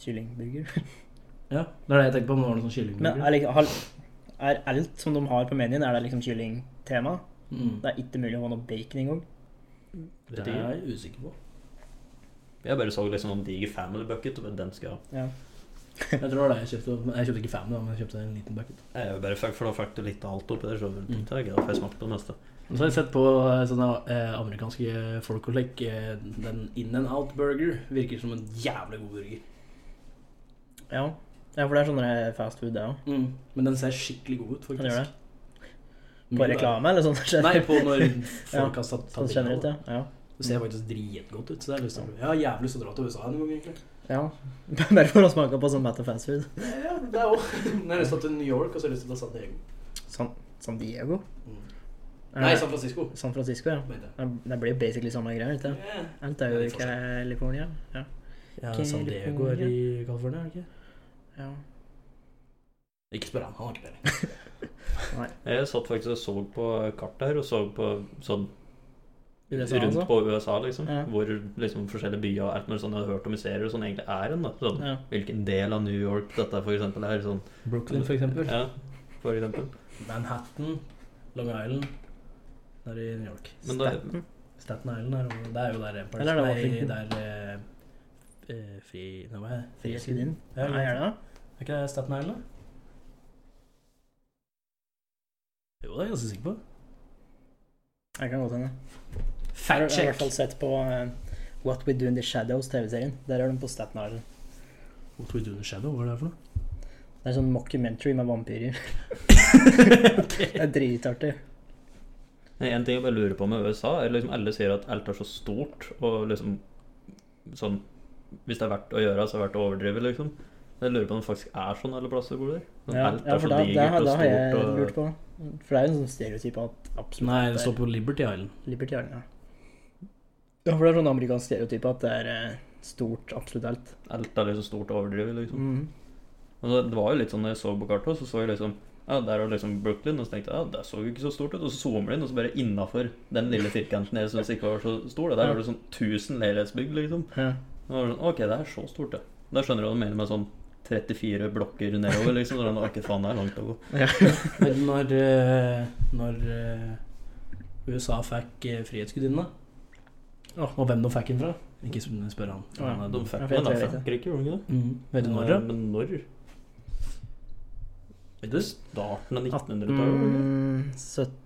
kyllingburger.
(laughs) Ja, det er det jeg tenker på Men det var noen sånn
Men
kyllingburger
er, liksom- har- er alt som de har på menyen, er det liksom kyllingtema?
mm.
Det er ikke mulig å ha noe bacon engang.
Vet
Det er
ikke.
jeg usikker på
Jeg bare så liksom om diger family bucket, og den skal jeg ha.
Ja.
Jeg tror det var det jeg kjøpte men Jeg kjøpte ikke fem da Men jeg kjøpte en liten bucket
Jeg er jo bare fuck, for da fikk du litt av alt oppi der, så
Mm.
tenkte jeg, da får jeg smakt på det meste.
Og Så har jeg sett på eh, sånne eh, amerikanske folk og slik. eh, Den In and Out Burger virker som en jævlig god burger.
ja. Ja, for det er sånn der fast food, det òg.
Mm. Men den ser skikkelig god ut,
Den gjør det.
faktisk. eh,
På reklame, eller sånn?
Mm. Nei, på
(laughs)
når
Ja,
folk har satt
Sånn generelt, ja. ja.
Det ser faktisk dritgodt ut. Så det har jeg lyst til å prøve. Jeg har jævlig lyst til å dra til USA en gang, egentlig.
ja. (laughs) Bare for å smake på sånn mat og fast food.
Ja, det er også. (laughs) Men Jeg har lyst til å dra til New York, og så har jeg lyst til å ta San Diego.
San, San Diego?
Mm.
Er
Nei,
det-
San Francisco.
San Francisco, ja.
mente jeg.
Ja, Det blir jo basically samme greier. ikke det?
Ja,
Alt er jo i California. Ja.
Ja, San Diego er i California, er det ikke?
ja.
Ikke spør han, han har ikke peiling.
Jeg satt faktisk og så på kartet her, og så på sånn
USA,
rundt
altså.
på USA, liksom.
Ja.
Hvor liksom forskjellige byer og alt mulig sånn jeg hadde hørt om serier og sånn egentlig er en, da. Sånn,
Ja.
hvilken del av New York dette for eksempel er. Sånn,
Brooklyn, for eksempel.
ja, for eksempel.
Manhattan, Long Island. Det er i New York.
Men da,
Staten.
Staten Island er, det er jo der Empire
Eller er det
Nei,
Washington?
der eh, fri... Nei, hva er det?
Friskudin.
Ja,
Nei, er det det?
Er ikke det Staten Island? da? Jo, det er jeg ganske sikker på.
Jeg kan godt hende. Jeg har
Fact
jeg har i
check!
hvert fall sett på eh, What We Do In The Shadows, TV-serien. Der er de på Staten Island.
What we do in the shadow, hva er det for noe?
Det er sånn mockumentary med vampyrer. Det er dritartig.
Nei, En ting jeg bare lurer på med USA, er liksom alle sier at alt er så stort, og liksom sånn Hvis det er verdt å gjøre, så er det verdt å overdrive, liksom. Men Jeg lurer på om det faktisk er sånn alle plasser hvor det er. Sånn,
Ja,
alt
ja,
er
for
så
da, da,
digert og
da har jeg lurt
stort og
på For det er jo en sånn stereotyp at absolutt
Nei,
det
det
er
står på Liberty Island.
Liberty Island, ja. Ja, for det er sånn amerikansk stereotyp at det er eh, stort absolutt alt.
Alt er liksom stort og overdrivet, liksom.
Mm.
Og så, det var jo litt sånn når jeg så på kartet, også, så så jeg liksom ja, Der var liksom Brooklyn, og så tenkte jeg ja, det så jo ikke så stort ut. Og så zoomer det inn, og så bare innafor den lille firkanten jeg syns ikke var så stor. Da. Der var det sånn 1000 leilighetsbygg, liksom.
Ja.
Og da var det sånn, ok, det er så stort, ja. Da skjønner du hva du mener med sånn 34 blokker nedover, liksom. Så er det sånn, ok, faen, det er langt å gå.
Men når, eh, når eh, USA fikk eh, Frihetsgudinnen, da Og hvem de fikk den fra? Ikke sp- spør han.
Å, ja.
Han er
De
dum.
fikk
Jeg
meg
vet,
da
jeg vet det.
Frankrike, gjorde de ikke det?
Mm. Vet du når, da?
Eh, Men når? Er det starten av 1900-tallet? eller?
(laughs) Mm,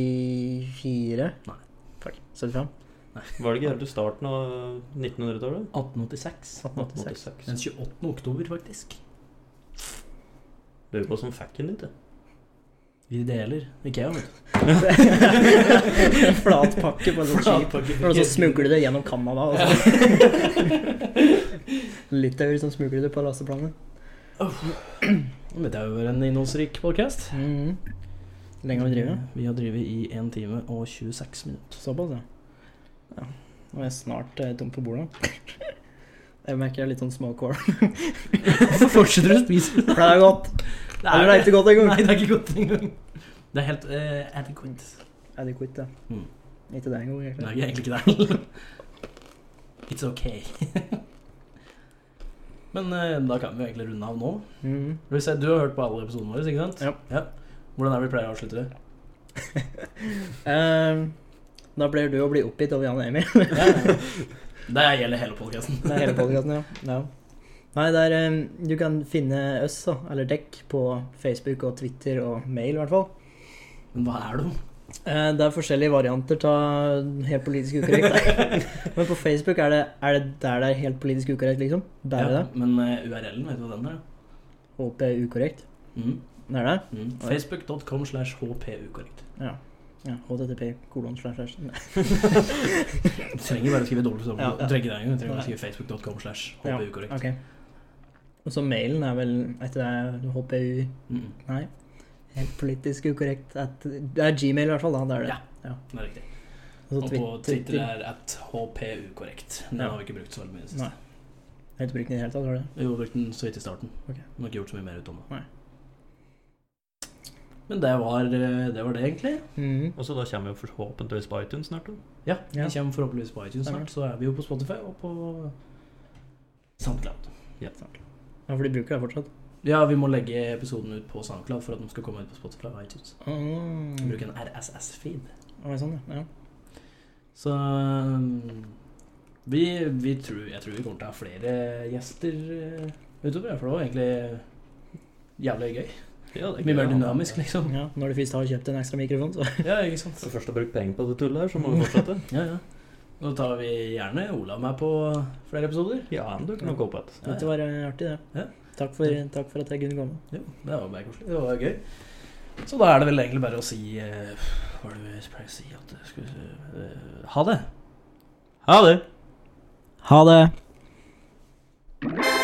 74
Nei.
Fuck. 75?
Var det ikke helt i starten av 1900-tallet?
1886.
1886.
86.
Den 28. oktober, faktisk.
Lurer på hva som fikk den dit, jeg.
Vi deler. Ikke jeg, vet du.
(laughs) En flat pakke på en sånn skip.
Flatpakke
Og så
for-
smugler det gjennom Canada. og
(laughs)
sånn. (laughs) Litauer som smugler det på lasteplanet.
Dette har jo vært en innholdsrik podcast.
Mm. Lenge har vi drevet.
Vi har drevet i 1 time og 26 minutter.
Mm. Såpass, ja. ja. Nå er jeg snart eh, tom for bordet. (laughs) Jeg merker jeg er litt sånn (laughs) småkål.
Hvorfor fortsetter du å
(laughs)
spise?
For det er godt. Eller det er ikke godt engang.
Nei, det er ikke godt engang. Det er helt uh, adequate.
Er det quitt, ja.
Mm.
Ikke det engang,
Det
egentlig.
er ikke- egentlig ikke det. It's okay. (laughs) Men eh, da kan vi egentlig runde av nå.
Mm.
Skal vi se, Du har hørt på alle episodene våre, ikke sant?
Ja.
Hvordan er det vi pleier å avslutte
(laughs)
det?
Ehm, da pleier du å bli oppgitt over Jan og Emil. (laughs)
Det gjelder hele podcasten
Det er hele podcasten, ja. ja. Nei, det er, ehm, du kan finne oss, da, eller dekk, på Facebook og Twitter og mail, i hvert fall.
Men hva er det?
Eh, Det er forskjellige varianter ta helt politisk ukorrekt.
(laughs)
nei. Men på Facebook er det, er det der det er helt politisk ukorrekt, liksom. Bare
Ja,
(laughs) det.
men eh, URL-en, vet du hva den er?
HP ukorrekt.
Mm,
Det er det.
mm. Facebook.com slash hpukorrekt.
Ja. ja HTTP kolon slash slash. (laughs) Nei.
(laughs) Du trenger bare å skrive dobbelt. så
Ja, ja.
Du trenger ikke det engang. Du trenger bare å
Nei.
skrive facebook.com slash
Ja,
hpukorrekt.
Ok. Og så mailen er vel etter det er HPU
Mm, mm.
Nei. Helt politisk ukorrekt. At, det er Gmail i hvert fall, da. Det er det.
Ja. Det er riktig.
Og så
Og
Twi-
på Twitter er at hpukorrekt. Den
Ja.
har vi ikke brukt så veldig mye i det siste.
Nei. Jeg har ikke brukt den i det hele tatt, har du det?
Vi har brukt den så vidt i starten.
Ok.
Men ikke gjort så mye mer ut om det.
Nei.
Men det var eh, det, var det egentlig.
Mhm.
Og så da kommer vi forhåpentligvis på iTunes snart. da.
Ja,
Ja.
Vi kommer forhåpentligvis på iTunes
Stemmer.
snart, så er vi jo på Spotify og på SoundCloud.
Ja, for de bruker det fortsatt.
Ja, vi må legge episoden ut på SoundCloud for at den skal komme ut på Spotify og iTunes.
Mm.
Vi bruker en RSS-feed.
Å, sånn, ja. ja.
Så um, vi, vi tror, jeg tror vi kommer til å ha flere gjester eh, utover, for det var egentlig jævlig gøy.
Ja, det er
Mye mer
gøy, ja.
dynamisk, liksom.
ja. Når du først har kjøpt en ekstra mikrofon, så
Ja, ikke sant.
(laughs) Så først har brukt penger på det tullet her, så må vi (laughs) fortsette.
Ja, ja. Nå tar vi gjerne Olav med på flere episoder.
ja, men du kan nok opp et.
Ja,
Dette var eh, artig, det.
Ja.
Takk, for, takk for at jeg kunne komme.
Jo, det var bare koselig. Det var gøy. Så da er det vel egentlig bare å si eh, Hva er det vi pleier å si? At, eh, skal vi se, eh, ha det.
Ha det!
Ha det!